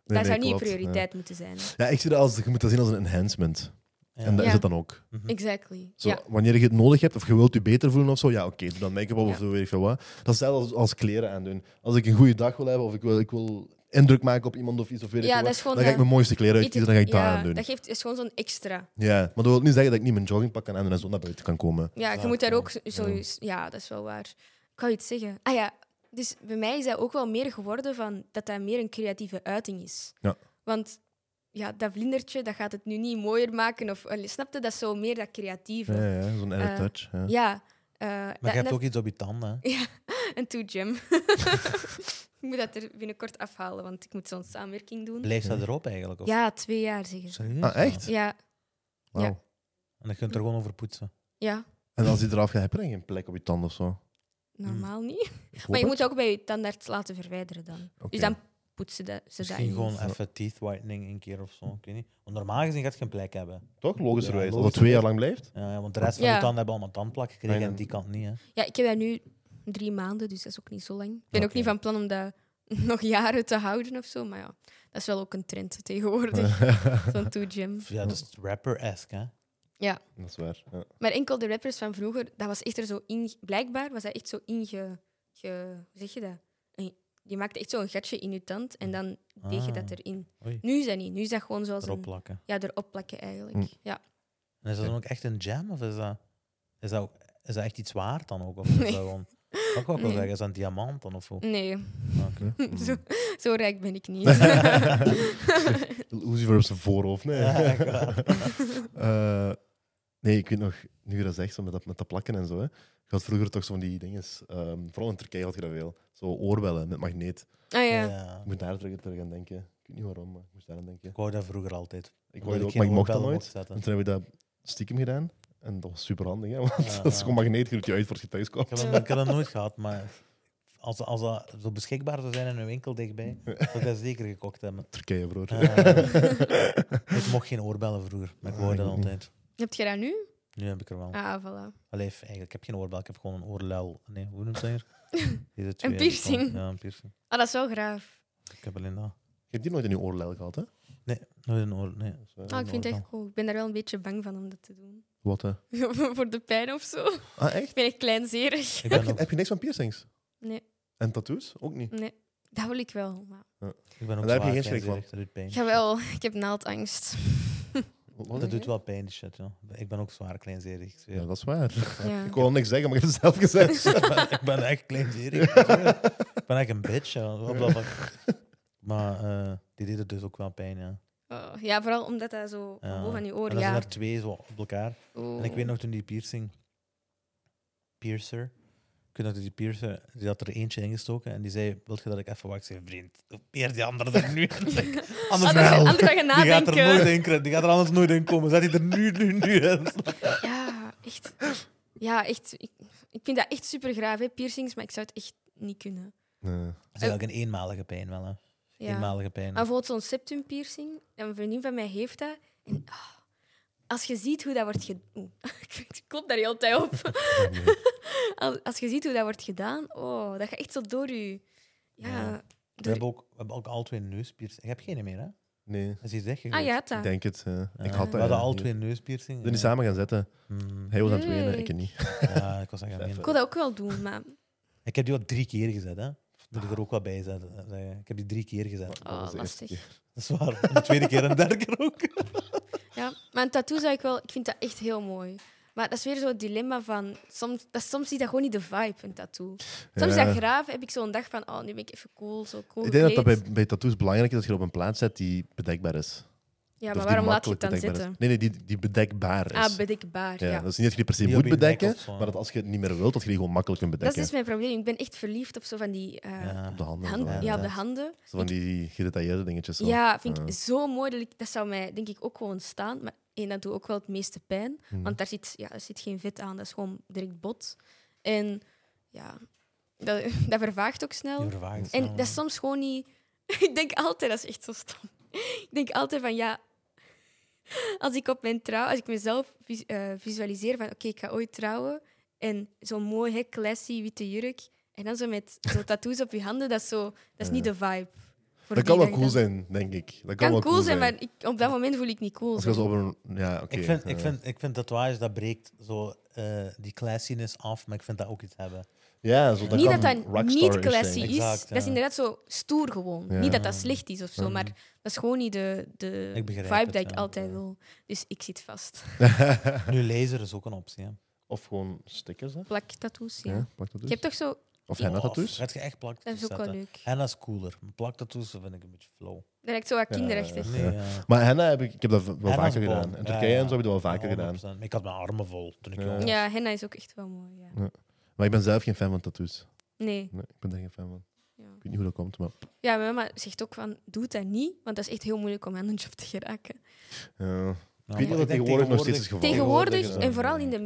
[SPEAKER 1] nee,
[SPEAKER 3] zou niet
[SPEAKER 1] klopt,
[SPEAKER 3] je prioriteit moeten zijn.
[SPEAKER 1] Ja, ik zie dat als, je moet dat zien als een enhancement.
[SPEAKER 2] Ja.
[SPEAKER 1] En dat is
[SPEAKER 3] Ja.
[SPEAKER 1] het dan ook.
[SPEAKER 3] Exactly.
[SPEAKER 1] Zo,
[SPEAKER 3] Ja.
[SPEAKER 1] Wanneer je het nodig hebt of je wilt je beter voelen of zo, ja, oké, doe dan make-up op
[SPEAKER 3] Ja.
[SPEAKER 1] of zo, weet ik veel wat. Dat is hetzelfde als, als kleren aandoen. Als ik een goede dag wil hebben of ik wil, ik wil indruk maken op iemand of iets. Of weet ik
[SPEAKER 3] Ja,
[SPEAKER 1] wat.
[SPEAKER 3] dat is gewoon
[SPEAKER 1] dan ga ik
[SPEAKER 3] een-
[SPEAKER 1] mijn mooiste kleren
[SPEAKER 3] Iets-
[SPEAKER 1] uitkiezen en dan ga ik daar
[SPEAKER 3] ja,
[SPEAKER 1] aan doen.
[SPEAKER 3] Dat geeft, is gewoon zo'n extra.
[SPEAKER 1] Ja, maar dat wil niet zeggen dat ik niet mijn joggingpak kan aandoen en zo naar buiten kan komen.
[SPEAKER 3] Ja, je
[SPEAKER 2] Vaak
[SPEAKER 3] moet daar
[SPEAKER 2] wel.
[SPEAKER 3] ook zo- sowieso... Ja, dat is wel waar. Ik wou iets zeggen. Ah ja, dus bij mij is dat ook wel meer geworden van dat dat meer een creatieve uiting is.
[SPEAKER 1] Ja.
[SPEAKER 3] Want ja, dat vlindertje, dat gaat het nu niet mooier maken. Of, allee, snap je? Dat is zo meer dat creatieve.
[SPEAKER 1] Ja,
[SPEAKER 3] Ja,
[SPEAKER 1] ja zo'n added
[SPEAKER 3] Eh,
[SPEAKER 1] touch. Ja.
[SPEAKER 3] eh,
[SPEAKER 2] Maar
[SPEAKER 3] dat-
[SPEAKER 2] je hebt
[SPEAKER 3] dat-
[SPEAKER 2] ook iets op je tanden. Hè?
[SPEAKER 3] En toe, Jim. ik moet dat er binnenkort afhalen, want ik moet zo'n samenwerking doen.
[SPEAKER 2] Lijst dat erop eigenlijk? Of?
[SPEAKER 3] Ja, twee jaar zeggen ze.
[SPEAKER 2] Serieus?
[SPEAKER 1] Ah, echt?
[SPEAKER 3] Ja,
[SPEAKER 1] Wauw.
[SPEAKER 3] ja.
[SPEAKER 2] En dan kun je er gewoon over poetsen.
[SPEAKER 3] ja,
[SPEAKER 1] En als die eraf gaat, heb je dan geen plek op je tand of zo?
[SPEAKER 3] normaal niet.
[SPEAKER 1] Ik Mm. hoop
[SPEAKER 3] Maar je
[SPEAKER 1] het.
[SPEAKER 3] moet ook bij je tandarts laten verwijderen dan.
[SPEAKER 1] Oké.
[SPEAKER 3] Dus dan poetsen de, ze Dus dat
[SPEAKER 2] Misschien
[SPEAKER 3] niet.
[SPEAKER 2] gewoon even teeth whitening een keer of zo. Ik weet niet. Want normaal gezien gaat je geen plek hebben.
[SPEAKER 1] Toch? Logischerwijs.
[SPEAKER 2] Ja,
[SPEAKER 1] als het twee jaar lang blijft?
[SPEAKER 2] Ja, ja, want de rest van
[SPEAKER 3] Ja.
[SPEAKER 2] je tanden hebben allemaal tandplak gekregen
[SPEAKER 1] Nee,
[SPEAKER 2] en
[SPEAKER 1] nee.
[SPEAKER 2] die kant niet. Hè?
[SPEAKER 3] Ja, ik heb dat nu drie maanden, dus dat is ook niet zo lang. Ik ben ook
[SPEAKER 2] Oké.
[SPEAKER 3] niet van plan om dat nog jaren te houden of zo. Maar ja, dat is wel ook een trend tegenwoordig. zo'n toe, Jim.
[SPEAKER 2] Ja, dat is rapper-esque. hè.
[SPEAKER 1] Dat is waar. Ja.
[SPEAKER 3] Maar enkel de rappers van vroeger, dat was echt er zo in. Blijkbaar was dat echt zo inge. ge- hoe zeg je dat? Een- Je maakte echt zo'n gatje in je tand en dan deed je dat
[SPEAKER 2] Ah.
[SPEAKER 3] erin.
[SPEAKER 2] Oei.
[SPEAKER 3] Nu is dat niet. Nu is dat gewoon zoals
[SPEAKER 2] Erop
[SPEAKER 3] een.
[SPEAKER 2] plakken.
[SPEAKER 3] Ja, erop plakken eigenlijk.
[SPEAKER 1] Hm.
[SPEAKER 3] Ja.
[SPEAKER 2] En is dat dan ook echt een jam? Of is dat, is dat, ook- is dat echt iets waard dan ook? Of is
[SPEAKER 3] Nee.
[SPEAKER 2] dat gewoon... Wat kan ik wel
[SPEAKER 3] Nee.
[SPEAKER 2] zeggen? Hm. Is dat een diamant dan? Of hoe?
[SPEAKER 3] Nee,
[SPEAKER 2] Oké.
[SPEAKER 3] zo, zo rijk ben ik niet. Ah
[SPEAKER 1] Uzi voor op zijn voorhoofd. Nee.
[SPEAKER 2] Ja, echt waar.
[SPEAKER 1] Eh, nee, ik weet nog, nu je dat zegt, zo met, dat, met dat plakken en zo. Hè. Je had vroeger toch zo van die dingen. ehm, vooral in Turkije had je dat veel. Zo oorbellen met magneet.
[SPEAKER 3] Ah ja.
[SPEAKER 2] Ja.
[SPEAKER 1] Ik moet daar terug, terug aan denken. Ik weet niet waarom, maar ik moest daar aan denken.
[SPEAKER 2] Ik wou dat vroeger altijd.
[SPEAKER 1] Ik
[SPEAKER 2] Omdat
[SPEAKER 1] wou ook,
[SPEAKER 2] geen
[SPEAKER 1] maar ik mocht dat
[SPEAKER 2] oorbellen
[SPEAKER 1] nooit.
[SPEAKER 2] zetten.
[SPEAKER 1] En toen hebben we dat stiekem gedaan. En dat was super handig, hè? want
[SPEAKER 2] Ja,
[SPEAKER 1] dat is
[SPEAKER 2] ja.
[SPEAKER 1] gewoon magneet. Je doet je uit voor als je thuis komt.
[SPEAKER 2] Ik heb, dat, ik heb dat nooit gehad, maar als, als dat zo beschikbaar zou zijn in een winkel dichtbij, zou ik dat zeker gekocht hebben.
[SPEAKER 1] Turkije, broer.
[SPEAKER 2] Ja. ik mocht geen oorbellen vroeger, maar ik
[SPEAKER 1] Ah,
[SPEAKER 2] wou
[SPEAKER 1] ik
[SPEAKER 2] dat
[SPEAKER 1] ook niet.
[SPEAKER 2] altijd.
[SPEAKER 3] Heb je dat nu?
[SPEAKER 2] Nu heb ik er wel.
[SPEAKER 3] Ah, voilà.
[SPEAKER 2] Allee, eigenlijk, ik heb geen oorbel, ik heb gewoon een oorluil. Nee, hoe noemt dat hier? Deze twee,
[SPEAKER 3] piercing.
[SPEAKER 2] die kon- Ja, een piercing.
[SPEAKER 3] Ah, dat is wel graaf.
[SPEAKER 2] Ik heb alleen dat.
[SPEAKER 1] Je hebt die nooit in je oorlel gehad, hè?
[SPEAKER 2] Nee, nooit een oor. Nee.
[SPEAKER 1] Dus, eh,
[SPEAKER 3] Ah, ik vind het
[SPEAKER 2] oorbel.
[SPEAKER 3] echt cool. Ik ben daar wel een beetje bang van om dat te doen.
[SPEAKER 1] Wat, hè?
[SPEAKER 3] Voor de pijn of zo.
[SPEAKER 1] Ah, echt?
[SPEAKER 3] Ik ben echt kleinzerig.
[SPEAKER 2] Ik
[SPEAKER 1] Heb
[SPEAKER 2] ben
[SPEAKER 1] je,
[SPEAKER 2] ook,
[SPEAKER 1] heb je niks van piercings?
[SPEAKER 3] Nee.
[SPEAKER 1] En tattoos? Ook niet.
[SPEAKER 3] Nee, dat wil ik wel. Maar...
[SPEAKER 2] ik ben ook
[SPEAKER 1] daar heb je geen
[SPEAKER 2] zwaar
[SPEAKER 1] schrik van.
[SPEAKER 2] kleinzerig, Dat doet pijn.
[SPEAKER 3] Jawel, ik heb naaldangst.
[SPEAKER 1] Wat- wat
[SPEAKER 2] Dat
[SPEAKER 1] zeg
[SPEAKER 2] doet
[SPEAKER 1] je?
[SPEAKER 2] wel pijn, die shit. Ja. Ik ben ook zwaar kleinzerig. ik zweer.
[SPEAKER 1] Ja, dat is waar.
[SPEAKER 3] Ja.
[SPEAKER 1] Ik wil niks zeggen, maar ik heb het zelf gezegd.
[SPEAKER 2] ik, ben, ik ben echt kleinzerig. ik zweer. Ik ben echt een bitch. Ja. Op dat vlak. Maar eh, die deed het dus ook wel pijn, ja.
[SPEAKER 3] Oh, ja, vooral omdat dat zo
[SPEAKER 2] Ja.
[SPEAKER 3] boven aan je Oh.
[SPEAKER 2] En
[SPEAKER 3] oren...
[SPEAKER 2] dan
[SPEAKER 3] Ja.
[SPEAKER 2] zijn er twee zo op elkaar.
[SPEAKER 3] Oeh.
[SPEAKER 2] En ik weet nog toen die piercing... Piercer. Ik weet nog dat die piercer... Die had er eentje ingestoken en die zei... Wilt je dat ik even wacht? Ik zei, vriend, peer die andere er nu. in." Anders,
[SPEAKER 3] Anders, anders ga je
[SPEAKER 2] die gaat
[SPEAKER 3] nadenken.
[SPEAKER 2] er nooit in kruipen. Die gaat er anders nooit in komen. Zet die er nu, nu, nu in.
[SPEAKER 3] Ja, echt. Ja, echt. Ik, ik vind dat echt super graaf, hè, piercings, maar ik zou het echt niet kunnen.
[SPEAKER 1] Nee.
[SPEAKER 2] Dat is ook een eenmalige pijn wel, hè.
[SPEAKER 3] Ja.
[SPEAKER 2] Eenmalige pijn.
[SPEAKER 3] Maar bijvoorbeeld zo'n septum piercing, een vriendin van mij heeft dat. En ah, als je ziet hoe dat wordt gedaan. Ik klop daar heel de tijd op. Als, als je ziet hoe dat wordt gedaan, oh, dat gaat echt zo door je. Ja,
[SPEAKER 2] Ja. We
[SPEAKER 3] door-
[SPEAKER 2] hebben ook, we hebben ook al twee neuspiercingen. Ik heb geen meer, hè?
[SPEAKER 1] Nee,
[SPEAKER 2] Dat is iets echt
[SPEAKER 3] Ah, je had
[SPEAKER 1] ik
[SPEAKER 3] dat.
[SPEAKER 1] denk het. eh.
[SPEAKER 2] Ja.
[SPEAKER 1] Ik had dat.
[SPEAKER 2] We hadden
[SPEAKER 1] ja.
[SPEAKER 2] al twee
[SPEAKER 1] We
[SPEAKER 2] neuspiercingen.
[SPEAKER 1] zijn die samen gaan zetten.
[SPEAKER 2] Hmm.
[SPEAKER 1] Hij was aan het wenen, ik
[SPEAKER 3] Leuk.
[SPEAKER 1] niet.
[SPEAKER 2] Ja, ik was echt aan
[SPEAKER 1] Even.
[SPEAKER 2] het
[SPEAKER 3] Ik
[SPEAKER 2] menen.
[SPEAKER 3] wil dat ook wel doen, maar...
[SPEAKER 2] Ik heb die al drie keer gezet, hè? Moet ik er ook wat bij zetten, eh, zeggen. Ik heb die drie keer gezet.
[SPEAKER 1] was de
[SPEAKER 3] Oh,
[SPEAKER 1] eerste
[SPEAKER 3] lastig.
[SPEAKER 2] Dat is waar. De tweede keer en de derde keer ook.
[SPEAKER 3] Ja, maar een tattoo zou ik wel... Ik vind dat echt heel mooi. Maar dat is weer zo'n dilemma van... Soms, dat, soms is dat gewoon niet de vibe, een tattoo. Soms
[SPEAKER 1] Ja.
[SPEAKER 3] is dat graaf, heb ik zo'n dag van... Oh, nu ben ik even cool, zo cool
[SPEAKER 1] Ik denk dat dat
[SPEAKER 3] gekleed.
[SPEAKER 1] bij, bij tattoos belangrijk is dat je dat op een plaats zet die bedekbaar is.
[SPEAKER 3] Ja,
[SPEAKER 1] Of
[SPEAKER 3] maar
[SPEAKER 1] die
[SPEAKER 3] waarom laat je
[SPEAKER 1] makkelijk
[SPEAKER 3] het dan
[SPEAKER 1] bedekbaar
[SPEAKER 3] zitten?
[SPEAKER 1] is. Nee, nee, die, die bedekbaar is.
[SPEAKER 3] Ah, bedekbaar,
[SPEAKER 1] ja.
[SPEAKER 3] ja.
[SPEAKER 1] Dat is niet dat je die per se
[SPEAKER 2] Die op
[SPEAKER 1] moet
[SPEAKER 2] je nek
[SPEAKER 1] bedekken,
[SPEAKER 2] of zo.
[SPEAKER 1] maar dat als je het niet meer wilt, dat je die gewoon makkelijk kunt
[SPEAKER 3] Dat is
[SPEAKER 1] bedekken.
[SPEAKER 3] dus mijn probleem. Ik ben echt verliefd op zo van die... eh,
[SPEAKER 2] Ja.
[SPEAKER 1] Op de handen. zo.
[SPEAKER 3] handen. ja, op de
[SPEAKER 2] inderdaad.
[SPEAKER 3] handen.
[SPEAKER 1] Zo Van die gedetailleerde dingetjes. Zo.
[SPEAKER 3] Ja, vind
[SPEAKER 1] Ja.
[SPEAKER 3] ik zo mooi. Dat, ik- dat zou mij denk ik ook gewoon staan. Maar één, dat doet ook wel het meeste pijn.
[SPEAKER 1] Mhm.
[SPEAKER 3] Want daar zit, ja, er zit geen vet aan. Dat is gewoon direct bot. En ja, dat, dat vervaagt ook snel.
[SPEAKER 2] Die vervagen
[SPEAKER 3] en
[SPEAKER 2] snel,
[SPEAKER 3] dat is
[SPEAKER 2] hè.
[SPEAKER 3] soms gewoon niet... ik denk altijd, dat is echt zo stom. ik denk altijd van, ja... Als ik op mijn trouw... Als ik mezelf vis- eh, visualiseer van, oké, ik ga ooit trouwen. En zo'n mooi, hè, classy, witte jurk. En dan zo met zo'n tattoos op je handen. Dat is, zo, dat is niet de vibe.
[SPEAKER 1] Dat
[SPEAKER 3] voor wie
[SPEAKER 1] kan wel
[SPEAKER 3] ik
[SPEAKER 1] cool
[SPEAKER 3] dat-
[SPEAKER 1] zijn, denk ik. Dat kan,
[SPEAKER 3] kan
[SPEAKER 1] wel
[SPEAKER 3] cool, zijn, maar ik, op dat moment voel ik niet cool.
[SPEAKER 1] Als je
[SPEAKER 3] zo.
[SPEAKER 1] zo op een... Ja, oké.
[SPEAKER 2] Ik, vind, ik,
[SPEAKER 1] ja.
[SPEAKER 2] vind, ik vind tatoeages, dat breekt zo eh, die classiness af, maar ik vind dat ook iets hebben.
[SPEAKER 1] Ja, zo,
[SPEAKER 3] niet
[SPEAKER 1] kan
[SPEAKER 3] dat dat
[SPEAKER 1] rockstar
[SPEAKER 3] niet
[SPEAKER 1] is,
[SPEAKER 3] classy
[SPEAKER 1] denk
[SPEAKER 2] zijn.
[SPEAKER 1] ik.
[SPEAKER 3] is.
[SPEAKER 2] Exact,
[SPEAKER 3] Dat is
[SPEAKER 2] ja.
[SPEAKER 3] inderdaad zo stoer gewoon.
[SPEAKER 1] Ja.
[SPEAKER 3] Niet dat dat slecht is of zo,
[SPEAKER 1] Mhm.
[SPEAKER 3] maar dat is gewoon niet de, de
[SPEAKER 2] Ik
[SPEAKER 3] vibe
[SPEAKER 2] begrijp het,
[SPEAKER 3] dat ik
[SPEAKER 2] ja.
[SPEAKER 3] altijd
[SPEAKER 2] Ja.
[SPEAKER 3] wil. Dus ik zit vast.
[SPEAKER 2] Nu, laser is ook een optie. Hè.
[SPEAKER 1] Of gewoon stickers, hè?
[SPEAKER 3] Plak tattoos, ja.
[SPEAKER 1] Ja, plak dat
[SPEAKER 3] Je
[SPEAKER 1] dus.
[SPEAKER 3] hebt toch zo...
[SPEAKER 1] Of henna
[SPEAKER 2] Of
[SPEAKER 1] tattoos.
[SPEAKER 2] Heb je echt plakt
[SPEAKER 3] Dat is ook wel leuk.
[SPEAKER 2] Henna is cooler. Plaktattoos vind ik een beetje flow.
[SPEAKER 3] Dat lijkt zo wat kinderachtig.
[SPEAKER 1] Ja.
[SPEAKER 2] Nee, ja.
[SPEAKER 1] Maar henna heb ik, ik heb dat wel
[SPEAKER 2] Henna is
[SPEAKER 1] vaker
[SPEAKER 2] bom.
[SPEAKER 1] gedaan. In
[SPEAKER 2] Ja,
[SPEAKER 1] Turkije
[SPEAKER 2] ja.
[SPEAKER 1] en zo heb ik dat wel vaker
[SPEAKER 2] Ja,
[SPEAKER 1] gedaan.
[SPEAKER 2] 100%. Maar Ik had mijn armen vol toen ik
[SPEAKER 1] Ja.
[SPEAKER 2] jong was.
[SPEAKER 3] Ja, henna is ook echt wel mooi. Ja.
[SPEAKER 1] Maar ik ben zelf geen fan van tattoos.
[SPEAKER 3] Nee.
[SPEAKER 1] Nee, ik ben daar geen fan van.
[SPEAKER 3] Ja.
[SPEAKER 1] Ik weet niet hoe dat komt, maar...
[SPEAKER 3] ja, mijn mama zegt ook van, doe dat niet, want dat is echt heel moeilijk om aan een job te
[SPEAKER 1] Oh,
[SPEAKER 3] geraken.
[SPEAKER 1] ja.
[SPEAKER 2] Ja,
[SPEAKER 1] Ik weet niet
[SPEAKER 2] maar
[SPEAKER 1] of dat
[SPEAKER 2] denk
[SPEAKER 1] tegenwoordig nog steeds is geval.
[SPEAKER 3] Tegenwoordig,
[SPEAKER 2] is dat-
[SPEAKER 3] en vooral in de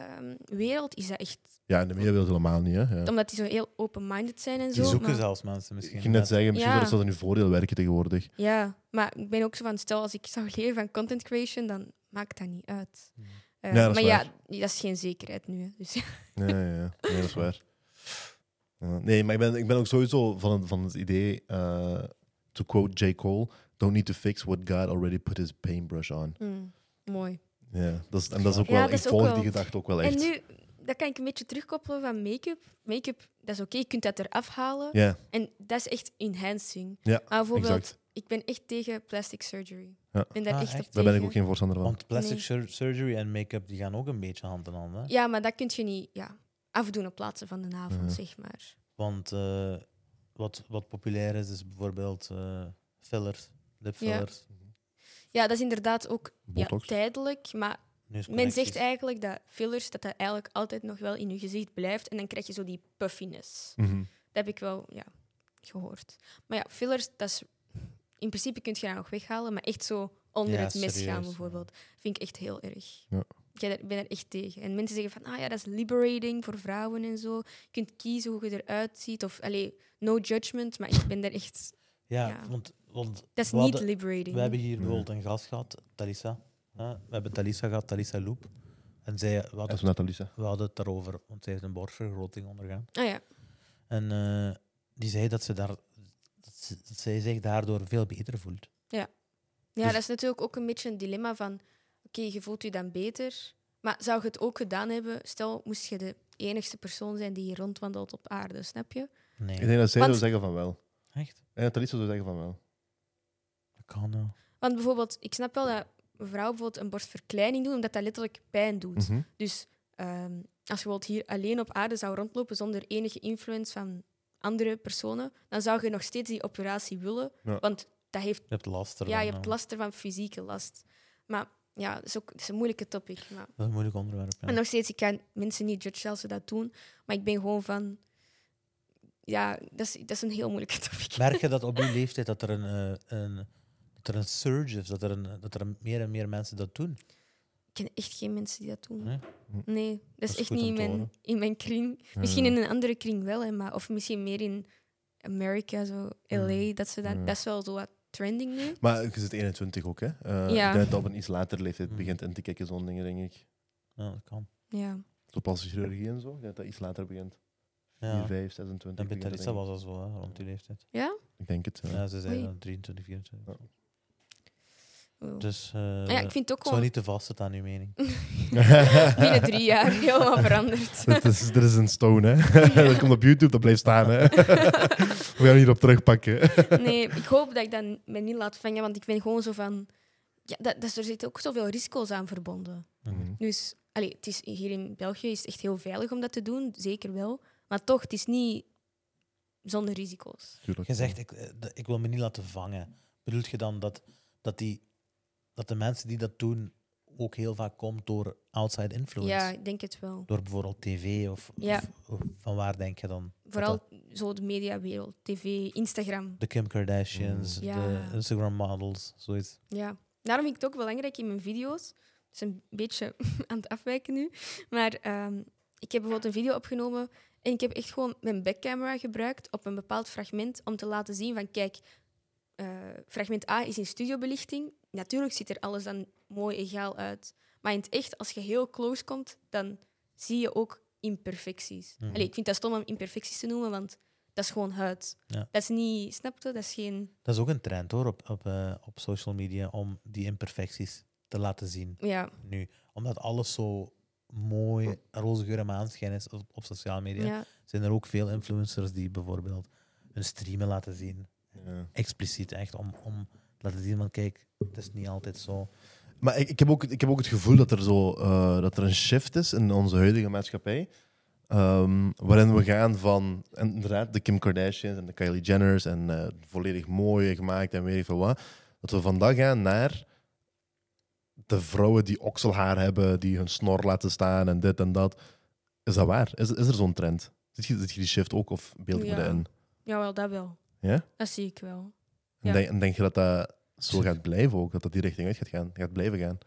[SPEAKER 3] media-wereld, is dat echt...
[SPEAKER 1] Ja, in de middenwereld helemaal niet, hè. Ja.
[SPEAKER 3] Omdat die zo heel open-minded zijn en zo.
[SPEAKER 2] Die zoeken
[SPEAKER 3] maar-
[SPEAKER 2] zelfs mensen
[SPEAKER 1] Ik
[SPEAKER 2] misschien.
[SPEAKER 1] ging net zeggen, misschien
[SPEAKER 3] Ja.
[SPEAKER 1] zou dat in uw voordeel werken tegenwoordig.
[SPEAKER 3] Ja, maar ik ben ook zo van, stel als ik zou leren van content creation, dan maakt dat niet uit.
[SPEAKER 2] Hmm.
[SPEAKER 3] Eh,
[SPEAKER 1] Ja, dat is
[SPEAKER 3] maar
[SPEAKER 1] waar.
[SPEAKER 3] ja, dat is geen zekerheid nu. hè. Dus
[SPEAKER 1] Ja, ja, ja. Nee, dat is waar. Ja, nee, maar ik ben, ik ben ook sowieso van, het- van het idee, eh, to quote J. Cole, don't need to fix what God already put his paintbrush on.
[SPEAKER 3] hmm, mooi.
[SPEAKER 1] Ja, dat is, en dat is ook
[SPEAKER 3] Ja,
[SPEAKER 1] wel,
[SPEAKER 3] dat
[SPEAKER 1] ik
[SPEAKER 3] is ook
[SPEAKER 1] volg
[SPEAKER 3] wel.
[SPEAKER 1] die gedachte ook wel echt.
[SPEAKER 3] En nu, dat kan ik een beetje terugkoppelen van make-up. Make-up, dat is oké, je kunt dat eraf halen.
[SPEAKER 1] ja,
[SPEAKER 3] En dat is echt enhancing.
[SPEAKER 1] Ja,
[SPEAKER 3] maar bijvoorbeeld,
[SPEAKER 1] exact.
[SPEAKER 3] ik ben echt tegen plastic surgery.
[SPEAKER 1] Ja.
[SPEAKER 3] Ik ben daar
[SPEAKER 2] Ah,
[SPEAKER 3] echt,
[SPEAKER 2] echt?
[SPEAKER 1] Daar
[SPEAKER 3] op tegen.
[SPEAKER 1] ben ik ook geen voorstander van.
[SPEAKER 2] Want plastic
[SPEAKER 3] Nee.
[SPEAKER 2] sur- surgery en make-up die gaan ook een beetje hand in hand. Hè?
[SPEAKER 3] Ja, maar dat kun je niet ja, afdoen op plaatsen van de avond,
[SPEAKER 1] Mhm.
[SPEAKER 3] zeg maar.
[SPEAKER 2] Want eh, wat, wat populair is, is bijvoorbeeld eh, fillers, lipfillers.
[SPEAKER 3] Ja, dat is inderdaad ook ja,
[SPEAKER 1] Botox.
[SPEAKER 3] tijdelijk, maar Men
[SPEAKER 2] neuscorrecties.
[SPEAKER 3] zegt eigenlijk dat fillers dat dat eigenlijk altijd nog wel in je gezicht blijft en dan krijg je zo die puffiness.
[SPEAKER 1] Mhm.
[SPEAKER 3] Dat heb ik wel ja, gehoord. Maar ja, fillers, dat is, in principe kun je dat nog weghalen, maar echt zo onder
[SPEAKER 2] Ja,
[SPEAKER 3] het mes gaan
[SPEAKER 2] serieus,
[SPEAKER 3] bijvoorbeeld, vind ik echt heel erg.
[SPEAKER 1] Ja.
[SPEAKER 3] Ik ben daar- ik ben er echt tegen. En mensen zeggen van, ah ja, dat is liberating voor vrouwen en zo. Je kunt kiezen hoe je eruit ziet. Of, allee, no judgment, maar ik ben daar echt...
[SPEAKER 2] Ja,
[SPEAKER 3] ja.
[SPEAKER 2] want, want
[SPEAKER 3] Dat is
[SPEAKER 2] we
[SPEAKER 3] niet
[SPEAKER 2] hadden-
[SPEAKER 3] liberating.
[SPEAKER 2] We hebben hier bijvoorbeeld een gast gehad, Talisa. hè. we hebben Talisa gehad, Talisa Loep. En zij, we,
[SPEAKER 1] Dat
[SPEAKER 2] hadden,
[SPEAKER 1] is Natalisa.
[SPEAKER 2] we hadden het daarover, want zij heeft een borstvergroting ondergaan.
[SPEAKER 3] Ah ja,
[SPEAKER 2] En eh, die zei dat, ze daar, dat, ze- dat zij zich daardoor veel beter voelt.
[SPEAKER 3] Ja,
[SPEAKER 2] Dus-
[SPEAKER 3] dat is natuurlijk ook een beetje een dilemma van... Oké, je voelt je dan beter. Maar zou je het ook gedaan hebben... Stel, moest je de enigste persoon zijn die hier rondwandelt op aarde, snap je?
[SPEAKER 2] Nee,
[SPEAKER 1] Ik denk dat zij zou
[SPEAKER 3] Want-
[SPEAKER 1] zeggen van wel.
[SPEAKER 2] echt?
[SPEAKER 1] En Natalisa zou zeggen van wel.
[SPEAKER 2] Dat kan eh. wel.
[SPEAKER 3] Want bijvoorbeeld, ik snap wel dat vrouwen bijvoorbeeld een borstverkleining doen, omdat dat letterlijk pijn doet.
[SPEAKER 1] Mhm.
[SPEAKER 3] Dus ehm, als je bijvoorbeeld hier alleen op aarde zou rondlopen zonder enige influence van andere personen, dan zou je nog steeds die operatie willen.
[SPEAKER 1] Ja.
[SPEAKER 3] Want dat heeft,
[SPEAKER 2] Je hebt last ervan. eh.
[SPEAKER 3] ja, je hebt
[SPEAKER 2] ja.
[SPEAKER 3] last ervan, fysieke last. Maar ja, dat is ook dat is een moeilijke topic. Maar
[SPEAKER 2] Dat is een moeilijk onderwerp. Ja.
[SPEAKER 3] En nog steeds, ik kan mensen niet judgen als ze dat doen. Maar ik ben gewoon van... Ja, dat is, dat is een heel moeilijke topic.
[SPEAKER 2] Merk je dat op die leeftijd dat er een, eh, een, dat er een surge is, dat er, een, dat er meer en meer mensen dat doen?
[SPEAKER 3] Ik ken echt geen mensen die dat doen.
[SPEAKER 2] Nee?
[SPEAKER 3] Nee,
[SPEAKER 1] Hm.
[SPEAKER 3] dat is
[SPEAKER 2] is
[SPEAKER 3] echt
[SPEAKER 2] goed
[SPEAKER 3] niet
[SPEAKER 2] om
[SPEAKER 3] in
[SPEAKER 2] te
[SPEAKER 3] mijn,
[SPEAKER 2] horen.
[SPEAKER 3] in mijn kring. Misschien
[SPEAKER 1] Ja.
[SPEAKER 3] in een andere kring wel, hè, maar, of misschien meer in Amerika, zo LA.
[SPEAKER 2] Hmm.
[SPEAKER 3] Dat, ze dat,
[SPEAKER 1] Ja.
[SPEAKER 3] dat is wel zo wat trending nu.
[SPEAKER 1] Maar je zit 21 ook, hè? Eh,
[SPEAKER 3] Ja.
[SPEAKER 1] Ik denk dat dat op een iets later leeftijd
[SPEAKER 2] Mhm.
[SPEAKER 1] begint in te kijken, zo'n dingen, denk ik.
[SPEAKER 2] Ja, dat kan.
[SPEAKER 3] Ja.
[SPEAKER 1] Zo plastische chirurgie en zo. Ik denk dat dat iets later begint.
[SPEAKER 2] Ja.
[SPEAKER 1] 4, 5, 26.
[SPEAKER 2] En bij
[SPEAKER 1] begint dat,
[SPEAKER 2] Theresa
[SPEAKER 1] denk
[SPEAKER 2] was dat zo, hè, rond die leeftijd.
[SPEAKER 3] Ja?
[SPEAKER 1] ik. Ik denk het. Ja.
[SPEAKER 2] Ja, ze zei
[SPEAKER 3] Oei.
[SPEAKER 2] dan 23, 24.
[SPEAKER 3] Oh.
[SPEAKER 2] Dus eh
[SPEAKER 3] ja, ik vind het Mhm.
[SPEAKER 2] het zou
[SPEAKER 3] ook gewoon
[SPEAKER 2] niet te vastzitten aan uw mening.
[SPEAKER 3] binnen drie jaar helemaal veranderd.
[SPEAKER 1] Dat is, er is een stone, hè? Dat komt op YouTube, dat blijft staan, hè? We gaan hierop terugpakken.
[SPEAKER 3] Nee, ik hoop dat ik dat me niet laat vangen, want ik ben gewoon zo van... Ja, dat, dat, er zitten ook zoveel risico's aan verbonden.
[SPEAKER 1] Mhm.
[SPEAKER 3] Dus allee, het is, hier in België is het echt heel veilig om dat te doen, zeker wel. Maar toch, het is niet zonder risico's.
[SPEAKER 1] Tuurlijk.
[SPEAKER 2] Je zegt, ik, eh, de- ik wil me niet laten vangen. Bedoelt je dan dat, dat, die, dat de mensen die dat doen ook heel vaak komt door outside influence?
[SPEAKER 3] Ja, ik denk het wel.
[SPEAKER 2] Door bijvoorbeeld tv of,
[SPEAKER 3] Ja.
[SPEAKER 2] of- of van waar denk je dan? Dat
[SPEAKER 3] Vooral
[SPEAKER 2] dat-
[SPEAKER 3] zo de mediawereld, tv, Instagram.
[SPEAKER 2] de Kim Kardashians,
[SPEAKER 3] Mm. Ja.
[SPEAKER 2] de Instagram models, zoiets.
[SPEAKER 3] Ja. Daarom vind ik het ook belangrijk in mijn video's. Het is een beetje aan het afwijken nu. Maar ehm, ik heb bijvoorbeeld een video opgenomen en ik heb echt gewoon mijn backcamera gebruikt op een bepaald fragment om te laten zien van kijk, eh, fragment A is in studiobelichting. Natuurlijk ziet er alles dan mooi egaal uit. Maar in het echt, als je heel close komt, dan zie je ook imperfecties.
[SPEAKER 2] Mhm.
[SPEAKER 3] Allee, ik vind dat stom om imperfecties te noemen, want Dat is gewoon huid.
[SPEAKER 2] Ja.
[SPEAKER 3] Dat is niet, snapte? Dat is geen.
[SPEAKER 2] Dat is ook een trend hoor, op, op, eh, op social media, om die imperfecties te laten zien.
[SPEAKER 3] Ja,
[SPEAKER 2] Nu, omdat alles zo mooi roze geur en maanschijn is op, op sociale media,
[SPEAKER 3] ja.
[SPEAKER 2] zijn er ook veel influencers die bijvoorbeeld hun streamen laten zien.
[SPEAKER 1] Ja.
[SPEAKER 2] Expliciet echt, om, om te laten zien van kijk, het is niet altijd zo.
[SPEAKER 1] Maar ik, ik, heb ook, ik heb ook het gevoel dat er, zo, eh, dat er een shift is in onze huidige maatschappij. ehm, waarin we gaan van en inderdaad de Kim Kardashians en de Kylie Jenners en eh, volledig mooi gemaakt en weet ik veel wat. Dat we vandaag gaan naar de vrouwen die okselhaar hebben, die hun snor laten staan en dit en dat. Is dat waar? Is, is er zo'n trend? Zit je, zit je die shift ook of beeld ik me
[SPEAKER 3] Ja.
[SPEAKER 1] dat in?
[SPEAKER 3] Jawel, dat wel.
[SPEAKER 1] Ja?
[SPEAKER 3] Dat zie ik wel.
[SPEAKER 1] En,
[SPEAKER 3] Ja.
[SPEAKER 1] denk, en denk je dat dat zo gaat blijven ook? Dat dat die richting uit gaat, gaan, gaat blijven gaan?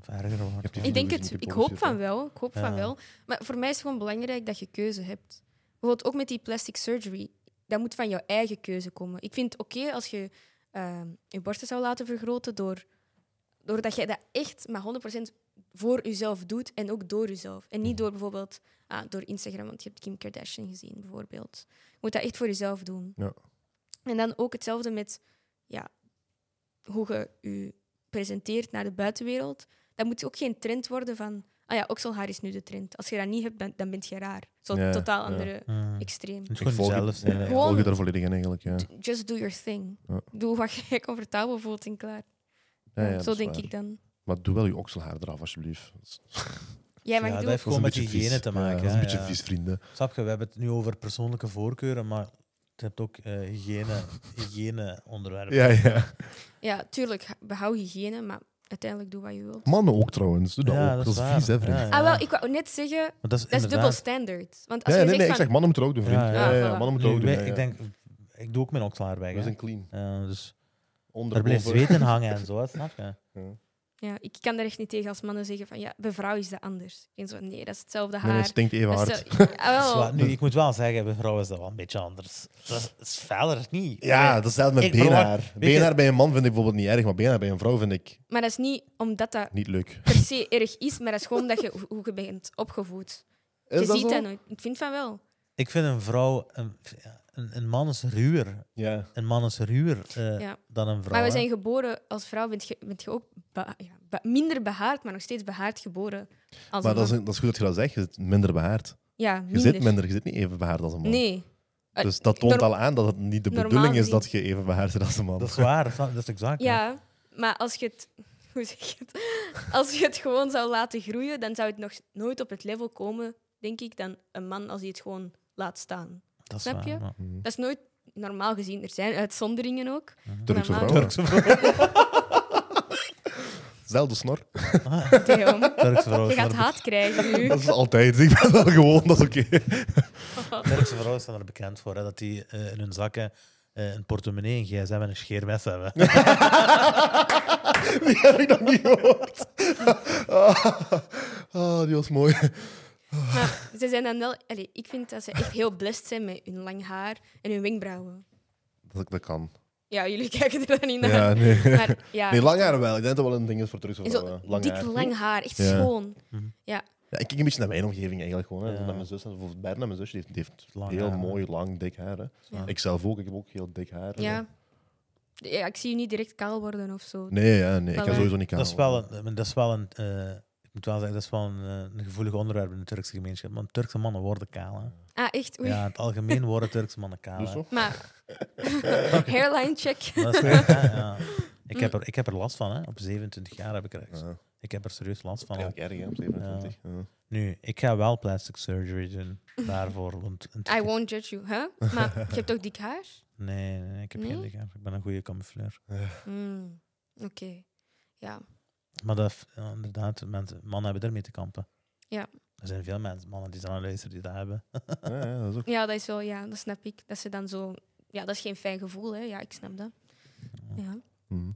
[SPEAKER 2] Of erger wordt.
[SPEAKER 1] hebt die
[SPEAKER 3] Ik denk
[SPEAKER 1] is
[SPEAKER 3] het.
[SPEAKER 1] niet
[SPEAKER 3] Ik hoop
[SPEAKER 1] geproduceerd,
[SPEAKER 3] van
[SPEAKER 1] hè?
[SPEAKER 3] wel. Ik hoop
[SPEAKER 2] Ja.
[SPEAKER 3] van wel. Maar voor mij is het gewoon belangrijk dat je keuze hebt. Bijvoorbeeld ook met die plastic surgery. Dat moet van jouw eigen keuze komen. Ik vind het oké als je ehm, je borsten zou laten vergroten door, doordat jij dat echt maar 100% voor jezelf doet en ook door jezelf. En
[SPEAKER 1] Mhm.
[SPEAKER 3] niet door bijvoorbeeld ah, door Instagram, want je hebt Kim Kardashian gezien bijvoorbeeld. Je moet dat echt voor jezelf doen.
[SPEAKER 1] Ja.
[SPEAKER 3] En dan ook hetzelfde met ja, hoe je je presenteert naar de buitenwereld dat moet ook geen trend worden van... Ah ja, okselhaar is nu de trend. Als je dat niet hebt, dan, dan bent je raar. Zo'n
[SPEAKER 1] Ja,
[SPEAKER 3] totaal
[SPEAKER 1] ja.
[SPEAKER 3] andere
[SPEAKER 2] Mm.
[SPEAKER 3] extreem.
[SPEAKER 2] Het is
[SPEAKER 1] Ik
[SPEAKER 2] gewoon
[SPEAKER 1] volg
[SPEAKER 2] zelf
[SPEAKER 1] het-
[SPEAKER 2] zijn.
[SPEAKER 1] ja, ik
[SPEAKER 2] hè.
[SPEAKER 3] Gewoon-
[SPEAKER 1] volg je daar volledig in eigenlijk, ja.
[SPEAKER 3] Just do your thing.
[SPEAKER 1] Ja.
[SPEAKER 3] Doe wat jij comfortabel voelt en klaar.
[SPEAKER 1] Ja, ja, dat
[SPEAKER 3] Zo
[SPEAKER 1] is
[SPEAKER 3] denk
[SPEAKER 1] waar.
[SPEAKER 3] ik dan.
[SPEAKER 1] Maar doe wel je okselhaar eraf, alsjeblieft. Dat is-
[SPEAKER 3] Jij
[SPEAKER 2] Ja,
[SPEAKER 3] mag
[SPEAKER 2] dat
[SPEAKER 3] doen.
[SPEAKER 2] heeft gewoon met hygiëne te
[SPEAKER 1] Ja,
[SPEAKER 2] maken.
[SPEAKER 1] dat is
[SPEAKER 2] hè,
[SPEAKER 1] een beetje
[SPEAKER 2] ja.
[SPEAKER 1] vies, vrienden.
[SPEAKER 2] Snap je, we hebben het nu over persoonlijke voorkeuren, maar je hebt ook eh, hygiëne, hygiëne onderwerpen.
[SPEAKER 1] Ja, ja.
[SPEAKER 3] Ja, tuurlijk, behoud hygiëne, maar uiteindelijk doe wat je wilt.
[SPEAKER 1] Mannen ook trouwens, doe dat
[SPEAKER 2] Ja,
[SPEAKER 1] ook. Dat is,
[SPEAKER 2] waar.
[SPEAKER 1] vies, hè, vriend.
[SPEAKER 2] Ja, ja.
[SPEAKER 3] Ah, wel, ik wou net zeggen,
[SPEAKER 2] Want dat is,
[SPEAKER 3] dat is dubbel
[SPEAKER 2] inderdaad-
[SPEAKER 3] standard. Want als
[SPEAKER 1] Ja,
[SPEAKER 3] je
[SPEAKER 1] nee, nee, ik zeg
[SPEAKER 3] zegt van...
[SPEAKER 1] mannen moeten het ook doen, vriend.
[SPEAKER 2] Ja,
[SPEAKER 1] Ja,
[SPEAKER 2] ja.
[SPEAKER 1] ja,
[SPEAKER 3] Ah, voilà.
[SPEAKER 1] mannen moeten
[SPEAKER 2] Nu,
[SPEAKER 1] het ook doen.
[SPEAKER 2] wij-
[SPEAKER 1] ja, ja.
[SPEAKER 2] Ik denk, ik doe ook mijn okselaar weg.
[SPEAKER 1] we
[SPEAKER 2] hè.
[SPEAKER 1] zijn clean.
[SPEAKER 2] Ja, dus
[SPEAKER 1] Onder,
[SPEAKER 2] er bleef
[SPEAKER 1] boven.
[SPEAKER 2] zweet in hangen en zo, hè, snap je?
[SPEAKER 3] Ja, ik kan daar echt niet tegen als mannen zeggen van... Ja, bij vrouwen is dat anders. Ik denk zo, nee, dat is hetzelfde haar.
[SPEAKER 1] Nee, het stinkt even
[SPEAKER 3] Dat
[SPEAKER 1] hard.
[SPEAKER 3] is zo- Ah,
[SPEAKER 2] Dus
[SPEAKER 3] wel.
[SPEAKER 2] wat- nu, ik moet wel zeggen, bij vrouwen is dat wel een beetje anders. Dat is- is verder niet.
[SPEAKER 1] Ja, dat is hetzelfde met
[SPEAKER 2] Ik verwacht-
[SPEAKER 1] beenhaar.
[SPEAKER 2] weet je-
[SPEAKER 1] Beenhaar bij een man vind ik bijvoorbeeld niet erg, maar beenhaar bij een vrouw vind ik
[SPEAKER 3] Maar dat is niet omdat dat
[SPEAKER 1] niet leuk.
[SPEAKER 3] per se erg is, maar dat is gewoon omdat je, hoe- hoe je bent opgevoed. je
[SPEAKER 1] Is
[SPEAKER 3] ziet
[SPEAKER 1] zo?
[SPEAKER 3] dat nooit. Ik vind van wel.
[SPEAKER 2] Ik vind een vrouw, een, een, een man is ruwer.
[SPEAKER 1] Ja.
[SPEAKER 2] Een man is ruwer eh,
[SPEAKER 3] Ja.
[SPEAKER 2] dan een vrouw.
[SPEAKER 3] Maar we
[SPEAKER 2] hè.
[SPEAKER 3] zijn geboren als vrouw, bent je, bent je ook ba- ja, ba- minder behaard, maar nog steeds behaard geboren. Als
[SPEAKER 1] Maar
[SPEAKER 3] een
[SPEAKER 1] dat is,
[SPEAKER 3] man.
[SPEAKER 1] dat is goed dat je dat zegt. Je zit minder behaard. Je
[SPEAKER 3] ja, minder.
[SPEAKER 1] zit minder, je zit niet even behaard als een man.
[SPEAKER 3] Nee. Eh,
[SPEAKER 1] Dus dat toont
[SPEAKER 3] norm-
[SPEAKER 1] al aan dat het niet de
[SPEAKER 3] normaal
[SPEAKER 1] bedoeling is
[SPEAKER 3] gezien.
[SPEAKER 1] dat je even behaard bent als een man.
[SPEAKER 2] Dat is waar, snap je? dat is exact. hè.
[SPEAKER 3] Ja, maar als je het. Hoe zeg je het? Als je het gewoon zou laten groeien, dan zou het nog nooit op het level komen, denk ik, dan een man als hij het gewoon laat staan.
[SPEAKER 2] Dat is
[SPEAKER 3] Snap
[SPEAKER 2] waar,
[SPEAKER 3] je?
[SPEAKER 2] maar-
[SPEAKER 1] Mhm.
[SPEAKER 3] Dat is nooit normaal gezien. Er zijn uitzonderingen ook.
[SPEAKER 1] Turkse
[SPEAKER 3] Normaal-
[SPEAKER 1] vrouwen.
[SPEAKER 2] Turkse vrouw.
[SPEAKER 1] Zelfde snor.
[SPEAKER 3] Theo,
[SPEAKER 2] Turkse vrouw
[SPEAKER 3] je
[SPEAKER 2] is
[SPEAKER 3] gaat
[SPEAKER 2] daar
[SPEAKER 3] haat krijgen nu.
[SPEAKER 1] Dat is altijd. Ik ben wel gewoon, dat is oké.
[SPEAKER 2] be- Turkse vrouwen staan er bekend voor, hè, dat die eh, in hun zakken eh, een portemonnee, een gsm en een scheermes hebben.
[SPEAKER 1] Die heb ik nog niet gehoord. Ah, ah, die was mooi.
[SPEAKER 3] Maar ze zijn dan wel... Allee, ik vind dat ze echt heel blessed zijn met hun lang haar en hun wenkbrauwen.
[SPEAKER 1] Dat, dat kan.
[SPEAKER 3] Ja, jullie kijken er dan niet naar.
[SPEAKER 1] Ja, nee.
[SPEAKER 3] Maar ja,
[SPEAKER 1] Nee, lang haar wel. Ik denk dat dat wel een ding is voor Turkse
[SPEAKER 3] en zo
[SPEAKER 1] vrouwen. Lang
[SPEAKER 3] dik
[SPEAKER 1] haar.
[SPEAKER 3] lang haar, echt
[SPEAKER 1] Ja. Mhm.
[SPEAKER 3] schoon.
[SPEAKER 1] Ja, ik kijk een beetje naar mijn omgeving eigenlijk gewoon. Hè.
[SPEAKER 2] Ja.
[SPEAKER 1] Naar mijn zus, bijvoorbeeld Berna, mijn zusje, die heeft, die heeft
[SPEAKER 2] Lang
[SPEAKER 1] heel
[SPEAKER 2] haar, hè.
[SPEAKER 1] mooi, lang, dik haar. Hè.
[SPEAKER 3] Ja.
[SPEAKER 1] Ik zelf ook, ik heb ook heel dik haar.
[SPEAKER 3] Ja. ja. Ik zie je niet direct kaal worden of zo.
[SPEAKER 1] Nee, ja, nee, ik ga
[SPEAKER 3] Maar wij-
[SPEAKER 1] sowieso niet aan.
[SPEAKER 2] Dat is wel een, maar dat is wel een eh, ik moet wel zeggen, dat is wel een, eh, een gevoelig onderwerp in de Turkse gemeenschap. Want Turkse mannen worden kaal. hè.
[SPEAKER 3] Ah, echt? Oei.
[SPEAKER 2] Ja, in het algemeen worden Turkse mannen kaal.
[SPEAKER 1] Dus
[SPEAKER 2] hè.
[SPEAKER 1] zo?
[SPEAKER 3] Maar hairline check.
[SPEAKER 2] Dat is echt, hè, ja. ik, heb er, ik heb er last van, hè. Op 27 jaar heb ik er echt.
[SPEAKER 1] Ja.
[SPEAKER 2] Ik heb er serieus last van. al.
[SPEAKER 1] Eigenlijk erg, hè, op 27. Ja.
[SPEAKER 2] Nu, ik ga wel plastic surgery doen daarvoor. Want in
[SPEAKER 3] I
[SPEAKER 2] Turkije-
[SPEAKER 3] won't judge you, hè? Maar je hebt toch dik haar?
[SPEAKER 2] nee, nee, nee, ik heb geen
[SPEAKER 3] Nee?
[SPEAKER 2] dik haar. Ik ben een goede camoufleur.
[SPEAKER 3] Hmm, Oké. Ja.
[SPEAKER 2] Maar dat, ja, inderdaad, mensen, mannen hebben daarmee te kampen.
[SPEAKER 3] Ja.
[SPEAKER 2] Er zijn veel mensen, mannen die zijn aan luisteren die dat hebben.
[SPEAKER 1] Ja, ja, dat is ook...
[SPEAKER 3] ja, dat is wel... Ja, dat snap ik. Dat ze dan zo... Ja, dat is geen fijn gevoel, hè? Ja, ik snap dat. Ja.
[SPEAKER 1] Mhm.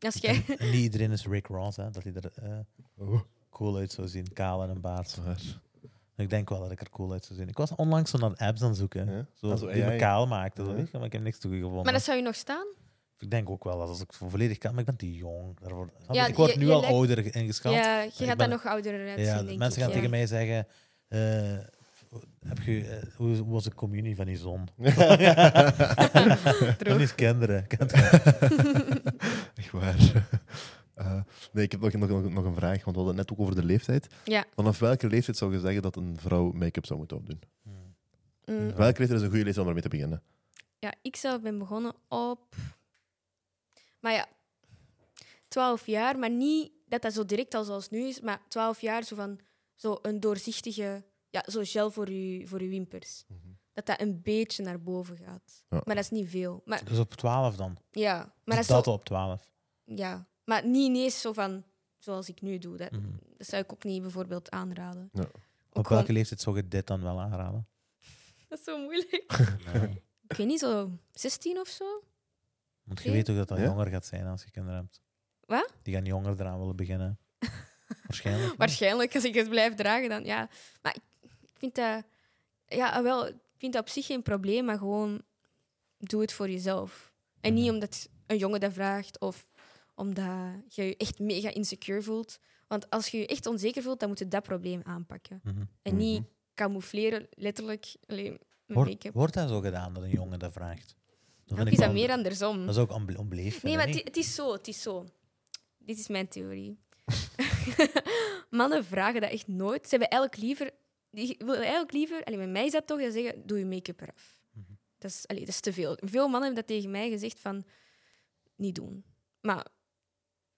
[SPEAKER 3] Als jij...
[SPEAKER 2] En niet iedereen is Rick Ross, hè, dat hij er eh,
[SPEAKER 1] Oh,
[SPEAKER 2] cool uit zou zien. Kaal en een baard.
[SPEAKER 1] dat is
[SPEAKER 2] Ik denk wel dat ik er cool uit zou zien. Ik was onlangs zo naar apps aan het zoeken.
[SPEAKER 1] waar. Ja.
[SPEAKER 2] Zo,
[SPEAKER 1] Ah, zo
[SPEAKER 2] die me
[SPEAKER 1] AI.
[SPEAKER 2] kaal maakten, zo,
[SPEAKER 1] Ja.
[SPEAKER 2] weet je, maar ik heb niks toegevonden.
[SPEAKER 3] Maar dat zou je nog staan?
[SPEAKER 2] Ik denk ook wel dat als ik vo- volledig kan, maar ik ben te jong daarvoor.
[SPEAKER 3] Ja,
[SPEAKER 2] ik word
[SPEAKER 3] je-
[SPEAKER 2] nu
[SPEAKER 3] je
[SPEAKER 2] al
[SPEAKER 3] lijkt-
[SPEAKER 2] ouder ingeschat.
[SPEAKER 3] Ja, je
[SPEAKER 2] Ik
[SPEAKER 3] gaat
[SPEAKER 2] ben-
[SPEAKER 3] daar nog ouder uit
[SPEAKER 2] Ja,
[SPEAKER 3] zien,
[SPEAKER 2] de
[SPEAKER 3] denk
[SPEAKER 2] mensen
[SPEAKER 3] ik.
[SPEAKER 2] gaan
[SPEAKER 3] ja.
[SPEAKER 2] tegen mij zeggen: eh, Heb je, eh, hoe hoe was de communie van die zon?
[SPEAKER 3] Droog.
[SPEAKER 2] Van die kinderen. Kent je?
[SPEAKER 1] Echt waar. Eh, nee, ik heb nog, nog, nog- nog een vraag, want we hadden het net ook over de leeftijd.
[SPEAKER 3] Ja.
[SPEAKER 1] Vanaf welke leeftijd zou je zeggen dat een vrouw make-up zou moeten opdoen?
[SPEAKER 3] Mm.
[SPEAKER 2] Ja.
[SPEAKER 1] Welke leeftijd is een goede leeftijd om ermee te beginnen?
[SPEAKER 3] Ja, ik zelf ben begonnen op. Maar ja, 12 jaar, maar niet dat dat zo direct al zoals nu is, maar 12 jaar zo van zo een doorzichtige, ja, zo gel voor je voor uw wimpers. Dat dat een beetje naar boven gaat.
[SPEAKER 1] Ja.
[SPEAKER 3] Maar dat is niet veel. Maar
[SPEAKER 2] Dus op 12 dan.
[SPEAKER 3] ja, maar dat is
[SPEAKER 2] dat
[SPEAKER 3] zo,
[SPEAKER 2] op 12.
[SPEAKER 3] ja, maar niet ineens zo van zoals ik nu doe. Dat,
[SPEAKER 2] Mhm.
[SPEAKER 3] dat zou ik ook niet bijvoorbeeld aanraden.
[SPEAKER 1] Ja.
[SPEAKER 3] Ook
[SPEAKER 2] Op
[SPEAKER 3] gewoon-
[SPEAKER 2] welke leeftijd zou je dit dan wel aanraden?
[SPEAKER 3] dat is zo moeilijk.
[SPEAKER 2] Nee.
[SPEAKER 3] ik weet niet, zo 16 of zo?
[SPEAKER 2] Want je
[SPEAKER 3] Oké.
[SPEAKER 2] weet ook dat dat
[SPEAKER 1] Ja?
[SPEAKER 2] jonger gaat zijn als je kinderen hebt.
[SPEAKER 3] Wat?
[SPEAKER 2] Die gaan jonger eraan willen beginnen. Waarschijnlijk. niet.
[SPEAKER 3] Waarschijnlijk, als ik het blijf dragen, dan ja. Maar ik ik vind dat, ja, wel, ik vind dat op zich geen probleem, maar gewoon doe het voor jezelf. En niet
[SPEAKER 2] Mhm.
[SPEAKER 3] omdat een jongen dat vraagt of omdat je je echt mega insecure voelt. Want als je je echt onzeker voelt, dan moet je dat probleem aanpakken.
[SPEAKER 2] Mhm.
[SPEAKER 3] En niet camoufleren, letterlijk, alleen met
[SPEAKER 2] Wordt-
[SPEAKER 3] make-up.
[SPEAKER 2] wordt dat zo gedaan dat een jongen dat vraagt? Dat,
[SPEAKER 3] Dan
[SPEAKER 2] vind
[SPEAKER 3] is
[SPEAKER 2] ik wel-
[SPEAKER 3] dat meer andersom.
[SPEAKER 2] dat is ook onbe- onbeleefd.
[SPEAKER 3] Nee,
[SPEAKER 2] vind
[SPEAKER 3] maar
[SPEAKER 2] ik
[SPEAKER 3] het,
[SPEAKER 2] niet.
[SPEAKER 3] i- het is zo, het is zo. Dit is mijn theorie. Mannen vragen dat echt nooit. Ze hebben eigenlijk liever... Die willen eigenlijk liever... Allee, met mij is dat toch, dat ze zeggen, doe je make-up eraf.
[SPEAKER 2] Mhm.
[SPEAKER 3] Dat, is, allee, dat is te veel. Veel mannen hebben dat tegen mij gezegd van... Niet doen. Maar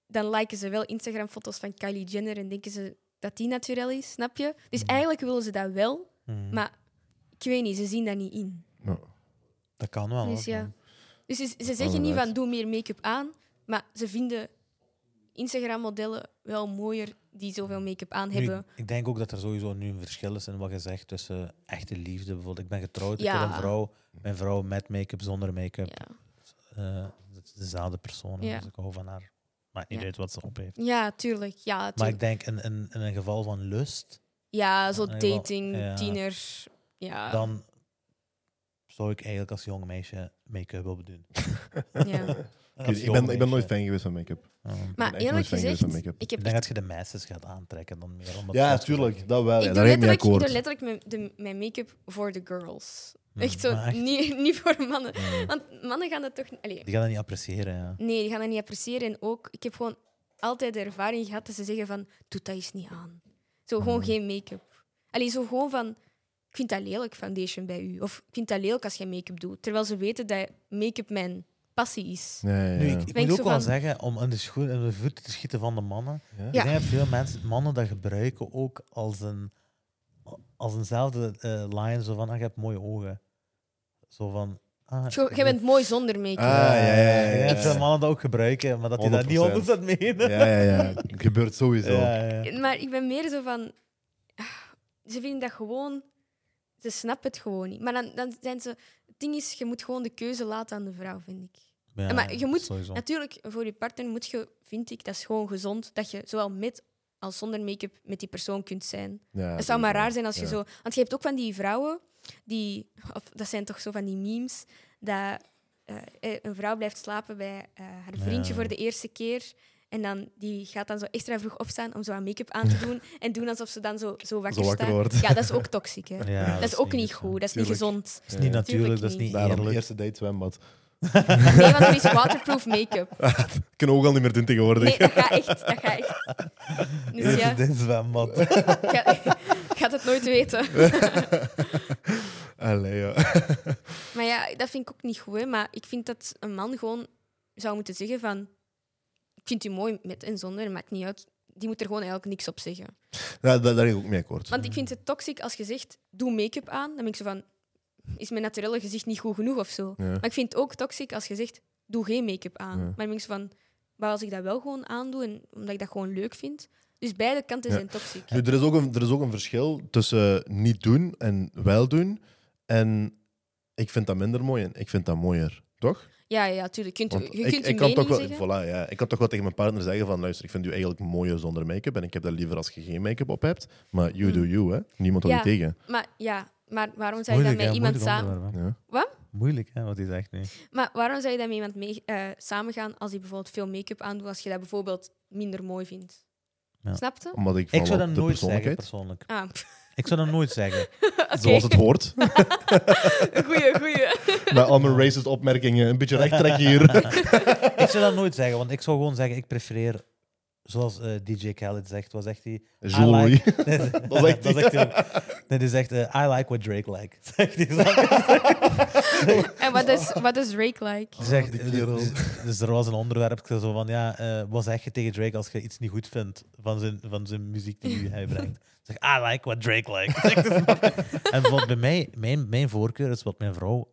[SPEAKER 3] dan liken ze wel Instagram-foto's van Kylie Jenner en denken ze dat die naturel is, snap je? Dus
[SPEAKER 2] Mhm.
[SPEAKER 3] eigenlijk willen ze dat wel,
[SPEAKER 2] Mhm.
[SPEAKER 3] maar ik weet niet, ze zien dat niet in.
[SPEAKER 1] Ja.
[SPEAKER 2] Dat kan wel.
[SPEAKER 3] Dus
[SPEAKER 2] hoor.
[SPEAKER 3] ja. Dus ze, ze zeggen niet van doe meer make-up aan, maar ze vinden Instagram-modellen wel mooier die zoveel make-up aan
[SPEAKER 2] Nu,
[SPEAKER 3] hebben.
[SPEAKER 2] ik denk ook dat er sowieso nu een verschil is in wat je zegt tussen echte liefde. Bijvoorbeeld, ik ben getrouwd, ik
[SPEAKER 3] Ja.
[SPEAKER 2] heb een vrouw, mijn vrouw met make-up, zonder make-up.
[SPEAKER 3] Ja.
[SPEAKER 2] Eh, het is dezelfde persoon,
[SPEAKER 3] Ja.
[SPEAKER 2] dus ik hou van haar. Maakt niet
[SPEAKER 3] Ja.
[SPEAKER 2] uit wat ze op heeft.
[SPEAKER 3] ja, tuurlijk. Ja,
[SPEAKER 2] Maar
[SPEAKER 3] tuurlijk.
[SPEAKER 2] ik denk in, in, in een geval van lust,
[SPEAKER 3] ja zo
[SPEAKER 2] Ja, jawel.
[SPEAKER 3] dating,
[SPEAKER 2] Ja.
[SPEAKER 3] tieners. Ja.
[SPEAKER 2] dan zou ik eigenlijk als jong meisje make-up op doen.
[SPEAKER 3] ja.
[SPEAKER 1] Ik,
[SPEAKER 2] Als
[SPEAKER 1] ik
[SPEAKER 2] jong
[SPEAKER 1] ben, ik ben nooit
[SPEAKER 2] meisje.
[SPEAKER 1] fan geweest van make-up.
[SPEAKER 2] Ehm,
[SPEAKER 1] ben
[SPEAKER 3] Maar
[SPEAKER 1] echt nooit
[SPEAKER 3] eerlijk
[SPEAKER 1] fan geweest
[SPEAKER 3] gezegd,
[SPEAKER 1] van make-up.
[SPEAKER 3] ik
[SPEAKER 2] ik
[SPEAKER 3] heb
[SPEAKER 2] denk
[SPEAKER 3] echt-
[SPEAKER 2] dat je de meisjes gaat aantrekken dan meer. Omdat
[SPEAKER 1] Ja,
[SPEAKER 2] dat zo-
[SPEAKER 1] tuurlijk. Dat wel. Ja, daar
[SPEAKER 3] ik doe
[SPEAKER 1] ben ik mee
[SPEAKER 3] letterlijk, ik
[SPEAKER 1] akkoord.
[SPEAKER 3] doe letterlijk mijn, de- mijn make-up voor de girls.
[SPEAKER 2] Hm,
[SPEAKER 3] Echt zo,
[SPEAKER 2] maar echt,
[SPEAKER 3] Niet, niet voor mannen.
[SPEAKER 2] eh,
[SPEAKER 3] Want mannen gaan dat toch... Allee,
[SPEAKER 2] Die gaan dat niet appreciëren, ja.
[SPEAKER 3] Nee, die gaan dat niet appreciëren. En ook, ik heb gewoon altijd de ervaring gehad dat ze zeggen van, doe dat eens niet aan. Zo gewoon
[SPEAKER 2] Mhm.
[SPEAKER 3] geen make-up. Allee, zo gewoon van, ik vind dat lelijk foundation bij u. Of ik vind dat lelijk als je make-up doet. Terwijl ze weten dat make-up mijn passie is.
[SPEAKER 1] Ja, ja,
[SPEAKER 2] Nu,
[SPEAKER 1] ja.
[SPEAKER 2] ik, ik
[SPEAKER 3] Ben
[SPEAKER 2] moet
[SPEAKER 3] ik
[SPEAKER 2] ook
[SPEAKER 3] zo
[SPEAKER 2] wel
[SPEAKER 3] van-
[SPEAKER 2] zeggen, om in de schoen en de voeten te schieten van de mannen.
[SPEAKER 1] Ja?
[SPEAKER 3] Ja.
[SPEAKER 2] Ik denk dat veel mensen, mannen dat gebruiken ook als een als eenzelfde eh, line, zo van, ah, je hebt mooie ogen. Zo van... Ah,
[SPEAKER 3] Zo, Jij bent mooi zonder
[SPEAKER 1] Ah,
[SPEAKER 3] make-up.
[SPEAKER 1] ja, ja, ja.
[SPEAKER 2] Ik
[SPEAKER 1] ja,
[SPEAKER 2] denk dat
[SPEAKER 1] ja.
[SPEAKER 2] mannen dat ook gebruiken, maar dat die dat
[SPEAKER 1] 100%.
[SPEAKER 2] niet 100% menen.
[SPEAKER 1] Ja, ja, ja. Het gebeurt sowieso.
[SPEAKER 2] Ja, ja.
[SPEAKER 3] Maar ik ben meer zo van... ah, Ze vinden dat gewoon... Ze snappen het gewoon niet. Maar dan, dan zijn ze... Het ding is, je moet gewoon de keuze laten aan de vrouw, vind ik.
[SPEAKER 2] Ja,
[SPEAKER 3] Maar je moet-
[SPEAKER 2] sowieso.
[SPEAKER 3] Natuurlijk, voor je partner moet je, vind ik, dat is gewoon gezond dat je zowel met als zonder make-up met die persoon kunt zijn.
[SPEAKER 1] Ja,
[SPEAKER 3] het zou maar raar zijn als je
[SPEAKER 1] Ja.
[SPEAKER 3] zo. Want je hebt ook van die vrouwen die. Of, dat zijn toch zo van die memes. Dat eh, eh, een vrouw blijft slapen bij eh, haar vriendje
[SPEAKER 2] Ja.
[SPEAKER 3] voor de eerste keer. En dan, die gaat dan zo extra vroeg opstaan om zo aan make-up aan te doen. en doen alsof ze dan zo, zo wakker,
[SPEAKER 1] Zo wakker
[SPEAKER 3] staat.
[SPEAKER 1] wordt.
[SPEAKER 3] Ja, dat is ook toxisch. Hè.
[SPEAKER 2] Ja,
[SPEAKER 3] dat, is ook niet
[SPEAKER 2] zo.
[SPEAKER 3] goed. Dat is
[SPEAKER 1] Tuurlijk.
[SPEAKER 3] niet gezond.
[SPEAKER 2] Dat is niet
[SPEAKER 1] Ja.
[SPEAKER 2] natuurlijk, dat is
[SPEAKER 3] Tuurlijk
[SPEAKER 2] niet
[SPEAKER 1] Daarom,
[SPEAKER 2] eerlijk.
[SPEAKER 1] eerste date zwembad.
[SPEAKER 3] Nee, want er is waterproof make-up.
[SPEAKER 1] Ik kan ook al niet meer doen tegenwoordig.
[SPEAKER 3] Nee, dat gaat echt. Dat gaat echt. Dus ja,
[SPEAKER 2] Eerste dit zwembad.
[SPEAKER 3] ik ga- ik ga het nooit weten.
[SPEAKER 1] Allee, ja.
[SPEAKER 3] Maar ja, dat vind ik ook niet goed. Hè. Maar ik vind dat een man gewoon zou moeten zeggen van... Ik vind u mooi met en zonder, maakt niet uit. Die moet er gewoon eigenlijk niks op zeggen.
[SPEAKER 1] Ja, daar, daar ga ik ook mee akkoord.
[SPEAKER 3] Want ik vind het toxic als je zegt, doe make-up aan. Dan ben ik zo van, is mijn naturelle gezicht niet goed genoeg of zo?
[SPEAKER 1] Ja.
[SPEAKER 3] Maar ik vind het ook toxic als je zegt, doe geen make-up aan.
[SPEAKER 1] Ja.
[SPEAKER 3] Maar dan ben ik zo van, maar als ik dat wel gewoon aandoe, en, omdat ik dat gewoon leuk vind... Dus beide kanten
[SPEAKER 1] Ja.
[SPEAKER 3] zijn toxic.
[SPEAKER 1] Nu, er, is ook een, er is ook een verschil tussen niet doen en wel doen. En ik vind dat minder mooi en ik vind dat mooier. Toch?
[SPEAKER 3] Ja, ja, tuurlijk. Je kunt,
[SPEAKER 1] Want
[SPEAKER 3] je kunt
[SPEAKER 1] ik,
[SPEAKER 3] je
[SPEAKER 1] ik kan toch
[SPEAKER 3] mening
[SPEAKER 1] wel,
[SPEAKER 3] zeggen.
[SPEAKER 1] voilà, ja, ik kan toch wel tegen mijn partner zeggen van luister, ik vind u eigenlijk mooier zonder make-up en ik heb dat liever als je geen make-up op hebt. Maar you
[SPEAKER 3] Hm.
[SPEAKER 1] do you, hè. Niemand houdt
[SPEAKER 3] Ja.
[SPEAKER 1] je tegen.
[SPEAKER 3] Maar, ja, maar waarom zou je dat met iemand samen...
[SPEAKER 1] Ja.
[SPEAKER 2] Moeilijk, hè, wat hij zegt nu.
[SPEAKER 3] Maar waarom zou je dan met iemand mee, eh, samengaan als die bijvoorbeeld veel make-up aandoet, als je dat bijvoorbeeld minder mooi vindt?
[SPEAKER 2] Ja.
[SPEAKER 3] Snapte?
[SPEAKER 1] Omdat ik, val
[SPEAKER 2] Ik zou
[SPEAKER 1] op
[SPEAKER 2] dat
[SPEAKER 1] de
[SPEAKER 2] nooit zeggen,
[SPEAKER 1] persoonlijkheid.
[SPEAKER 2] persoonlijk.
[SPEAKER 3] Ah, pff,
[SPEAKER 2] Ik zou dat nooit zeggen.
[SPEAKER 3] Oké.
[SPEAKER 1] Zoals het hoort.
[SPEAKER 3] Goeie, goeie.
[SPEAKER 1] Met al mijn racist opmerkingen. Een beetje recht trekken hier.
[SPEAKER 2] Ik zou dat nooit zeggen, want ik zou gewoon zeggen, ik prefereer, zoals eh, DJ Khaled zegt, was echt die... I
[SPEAKER 1] Jewelry.
[SPEAKER 2] like- Nee,
[SPEAKER 1] Dat is echt
[SPEAKER 2] dat
[SPEAKER 1] die.
[SPEAKER 2] is echt die- Nee, die zegt, eh, I like what Drake like. Zegt die zo.
[SPEAKER 3] En wat is, wat is Drake like?
[SPEAKER 2] Die zegt,
[SPEAKER 1] die
[SPEAKER 2] eh,
[SPEAKER 1] kerel.
[SPEAKER 2] dus, dus er was een onderwerp ik zei zo van, ja, eh, wat zeg je tegen Drake als je iets niet goed vindt van zijn, van zijn muziek die hij brengt? Zeg, I like what Drake like. Zegt die zo. en bijvoorbeeld bij mij, mijn, mijn voorkeur is wat mijn vrouw...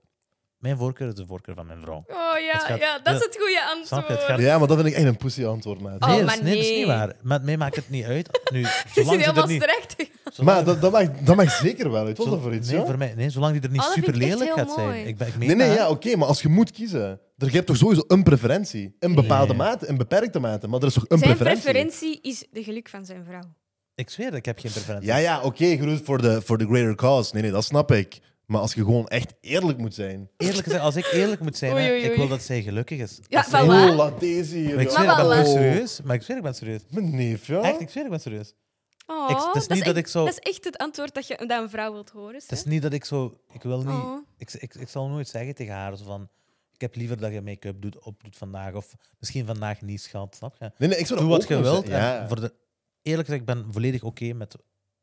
[SPEAKER 2] Mijn voorkeur is de voorkeur van mijn vrouw.
[SPEAKER 3] Oh ja,
[SPEAKER 2] Het gaat-
[SPEAKER 3] ja dat is
[SPEAKER 2] ja.
[SPEAKER 3] het goede
[SPEAKER 2] Snap
[SPEAKER 3] antwoord.
[SPEAKER 2] je, het gaat-
[SPEAKER 1] Ja, maar dat vind ik echt een pussy antwoord, maat.
[SPEAKER 3] Oh,
[SPEAKER 2] Nee, dat
[SPEAKER 3] maar
[SPEAKER 2] is, nee, dat is
[SPEAKER 3] nee.
[SPEAKER 2] niet waar. Maar mij maakt het niet uit. Nu,
[SPEAKER 3] Je zit
[SPEAKER 2] zolang ze er
[SPEAKER 3] helemaal
[SPEAKER 2] niet...
[SPEAKER 3] terecht.
[SPEAKER 2] zolang-
[SPEAKER 1] Maar dat, dat, mag, dat mag zeker wel uit. Wat
[SPEAKER 2] zo-
[SPEAKER 1] is dat voor iets,
[SPEAKER 2] nee,
[SPEAKER 1] ja?
[SPEAKER 2] voor mij, nee, zolang die er niet
[SPEAKER 3] Oh, dat vind ik
[SPEAKER 2] super
[SPEAKER 3] echt
[SPEAKER 2] lelijk
[SPEAKER 3] heel
[SPEAKER 2] gaat zijn.
[SPEAKER 3] mooi.
[SPEAKER 2] Ik ben, ik meen
[SPEAKER 1] Nee, nee,
[SPEAKER 2] dat.
[SPEAKER 1] ja, oké, maar als je moet kiezen, er je hebt toch sowieso een preferentie? In bepaalde
[SPEAKER 2] Ja.
[SPEAKER 1] mate, in beperkte mate, maar er is toch een
[SPEAKER 3] Zijn
[SPEAKER 1] preferentie?
[SPEAKER 3] preferentie is de geluk van zijn vrouw.
[SPEAKER 2] Ik zweer, ik heb geen preferentie.
[SPEAKER 1] Ja, ja, oké, je doet het voor de voor de greater cause. Nee, nee, dat snap ik. Maar als je gewoon echt eerlijk moet zijn.
[SPEAKER 2] Eerlijk gezegd, als ik eerlijk moet zijn,
[SPEAKER 3] Oei,
[SPEAKER 2] hè,
[SPEAKER 3] oei,
[SPEAKER 2] ik
[SPEAKER 3] oei.
[SPEAKER 2] wil dat zij gelukkig is.
[SPEAKER 3] Ja,
[SPEAKER 2] Als zij-
[SPEAKER 3] voilà. waar?
[SPEAKER 1] Oh, laat deze hier.
[SPEAKER 2] Maar ik
[SPEAKER 1] ja. Oh,
[SPEAKER 2] zweer, ik ben
[SPEAKER 3] Maar
[SPEAKER 2] echt
[SPEAKER 3] wel,
[SPEAKER 2] serieus. Maar ik zweer, ik ben serieus.
[SPEAKER 1] Mijn neef, ja.
[SPEAKER 2] Echt, ik zweer, ik ben serieus.
[SPEAKER 3] Oh,
[SPEAKER 2] Ik- het is niet dat
[SPEAKER 3] echt,
[SPEAKER 2] ik zo-
[SPEAKER 3] dat is echt het antwoord dat, je, dat een vrouw wilt horen.
[SPEAKER 2] Het is niet dat ik zo... Ik wil niet...
[SPEAKER 3] Oh.
[SPEAKER 2] Ik, ik, ik zal nooit zeggen tegen haar zo van... Ik heb liever dat je make-up doet, opdoet vandaag. Of misschien vandaag niet, schat. Snap je?
[SPEAKER 1] Nee, nee, ik zou
[SPEAKER 2] Doe
[SPEAKER 1] dat
[SPEAKER 2] wat
[SPEAKER 1] ook
[SPEAKER 2] je
[SPEAKER 1] nog
[SPEAKER 2] wilt.
[SPEAKER 1] zeggen. Ja.
[SPEAKER 2] En voor de, eerlijk gezegd, ik ben volledig oké met,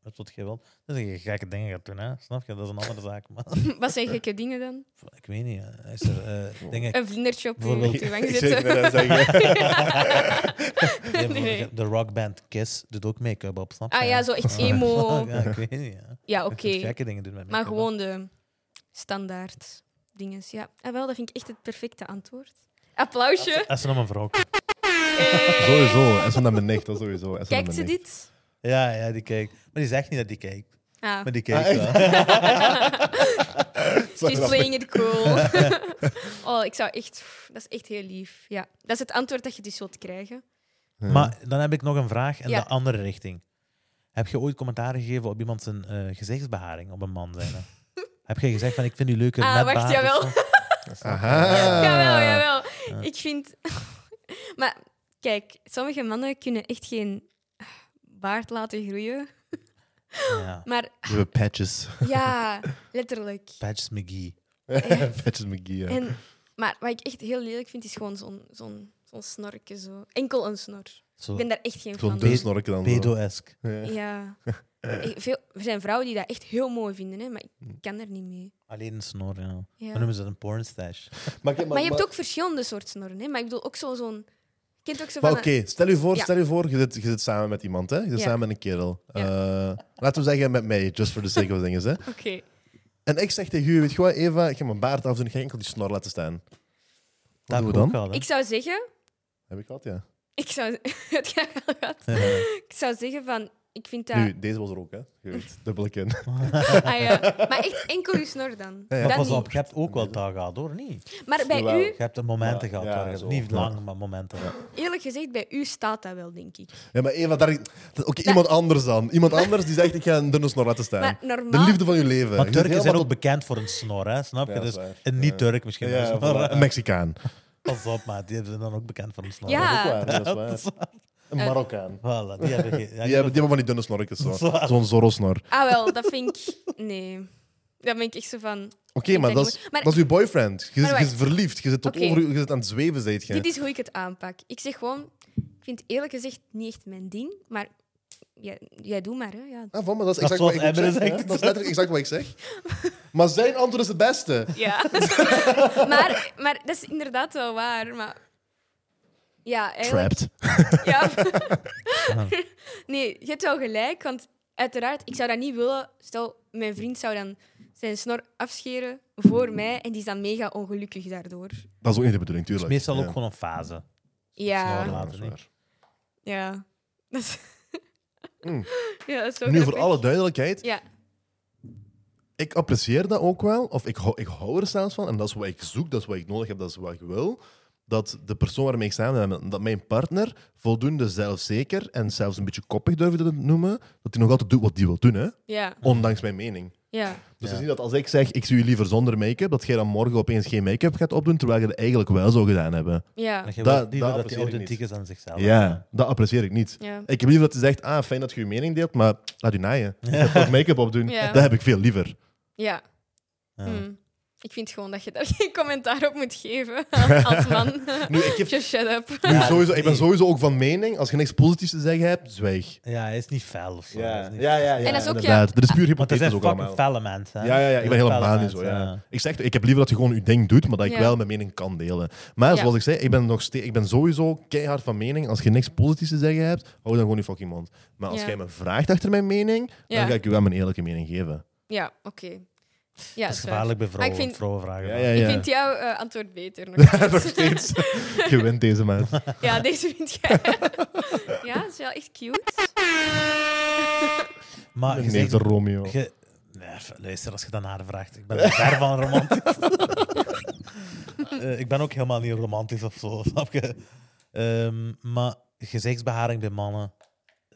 [SPEAKER 2] met wat je wilt. Dus dat je gekke dingen gaat doen, hè? snap je? Dat is een andere zaak. Maar,
[SPEAKER 3] Wat zijn gekke dingen dan?
[SPEAKER 2] ik weet niet. hè. Is er eh, dingen...
[SPEAKER 3] Een vlindertje op je
[SPEAKER 2] Bijvoorbeeld-
[SPEAKER 3] op je wang
[SPEAKER 1] Ik
[SPEAKER 3] zitten.
[SPEAKER 1] zou het net zeggen.
[SPEAKER 2] Ja,
[SPEAKER 3] nee, nee.
[SPEAKER 2] bijvoorbeeld De rockband Kiss doet ook make-up op, snap je?
[SPEAKER 3] Ah ja, zo echt emo.
[SPEAKER 2] Ja, ik weet niet. Ja.
[SPEAKER 3] Ja, oké.
[SPEAKER 2] Je kunt gekke dingen doen met
[SPEAKER 3] Maar
[SPEAKER 2] make-up, hè.
[SPEAKER 3] gewoon de standaard dingen. Ja, ah, wel, dat vind ik echt het perfecte antwoord. Applausje.
[SPEAKER 2] Als ze nog een vrouw
[SPEAKER 3] Hey.
[SPEAKER 1] Sowieso, en zo naar mijn nicht, dat sowieso. en zo naar
[SPEAKER 3] Kijkt ze
[SPEAKER 1] mijn nicht.
[SPEAKER 3] dit?
[SPEAKER 2] Ja, ja, die kijkt. Maar die zegt niet dat die kijkt.
[SPEAKER 3] Ah,
[SPEAKER 2] Maar die kijkt
[SPEAKER 1] Ah,
[SPEAKER 2] wel.
[SPEAKER 1] echt? Sorry,
[SPEAKER 3] she's
[SPEAKER 1] dat-
[SPEAKER 3] playing it cool. oh, ik zou echt... pff, Dat is echt heel lief. Ja, dat is het antwoord dat je dus wilt krijgen.
[SPEAKER 1] Ja.
[SPEAKER 2] Maar dan heb ik nog een vraag in
[SPEAKER 3] Ja.
[SPEAKER 2] de andere richting. Heb je ooit commentaar gegeven op iemand zijn eh, gezichtsbeharing op een man zijn? hè? heb jij gezegd van ik vind u leuker
[SPEAKER 3] Ah,
[SPEAKER 2] met
[SPEAKER 3] wacht,
[SPEAKER 2] behaar?
[SPEAKER 3] jawel.
[SPEAKER 2] of zo? Dat is nog-
[SPEAKER 1] Aha.
[SPEAKER 3] Jawel, jawel. Ik vind... maar kijk, sommige mannen kunnen echt geen baard laten groeien.
[SPEAKER 2] Ja.
[SPEAKER 3] Maar
[SPEAKER 1] Die hebben patches.
[SPEAKER 3] ja, letterlijk.
[SPEAKER 2] Patches McGee.
[SPEAKER 3] Ja.
[SPEAKER 1] patches McGee, ja.
[SPEAKER 3] En, maar wat ik echt heel lelijk vind, is gewoon zo'n zo'n zo'n snorkje. Zo. Enkel een snor.
[SPEAKER 2] Zo
[SPEAKER 3] Ik ben daar echt geen
[SPEAKER 1] Zo'n
[SPEAKER 3] fan
[SPEAKER 1] dun
[SPEAKER 3] van.
[SPEAKER 1] snorken dan. zo.
[SPEAKER 2] pedo-esque.
[SPEAKER 1] Ja.
[SPEAKER 3] Ja. Ik- Veel, er zijn vrouwen die dat echt heel mooi vinden, hè, maar
[SPEAKER 1] Mm.
[SPEAKER 3] ik kan daar niet mee.
[SPEAKER 2] Alleen een snor, ja.
[SPEAKER 3] Ja.
[SPEAKER 2] We noemen ze dat een pornstash.
[SPEAKER 1] Maar, ik-
[SPEAKER 3] Maar je hebt ook verschillende soorten snorren. Hè? Maar ik bedoel ook zo- zo'n... Je kent ook zo
[SPEAKER 1] Maar
[SPEAKER 3] van...
[SPEAKER 1] oké, stel je voor,
[SPEAKER 3] Ja.
[SPEAKER 1] stel je, voor je, zit, je zit samen met iemand, hè? je zit
[SPEAKER 3] Ja.
[SPEAKER 1] samen met een kerel.
[SPEAKER 3] Ja.
[SPEAKER 1] Eh, laten we zeggen met mij, just for the sake of things. Hè?
[SPEAKER 3] een- Oké.
[SPEAKER 1] En ik zeg tegen u, weet je wat, Eva, ik ga mijn baard afdoen, ik ga enkel die snor laten staan.
[SPEAKER 2] Dat
[SPEAKER 1] doen we
[SPEAKER 2] heb ik ook
[SPEAKER 1] dan?
[SPEAKER 2] gehad, hè.
[SPEAKER 3] Ik zou zeggen...
[SPEAKER 1] Heb ik gehad, ja.
[SPEAKER 3] Ik zou... het gaat wel goed. Ik zou zeggen van... Ik vind dat...
[SPEAKER 1] Nu, deze was er ook, hè? Je weet, dubbele kin.
[SPEAKER 3] Ah, ja. Maar echt enkel je snor dan.
[SPEAKER 1] Ja, ja.
[SPEAKER 2] Maar
[SPEAKER 3] Dan
[SPEAKER 2] pas op,
[SPEAKER 3] niet.
[SPEAKER 2] je hebt ook wel dagen gehad, hoor. Niet.
[SPEAKER 3] Maar bij
[SPEAKER 1] Jawel.
[SPEAKER 2] Je
[SPEAKER 3] u,
[SPEAKER 2] hebt de momenten
[SPEAKER 1] Ja,
[SPEAKER 2] gehad.
[SPEAKER 1] ja,
[SPEAKER 2] waar je-
[SPEAKER 1] zo.
[SPEAKER 2] Niet
[SPEAKER 1] Ja.
[SPEAKER 2] lang, maar momenten.
[SPEAKER 3] eerlijk gezegd, bij u staat dat wel, denk ik.
[SPEAKER 1] Ja, maar Eva, daar... Oké, iemand anders dan. Iemand anders die zegt, ik ga een dunne snor laten staan.
[SPEAKER 3] Maar
[SPEAKER 1] De
[SPEAKER 3] normaal...
[SPEAKER 1] liefde van je leven.
[SPEAKER 2] Maar
[SPEAKER 1] Je zit
[SPEAKER 2] Turken zijn
[SPEAKER 1] helemaal
[SPEAKER 2] ook bekend voor een snor, hè? snap je?
[SPEAKER 1] Ja, dat
[SPEAKER 2] dus
[SPEAKER 1] is waar.
[SPEAKER 2] een niet-Turk misschien.
[SPEAKER 1] Ja,
[SPEAKER 2] maar eh,
[SPEAKER 1] voilà. Een Mexicaan.
[SPEAKER 2] Pas op, maar die zijn dan ook bekend voor een snor.
[SPEAKER 3] Ja.
[SPEAKER 1] Dat is ook waar, dat is waar.
[SPEAKER 2] Dat is waar.
[SPEAKER 1] Een Marokkaan.
[SPEAKER 2] Voilà, die hebben geen... Ja,
[SPEAKER 1] Die hebben, die hebben van die dunne snorretjes, zo.
[SPEAKER 2] Dat is waar.
[SPEAKER 1] Zo'n Zorro-snor. Oké,
[SPEAKER 3] Ah wel, dat vind ik... Nee. Daar ben ik echt zo van... Ik
[SPEAKER 1] maar
[SPEAKER 3] denk
[SPEAKER 1] dat is,
[SPEAKER 3] ook- maar-
[SPEAKER 1] dat is je boyfriend. Je,
[SPEAKER 3] Maar
[SPEAKER 1] zit- je
[SPEAKER 3] wacht.
[SPEAKER 1] zit verliefd. Je zit, tot
[SPEAKER 3] Oké.
[SPEAKER 1] over, je- je zit aan het zweven, zijt je.
[SPEAKER 3] Dit is hoe ik het aanpak. Ik zeg gewoon... Ik vind eerlijk gezegd niet echt mijn ding, maar... Jij, jij doet maar, hè. Ja.
[SPEAKER 1] Ah, van, maar dat is
[SPEAKER 2] Dat
[SPEAKER 1] exact
[SPEAKER 2] is
[SPEAKER 1] wat
[SPEAKER 2] zoals
[SPEAKER 1] ik
[SPEAKER 2] Emre
[SPEAKER 1] zeg.
[SPEAKER 2] zegt.
[SPEAKER 1] hè? Dat is letterlijk exact wat ik zeg. Maar zijn antwoord is het beste.
[SPEAKER 3] Ja. maar, maar dat is inderdaad wel waar. Maar ja, eigenlijk.
[SPEAKER 1] Trapped.
[SPEAKER 3] Ja. nee, je hebt wel gelijk. Want uiteraard, ik zou dat niet willen. Stel, mijn vriend zou dan zijn snor afscheren voor mij. En die is dan mega ongelukkig daardoor.
[SPEAKER 1] Dat is ook niet de bedoeling, tuurlijk.
[SPEAKER 2] meestal
[SPEAKER 1] Ja.
[SPEAKER 2] ook gewoon een fase. Snor
[SPEAKER 3] Ja,
[SPEAKER 2] laten.
[SPEAKER 1] Ja, dat is waar.
[SPEAKER 3] ja. Dat is...
[SPEAKER 1] Mm.
[SPEAKER 3] Ja, dat is zo
[SPEAKER 1] Nu, voor
[SPEAKER 3] grappig.
[SPEAKER 1] alle duidelijkheid,
[SPEAKER 3] Ja,
[SPEAKER 1] ik apprecieer dat ook wel. Of ik hou, ik hou er zelfs van. En dat is wat ik zoek, dat is wat ik nodig heb, dat is wat ik wil. Dat de persoon waarmee ik samen ben, dat mijn partner voldoende zelfzeker en zelfs een beetje koppig durfde te noemen, dat hij nog altijd doet wat hij wil doen, hè?
[SPEAKER 3] ja.
[SPEAKER 1] ondanks mijn mening.
[SPEAKER 3] Ja.
[SPEAKER 1] Dus het
[SPEAKER 2] Ja.
[SPEAKER 1] is niet dat als ik zeg, ik zie je liever zonder make-up, dat jij dan morgen opeens geen make-up gaat opdoen, terwijl je dat eigenlijk wel zou gedaan hebben.
[SPEAKER 3] Ja.
[SPEAKER 2] Dat je
[SPEAKER 1] Dat-
[SPEAKER 2] wel- die
[SPEAKER 1] dat
[SPEAKER 2] dat, dat die
[SPEAKER 1] apprecieer ik
[SPEAKER 2] authentiek
[SPEAKER 1] niet.
[SPEAKER 2] is aan zichzelf.
[SPEAKER 1] Ja, dat apprecieer ik niet.
[SPEAKER 3] Ja.
[SPEAKER 1] Ik heb liever dat ze zegt, ah, fijn dat je je mening deelt, maar laat u naaien. Je gaat toch make-up opdoen.
[SPEAKER 3] Ja.
[SPEAKER 1] Dat heb ik veel liever.
[SPEAKER 3] ja.
[SPEAKER 2] Ja.
[SPEAKER 3] Hm. Ik vind gewoon dat je daar geen commentaar op moet geven als- als man.
[SPEAKER 1] Nu, ik, heb,
[SPEAKER 3] Just shut up.
[SPEAKER 1] nu
[SPEAKER 2] Ja,
[SPEAKER 1] sowieso, ik ben
[SPEAKER 2] nee.
[SPEAKER 1] sowieso ook van mening, als je niks positiefs te zeggen hebt, zwijg.
[SPEAKER 2] Ja, hij is niet fel of zo. Hij is niet-
[SPEAKER 3] En dat is ook
[SPEAKER 1] inderdaad. Er is puur
[SPEAKER 2] Want hij
[SPEAKER 1] hypothetisch
[SPEAKER 2] zijn
[SPEAKER 1] ook
[SPEAKER 2] fucking
[SPEAKER 1] allemaal.
[SPEAKER 2] felle mensen. hè.
[SPEAKER 1] Ja, ja, ja, ik ben
[SPEAKER 2] Felle
[SPEAKER 1] helemaal niet zo.
[SPEAKER 2] mensen,
[SPEAKER 1] Ja. Ik zeg, ik heb liever dat je gewoon je ding doet, maar dat ik
[SPEAKER 3] Ja.
[SPEAKER 1] wel mijn mening kan delen. Maar
[SPEAKER 3] Ja.
[SPEAKER 1] zoals ik zei, ik ben, nog steeds, ik ben sowieso keihard van mening. Als je niks positiefs te zeggen hebt, hou dan gewoon je fucking mond. Maar als
[SPEAKER 3] Ja.
[SPEAKER 1] jij me vraagt achter mijn mening, dan
[SPEAKER 3] Ja.
[SPEAKER 1] ga ik je wel mijn eerlijke mening geven.
[SPEAKER 3] Ja, oké. Ja,
[SPEAKER 2] Dat is
[SPEAKER 3] waar.
[SPEAKER 2] gevaarlijk bij vrouwen.
[SPEAKER 3] Maar ik vind-
[SPEAKER 2] vrouwen vragen.
[SPEAKER 1] Ja,
[SPEAKER 2] dat.
[SPEAKER 1] ja,
[SPEAKER 3] Ik
[SPEAKER 1] ja.
[SPEAKER 3] vind jouw eh, antwoord beter. Nog steeds.
[SPEAKER 1] nog steeds. je wint deze man.
[SPEAKER 2] Ah,
[SPEAKER 3] ja, deze vind jij. ja, dat is wel echt cute.
[SPEAKER 2] Maar je
[SPEAKER 1] Nee,
[SPEAKER 2] zegt... dus
[SPEAKER 1] de Romeo.
[SPEAKER 2] je- Nee, f- luister, als je dat naar haar vraagt. Ik ben daar ver van romantisch. Eh, ik ben ook helemaal niet romantisch of zo, snap je? Ehm, maar gezichtsbeharing bij mannen...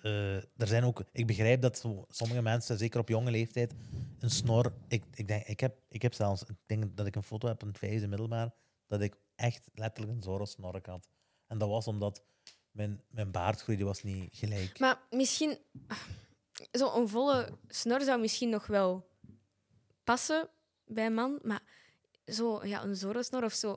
[SPEAKER 2] eh, er zijn ook, ik begrijp dat zo- sommige mensen, zeker op jonge leeftijd, een snor... Ik, ik, denk, ik, heb, ik heb zelfs... Ik denk dat ik een foto heb van het vijfde middelbaar, dat ik echt letterlijk een zorro snork had. En dat was omdat mijn, mijn baardgroei die was niet gelijk.
[SPEAKER 3] Maar misschien... Zo'n volle snor zou misschien nog wel passen bij een man. Maar zo, ja, een zorensnor of zo...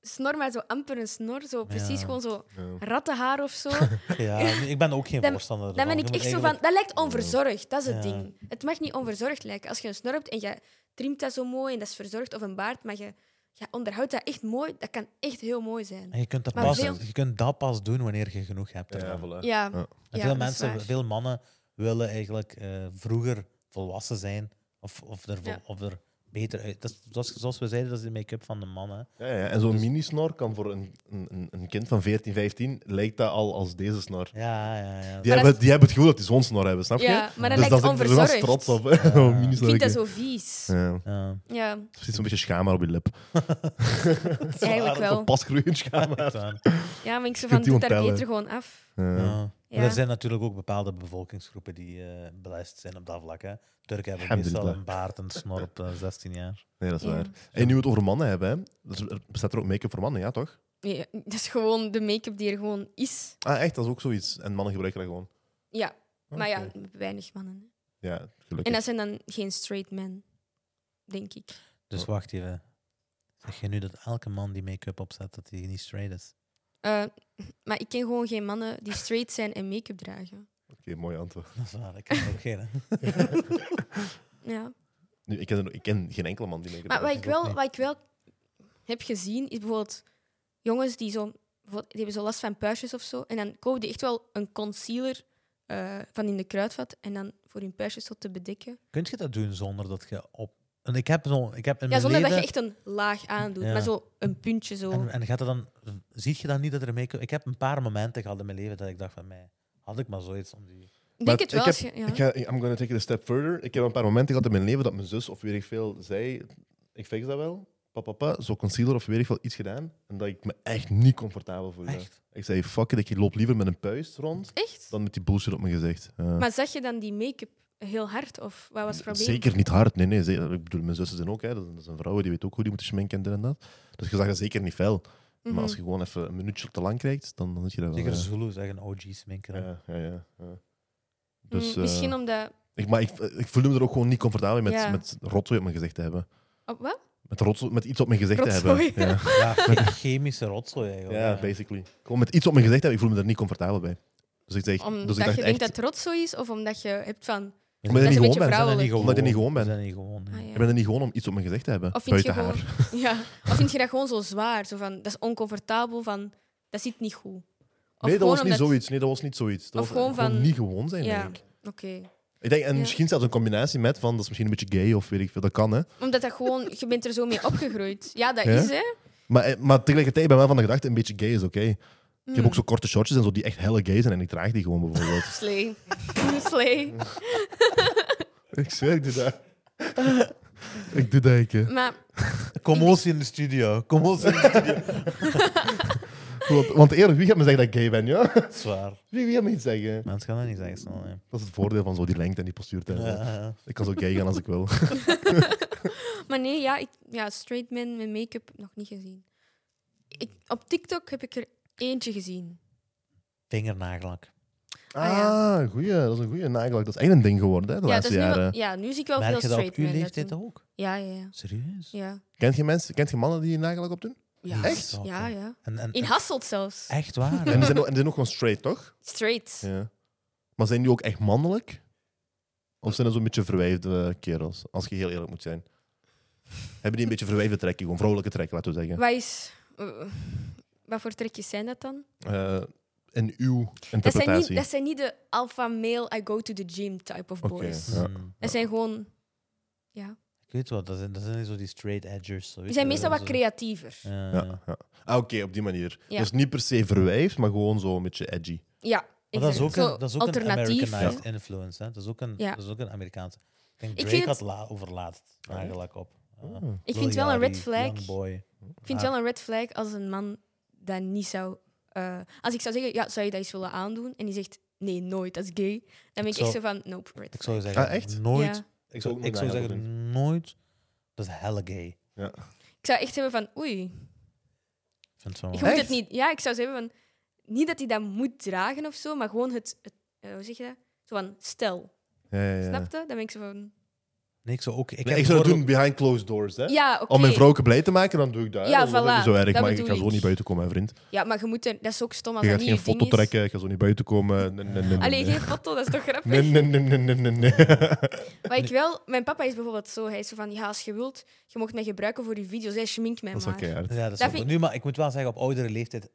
[SPEAKER 3] Snor, maar zo amper een snor. Zo precies
[SPEAKER 2] Ja.
[SPEAKER 3] gewoon zo
[SPEAKER 1] Ja.
[SPEAKER 3] rattenhaar of zo.
[SPEAKER 2] Ja, nee, ik ben ook geen
[SPEAKER 3] Dan-
[SPEAKER 2] voorstander
[SPEAKER 3] Dan
[SPEAKER 2] ervan.
[SPEAKER 3] ben ik
[SPEAKER 2] Je moet
[SPEAKER 3] echt zo van...
[SPEAKER 2] eigenlijk-
[SPEAKER 3] Dat lijkt onverzorgd, dat is het
[SPEAKER 2] Ja.
[SPEAKER 3] ding. Het mag niet onverzorgd lijken. Als je een snor hebt en je trimt dat zo mooi en dat is verzorgd, of een baard, maar je, je onderhoudt dat echt mooi, dat kan echt heel mooi zijn.
[SPEAKER 2] En je kunt, dat
[SPEAKER 3] Maar
[SPEAKER 2] pas,
[SPEAKER 3] veel-
[SPEAKER 2] je kunt dat pas doen wanneer je genoeg hebt. ervan.
[SPEAKER 3] Ja,
[SPEAKER 1] Ja.
[SPEAKER 2] En
[SPEAKER 3] ja,
[SPEAKER 2] veel
[SPEAKER 3] dat is
[SPEAKER 2] mensen,
[SPEAKER 3] waar.
[SPEAKER 2] veel mannen willen eigenlijk eh, vroeger volwassen zijn of, of, er, vol-
[SPEAKER 3] Ja.
[SPEAKER 2] of er beter uit. Dat is, zoals, zoals we zeiden, dat is de make-up van de mannen.
[SPEAKER 1] Ja, ja. En zo'n mini-snor kan voor een, een, een kind van 14, 15, lijkt dat al als deze snor.
[SPEAKER 2] Ja, ja, ja.
[SPEAKER 1] Die,
[SPEAKER 3] Maar
[SPEAKER 1] hebben,
[SPEAKER 3] dat is-
[SPEAKER 1] die hebben het gevoel dat die zo'n snor hebben, snap je?
[SPEAKER 3] Ja, maar dat
[SPEAKER 1] dus
[SPEAKER 3] lijkt
[SPEAKER 1] dat is- daar
[SPEAKER 3] onverzorgd.
[SPEAKER 1] was trots op.
[SPEAKER 2] Ja.
[SPEAKER 1] mini
[SPEAKER 3] Ik vind dat zo vies. Ja,
[SPEAKER 1] Ja.
[SPEAKER 2] Ja.
[SPEAKER 1] Precies zo'n beetje schaamhaar op je lip.
[SPEAKER 3] eigenlijk wel.
[SPEAKER 1] Pasgroeiend schaamhaar.
[SPEAKER 2] Echt waar.
[SPEAKER 3] Ja, maar ik zo
[SPEAKER 1] kunt
[SPEAKER 3] van,
[SPEAKER 1] die
[SPEAKER 3] doe daar
[SPEAKER 1] ontpellen.
[SPEAKER 3] beter gewoon af.
[SPEAKER 1] Ja.
[SPEAKER 2] Ja.
[SPEAKER 3] Ja.
[SPEAKER 2] Maar er zijn natuurlijk ook bepaalde bevolkingsgroepen die eh belast zijn op dat vlak. Hè. Turken hebben meestal
[SPEAKER 1] Alhamdulillah.
[SPEAKER 2] een baard en een snor op eh, 16 jaar.
[SPEAKER 1] Nee, dat is
[SPEAKER 3] Ja.
[SPEAKER 1] waar. En nu we het over mannen hebben, hè. Dus er bestaat er ook make-up voor mannen, ja toch?
[SPEAKER 3] Ja, dat is gewoon de make-up die er gewoon is.
[SPEAKER 1] Ah, echt, dat is ook zoiets. En mannen gebruiken dat gewoon.
[SPEAKER 3] Ja,
[SPEAKER 1] Ah,
[SPEAKER 3] maar ja,
[SPEAKER 1] oké.
[SPEAKER 3] weinig mannen.
[SPEAKER 1] Ja, gelukkig.
[SPEAKER 3] En dat zijn dan geen straight men, denk ik.
[SPEAKER 2] Dus
[SPEAKER 1] Oh.
[SPEAKER 2] wacht even. Zeg je nu dat elke man die make-up opzet, dat hij niet straight is?
[SPEAKER 3] Eh, maar ik ken gewoon geen mannen die straight zijn en make-up dragen.
[SPEAKER 1] Oké, mooi antwoord.
[SPEAKER 2] Dat is waar, ik kan er ook geen. hè.
[SPEAKER 3] Ja.
[SPEAKER 1] Nu, ik, ken er- ik ken geen enkele man die make-up
[SPEAKER 3] Maar wat ik,
[SPEAKER 1] gebruikt.
[SPEAKER 3] wel, wat ik wel heb gezien, is bijvoorbeeld jongens die zo... bijvoorbeeld- Die hebben zo last van puistjes of zo. En dan kopen die echt wel een concealer eh, van in de kruidvat. En dan voor hun puistjes zo te bedekken.
[SPEAKER 2] Kun je dat doen zonder dat je op... En ik heb, zo, ik heb in
[SPEAKER 3] Ja,
[SPEAKER 2] mijn
[SPEAKER 3] zonder dat
[SPEAKER 2] leven...
[SPEAKER 3] je echt een laag aandoet.
[SPEAKER 2] Ja.
[SPEAKER 3] Maar zo een puntje zo.
[SPEAKER 2] En, en gaat er dan... Ziet je dan niet dat er make-up... Ik heb een paar momenten gehad in mijn leven dat ik dacht van mij... Had ik maar zoiets om die...
[SPEAKER 3] ik
[SPEAKER 1] Maar
[SPEAKER 3] denk het
[SPEAKER 1] ik
[SPEAKER 3] wel.
[SPEAKER 1] heb-
[SPEAKER 3] als je- ja.
[SPEAKER 1] Ik ga, I'm gonna take it a step further. Ik heb een paar momenten gehad in mijn leven dat mijn zus of weet ik veel zei, ik fix dat wel. Papa, papa, zo concealer of weet ik veel iets gedaan. En dat ik me echt niet comfortabel voelde.
[SPEAKER 2] Echt?
[SPEAKER 1] Ik zei, fuck it, ik loop liever met een puist rond
[SPEAKER 3] Echt?
[SPEAKER 1] dan met die bullshit op mijn gezicht. Ja.
[SPEAKER 3] Maar zag je dan die make-up heel hard? Of wat was het probleem?
[SPEAKER 1] Zeker niet hard, nee, nee. zeker. Ik bedoel, mijn zussen zijn ook, hè. dat dat zijn vrouwen, die weten ook hoe die moeten schminken en dit en dat. Dus je zag dat zeker niet fel.
[SPEAKER 3] Mhm.
[SPEAKER 1] Maar als je gewoon even een minuutje te lang krijgt, dan, dan zit je dat wel.
[SPEAKER 2] Zeker
[SPEAKER 1] ja.
[SPEAKER 2] Zulu oh, is echt een OG-sminker.
[SPEAKER 1] Ja, ja, ja. ja.
[SPEAKER 3] Mhm.
[SPEAKER 1] Dus,
[SPEAKER 3] Mm, misschien
[SPEAKER 1] eh,
[SPEAKER 3] omdat...
[SPEAKER 1] ik, maar ik, eh, ik voelde me er ook gewoon niet comfortabel mee met,
[SPEAKER 3] Ja.
[SPEAKER 1] met rotzooi op mijn gezicht te hebben.
[SPEAKER 3] Oh, wat?
[SPEAKER 1] Met, rotzo- met iets op mijn gezicht
[SPEAKER 3] Rotzooi.
[SPEAKER 1] te hebben.
[SPEAKER 2] Ja, ge- chemische rotzooi
[SPEAKER 1] Ja.
[SPEAKER 2] eigenlijk.
[SPEAKER 1] ja, basically. Gewoon met iets op mijn gezicht te hebben, ik voel me er niet comfortabel bij. Dus ik zeg,
[SPEAKER 3] Omdat
[SPEAKER 1] dus ik
[SPEAKER 3] je
[SPEAKER 1] dacht
[SPEAKER 3] denkt
[SPEAKER 1] echt,
[SPEAKER 3] dat het trots zo is? Of omdat je hebt van...
[SPEAKER 2] We
[SPEAKER 1] Omdat je
[SPEAKER 2] zijn
[SPEAKER 1] niet gewoon
[SPEAKER 2] er
[SPEAKER 1] bent.
[SPEAKER 3] beetje vrouw-
[SPEAKER 2] niet
[SPEAKER 3] Vrouwelijk.
[SPEAKER 2] gewoon.
[SPEAKER 1] Omdat je niet gewoon bent.
[SPEAKER 2] We zijn er niet gewoon. ja.
[SPEAKER 3] Ah, ja.
[SPEAKER 1] ik ben er niet gewoon om iets op mijn gezicht te hebben.
[SPEAKER 3] Of vind je
[SPEAKER 1] buiten
[SPEAKER 3] gewoon...
[SPEAKER 1] haar.
[SPEAKER 3] Ja. Of vind je dat gewoon zo zwaar? Zo van, dat is oncomfortabel, van, dat zit niet goed. Of
[SPEAKER 1] Nee, dat
[SPEAKER 3] gewoon
[SPEAKER 1] was niet
[SPEAKER 3] omdat-
[SPEAKER 1] zoiets. Nee, dat was niet zoiets. Dat
[SPEAKER 3] Of
[SPEAKER 1] was
[SPEAKER 3] gewoon van-
[SPEAKER 1] niet gewoon zijn,
[SPEAKER 3] Ja,
[SPEAKER 1] denk ik.
[SPEAKER 3] oké.
[SPEAKER 1] Ik denk, en
[SPEAKER 3] Ja.
[SPEAKER 1] misschien zelfs een combinatie met van, dat is misschien een beetje gay of weet ik veel, dat kan hè.
[SPEAKER 3] Omdat dat gewoon, je bent er zo mee opgegroeid. Ja, dat
[SPEAKER 1] Ja?
[SPEAKER 3] is hè.
[SPEAKER 1] Maar, eh, maar tegelijkertijd ben ik wel van de gedachte, een beetje gay is oké. Ik heb
[SPEAKER 3] Hmm.
[SPEAKER 1] ook zo korte shortjes en zo die echt helle gay zijn en ik draag die gewoon bijvoorbeeld.
[SPEAKER 3] Slee. Slee.
[SPEAKER 1] ik zweer, ik doe dat. ik doe dat, ik. hè.
[SPEAKER 3] Maar
[SPEAKER 2] Commotie in de studio. Commotie in de studio.
[SPEAKER 1] Want, want eerlijk, wie gaat me zeggen dat ik gay ben? Ja?
[SPEAKER 2] Zwaar.
[SPEAKER 1] Wie, wie gaat me iets zeggen?
[SPEAKER 2] Mensen gaan dat niet zeggen snel. hè.
[SPEAKER 1] Dat is het voordeel van zo die lengte en die postuur. te hebben.
[SPEAKER 2] Ja, ja.
[SPEAKER 1] Ik kan zo gay gaan als ik wil.
[SPEAKER 3] Maar nee, ja, ik, ja straight men met make-up nog niet gezien. Ik, op TikTok heb ik er eentje gezien.
[SPEAKER 2] Vingernagelak.
[SPEAKER 3] Ah, ja.
[SPEAKER 1] Ah, goeie. Dat is een goeie nagellak. Dat is echt een ding geworden hè, de
[SPEAKER 3] ja, dat
[SPEAKER 1] laatste
[SPEAKER 3] is nu wel-
[SPEAKER 1] jaren.
[SPEAKER 3] ja, nu zie ik wel
[SPEAKER 2] Merk je
[SPEAKER 3] veel
[SPEAKER 2] dat op
[SPEAKER 3] straight
[SPEAKER 2] uw
[SPEAKER 3] men.
[SPEAKER 2] leeftijd
[SPEAKER 3] daartoe.
[SPEAKER 2] ook?
[SPEAKER 3] Ja, ja, ja.
[SPEAKER 2] Serieus?
[SPEAKER 3] ja.
[SPEAKER 1] Kent je mensen, kent je mannen die nagellak opdoen?
[SPEAKER 3] Ja.
[SPEAKER 1] Echt?
[SPEAKER 2] Oké.
[SPEAKER 3] Ja, ja.
[SPEAKER 2] En, en,
[SPEAKER 3] In Hasselt zelfs.
[SPEAKER 2] echt waar?
[SPEAKER 1] En die zijn, ook- en die zijn ook gewoon straight, toch?
[SPEAKER 3] Straight.
[SPEAKER 1] Ja. Maar zijn die ook echt mannelijk? Of zijn dat zo'n beetje verwijfde kerels? Als je heel eerlijk moet zijn. Hebben die een beetje verwijfde trekken? Gewoon vrouwelijke trekken, laten we zeggen.
[SPEAKER 3] Wat, is, eh, wat voor trekjes zijn dat dan?
[SPEAKER 1] Eh en uw
[SPEAKER 3] Dat zijn, niet,
[SPEAKER 1] interpretatie.
[SPEAKER 3] dat zijn niet de alpha male, I go to the gym type of
[SPEAKER 1] Oké,
[SPEAKER 3] boys.
[SPEAKER 1] ja.
[SPEAKER 2] Hmm.
[SPEAKER 3] Dat zijn gewoon... Ja.
[SPEAKER 2] Ik weet wat, dat zijn, dat zijn zo die straight edgers. zo, weet
[SPEAKER 3] Die zijn
[SPEAKER 2] je,
[SPEAKER 3] meestal
[SPEAKER 2] dat
[SPEAKER 3] wat
[SPEAKER 2] zo-
[SPEAKER 3] creatiever.
[SPEAKER 2] Ja,
[SPEAKER 1] Ja,
[SPEAKER 2] ja.
[SPEAKER 1] ja. Ah, Oké, op die manier.
[SPEAKER 3] Ja.
[SPEAKER 1] Dus niet per se verwijfd, maar gewoon zo een beetje edgy.
[SPEAKER 3] Ja.
[SPEAKER 2] Maar dat is ook
[SPEAKER 3] exact. Zo
[SPEAKER 2] een, dat is ook een
[SPEAKER 3] alternatief.
[SPEAKER 2] Americanized influence. Hè? Dat, is ook een,
[SPEAKER 3] Ja.
[SPEAKER 2] dat is ook een Amerikaanse. Ik denk
[SPEAKER 3] Ik
[SPEAKER 2] Drake
[SPEAKER 3] vind
[SPEAKER 2] had
[SPEAKER 3] het-
[SPEAKER 2] la,
[SPEAKER 1] Ah,
[SPEAKER 2] overlaat eigenlijk op. Ja.
[SPEAKER 1] Oh.
[SPEAKER 3] Ik
[SPEAKER 2] Lil
[SPEAKER 3] vind wel een
[SPEAKER 2] Yachty,
[SPEAKER 3] red flag.
[SPEAKER 2] Young boy.
[SPEAKER 3] Ik vind het wel een red flag als een man dat niet zou... eh, als ik zou zeggen, ja, zou je dat eens willen aandoen? En die zegt, nee, nooit, dat is gay. Dan ben ik
[SPEAKER 2] zou-
[SPEAKER 3] echt zo van, nope, red
[SPEAKER 2] Ik
[SPEAKER 3] flag.
[SPEAKER 2] zou zeggen,
[SPEAKER 1] Ah, echt?
[SPEAKER 2] nooit.
[SPEAKER 3] Ja.
[SPEAKER 2] Ik zou, ik zou zeggen, nooit. Dat is hella gay. Ik
[SPEAKER 3] Ik zou echt hebben van, oei,
[SPEAKER 2] vind het wel-
[SPEAKER 3] Ik moet
[SPEAKER 1] Echt?
[SPEAKER 3] het niet. Ja, ik zou zeggen van niet dat hij dat moet dragen of zo, maar gewoon het, het eh, hoe zeg je dat? Zo van stel.
[SPEAKER 1] Ja, ja, ja.
[SPEAKER 3] Snap je? Dan ben ik zo van
[SPEAKER 2] Nee, ik zou ook... Ik,
[SPEAKER 1] Nee,
[SPEAKER 2] heb
[SPEAKER 1] ik zou dat doen behind
[SPEAKER 2] bijvoorbeeld-
[SPEAKER 1] closed doors, hè?
[SPEAKER 3] ja, oké.
[SPEAKER 1] Om Oh, mijn vrouwke blij te maken, dan doe ik dat. hè.
[SPEAKER 3] Ja,
[SPEAKER 1] dat is ook
[SPEAKER 3] voilà,
[SPEAKER 1] niet zo erg,
[SPEAKER 3] dat
[SPEAKER 1] maar ik
[SPEAKER 3] bedoel
[SPEAKER 1] ga zo
[SPEAKER 3] ik.
[SPEAKER 1] niet buiten komen, hè, vriend.
[SPEAKER 3] Ja, maar je moet er, dat is ook stom als
[SPEAKER 1] je
[SPEAKER 3] dat
[SPEAKER 1] gaat
[SPEAKER 3] niet
[SPEAKER 1] geen
[SPEAKER 3] je
[SPEAKER 1] foto
[SPEAKER 3] ding is.
[SPEAKER 1] trekken, ik ga zo niet buiten komen. Nee, nee, nee, nee,
[SPEAKER 3] Allee,
[SPEAKER 1] nee.
[SPEAKER 3] geen foto, dat is toch grappig?
[SPEAKER 1] Nee, nee, nee, nee, nee, nee.
[SPEAKER 3] Maar ik wel, mijn papa is bijvoorbeeld zo, hij is zo van ja, als je wilt, je mocht mij gebruiken voor je video's, hij schminkt mij
[SPEAKER 1] Dat is wel
[SPEAKER 3] maar.
[SPEAKER 1] keihard.
[SPEAKER 2] Ja, dat is
[SPEAKER 3] Dat
[SPEAKER 2] ook-
[SPEAKER 3] vind-
[SPEAKER 2] Nu, maar ik moet wel zeggen, op oudere leeftijd...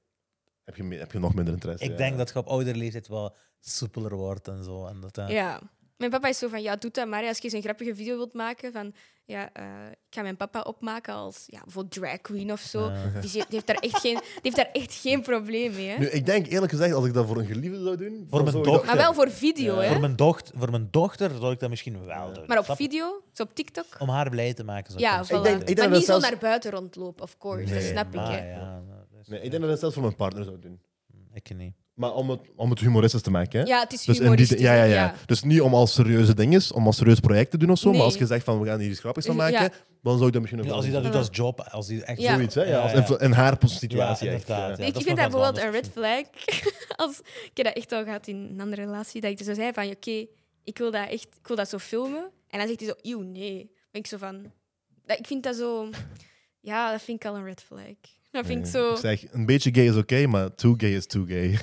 [SPEAKER 1] Heb je, me- heb je nog minder interesse?
[SPEAKER 2] Ik
[SPEAKER 1] ja.
[SPEAKER 2] denk dat je op oudere leeftijd wel soepeler wordt en zo. En dat, eh,
[SPEAKER 3] Ja. Mijn papa is zo van, ja, doe dat maar. hè. Als je eens een grappige video wilt maken, van, ja, eh, ik ga mijn papa opmaken als, ja, bijvoorbeeld drag queen of zo.
[SPEAKER 2] Ah.
[SPEAKER 3] Die, zit- die heeft daar echt geen, die heeft daar echt geen probleem mee, hè.
[SPEAKER 1] Nu, ik denk eerlijk gezegd, als ik dat voor een geliefde zou doen... dan
[SPEAKER 2] Voor mijn
[SPEAKER 1] zou ik dat-
[SPEAKER 2] dochter.
[SPEAKER 3] Maar wel voor video,
[SPEAKER 2] Voor,
[SPEAKER 3] hè.
[SPEAKER 2] mijn docht, voor mijn dochter zou ik dat misschien wel doen.
[SPEAKER 3] Maar op
[SPEAKER 2] Snap je?
[SPEAKER 3] video, zo op TikTok.
[SPEAKER 2] Om haar blij te maken. zou ik
[SPEAKER 3] Ja,
[SPEAKER 2] dat
[SPEAKER 3] voilà.
[SPEAKER 2] doen.
[SPEAKER 1] Ik denk- ik denk
[SPEAKER 3] maar
[SPEAKER 1] dat
[SPEAKER 3] niet zo
[SPEAKER 1] zelfs-
[SPEAKER 3] naar buiten rondlopen, of course. dat
[SPEAKER 1] Nee,
[SPEAKER 3] snap
[SPEAKER 2] maar
[SPEAKER 3] ik, hè.
[SPEAKER 2] Ja, nou, dat is-
[SPEAKER 1] Nee, ik denk dat ik dat zelfs voor mijn partner zou doen.
[SPEAKER 2] ik niet.
[SPEAKER 1] Maar om het, om het humoristisch te maken, hè?
[SPEAKER 3] Ja, het is
[SPEAKER 1] Dus, in die
[SPEAKER 3] humoristisch.
[SPEAKER 1] zin- ja, ja, ja.
[SPEAKER 3] ja.
[SPEAKER 1] dus niet om als serieuze ding is, om als serieus project te doen of zo.
[SPEAKER 3] Nee.
[SPEAKER 1] Maar als je zegt van we gaan hier iets grappigs van
[SPEAKER 3] Ja.
[SPEAKER 1] maken, dan zou ik dat misschien nog
[SPEAKER 2] Nu,
[SPEAKER 1] wel
[SPEAKER 2] Als hij dat
[SPEAKER 1] doen.
[SPEAKER 2] doet als job, als hij echt
[SPEAKER 3] Ja.
[SPEAKER 1] Zoiets, hè? Ja, als
[SPEAKER 2] ja.
[SPEAKER 1] influ- In haar situatie.
[SPEAKER 2] Ja,
[SPEAKER 1] echt,
[SPEAKER 2] inderdaad, ja.
[SPEAKER 3] ik
[SPEAKER 2] dat is
[SPEAKER 3] vind
[SPEAKER 2] nog
[SPEAKER 3] dat
[SPEAKER 2] wel
[SPEAKER 3] bijvoorbeeld een
[SPEAKER 2] anders
[SPEAKER 3] red flag. Als, ik heb dat echt al gehad in een andere relatie, dat ik er zo zei van, oké, ik wil dat echt, ik wil dat zo filmen. En dan zegt hij zo, eeuw, nee. Ben ik zo van, dat, ik vind dat zo, ja, dat vind ik al een red flag. Dat vind ik
[SPEAKER 1] Nee.
[SPEAKER 3] zo,
[SPEAKER 1] Ik zeg, een beetje gay is oké, maar too gay is too gay.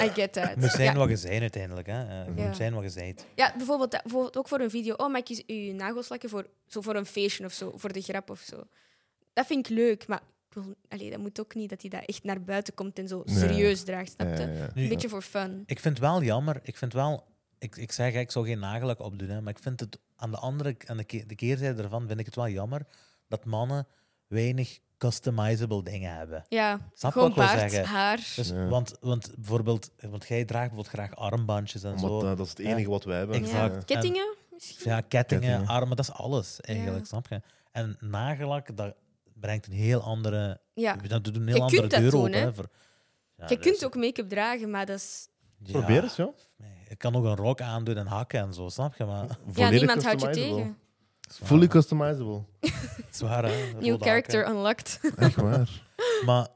[SPEAKER 3] I get that.
[SPEAKER 2] Het moet zijn
[SPEAKER 3] ja.
[SPEAKER 2] wat je zijn uiteindelijk. Hè. Eh, Het
[SPEAKER 3] Ja.
[SPEAKER 2] moet zijn wat je zijt.
[SPEAKER 3] Ja, bijvoorbeeld, dat- bijvoorbeeld ook voor een video. Oh, maar ik kies je nagels lakken voor, zo voor een feestje of zo, voor de grap of zo. Dat vind ik leuk, maar ik wil, allee, dat moet ook niet dat hij dat echt naar buiten komt en zo
[SPEAKER 1] Nee.
[SPEAKER 3] serieus draagt, snap je?
[SPEAKER 1] Ja, ja, ja.
[SPEAKER 2] Nu,
[SPEAKER 3] Een beetje voor fun.
[SPEAKER 2] Ik vind het wel jammer. Ik vind wel... Ik, ik zeg, hè, ik zou geen nagelak opdoen, hè, maar ik vind het aan de andere aan de, ke- de keerzijde ervan vind ik het wel jammer dat mannen weinig customizable dingen hebben.
[SPEAKER 3] Ja,
[SPEAKER 2] Snap
[SPEAKER 3] gewoon
[SPEAKER 2] wat ik wil
[SPEAKER 3] baard,
[SPEAKER 2] zeggen?
[SPEAKER 3] haar.
[SPEAKER 2] Dus,
[SPEAKER 1] Ja.
[SPEAKER 2] want, want bijvoorbeeld, want jij draagt bijvoorbeeld graag armbandjes en
[SPEAKER 1] Omdat,
[SPEAKER 2] zo.
[SPEAKER 1] eh, dat is het enige wat we hebben.
[SPEAKER 2] Exact.
[SPEAKER 1] Ja.
[SPEAKER 3] Kettingen? Misschien?
[SPEAKER 2] Ja, kettingen,
[SPEAKER 1] Kettingen.
[SPEAKER 2] armen, dat is alles eigenlijk,
[SPEAKER 3] Ja.
[SPEAKER 2] snap je? En nagelak, dat brengt een heel andere...
[SPEAKER 3] Ja.
[SPEAKER 2] Dat doet een heel
[SPEAKER 3] Je
[SPEAKER 2] andere
[SPEAKER 3] kunt dat
[SPEAKER 2] deur
[SPEAKER 3] doen,
[SPEAKER 2] open.
[SPEAKER 3] hè.
[SPEAKER 2] voor- Ja,
[SPEAKER 3] Je
[SPEAKER 2] dat
[SPEAKER 3] kunt
[SPEAKER 2] is-
[SPEAKER 3] ook make-up dragen, maar dat is...
[SPEAKER 2] ja.
[SPEAKER 1] Probeer eens, joh.
[SPEAKER 2] Nee, Ik kan ook een rok aandoen en hakken en zo, snap je? Maar
[SPEAKER 3] Ja,
[SPEAKER 1] Volledig
[SPEAKER 3] niemand houdt je
[SPEAKER 1] customizable.
[SPEAKER 3] tegen.
[SPEAKER 2] Zwaar,
[SPEAKER 1] Fully
[SPEAKER 2] hè?
[SPEAKER 1] customizable.
[SPEAKER 2] Zwaar, hè?
[SPEAKER 3] New
[SPEAKER 2] Rode
[SPEAKER 3] character unlocked.
[SPEAKER 1] Echt waar.
[SPEAKER 2] hakken. Maar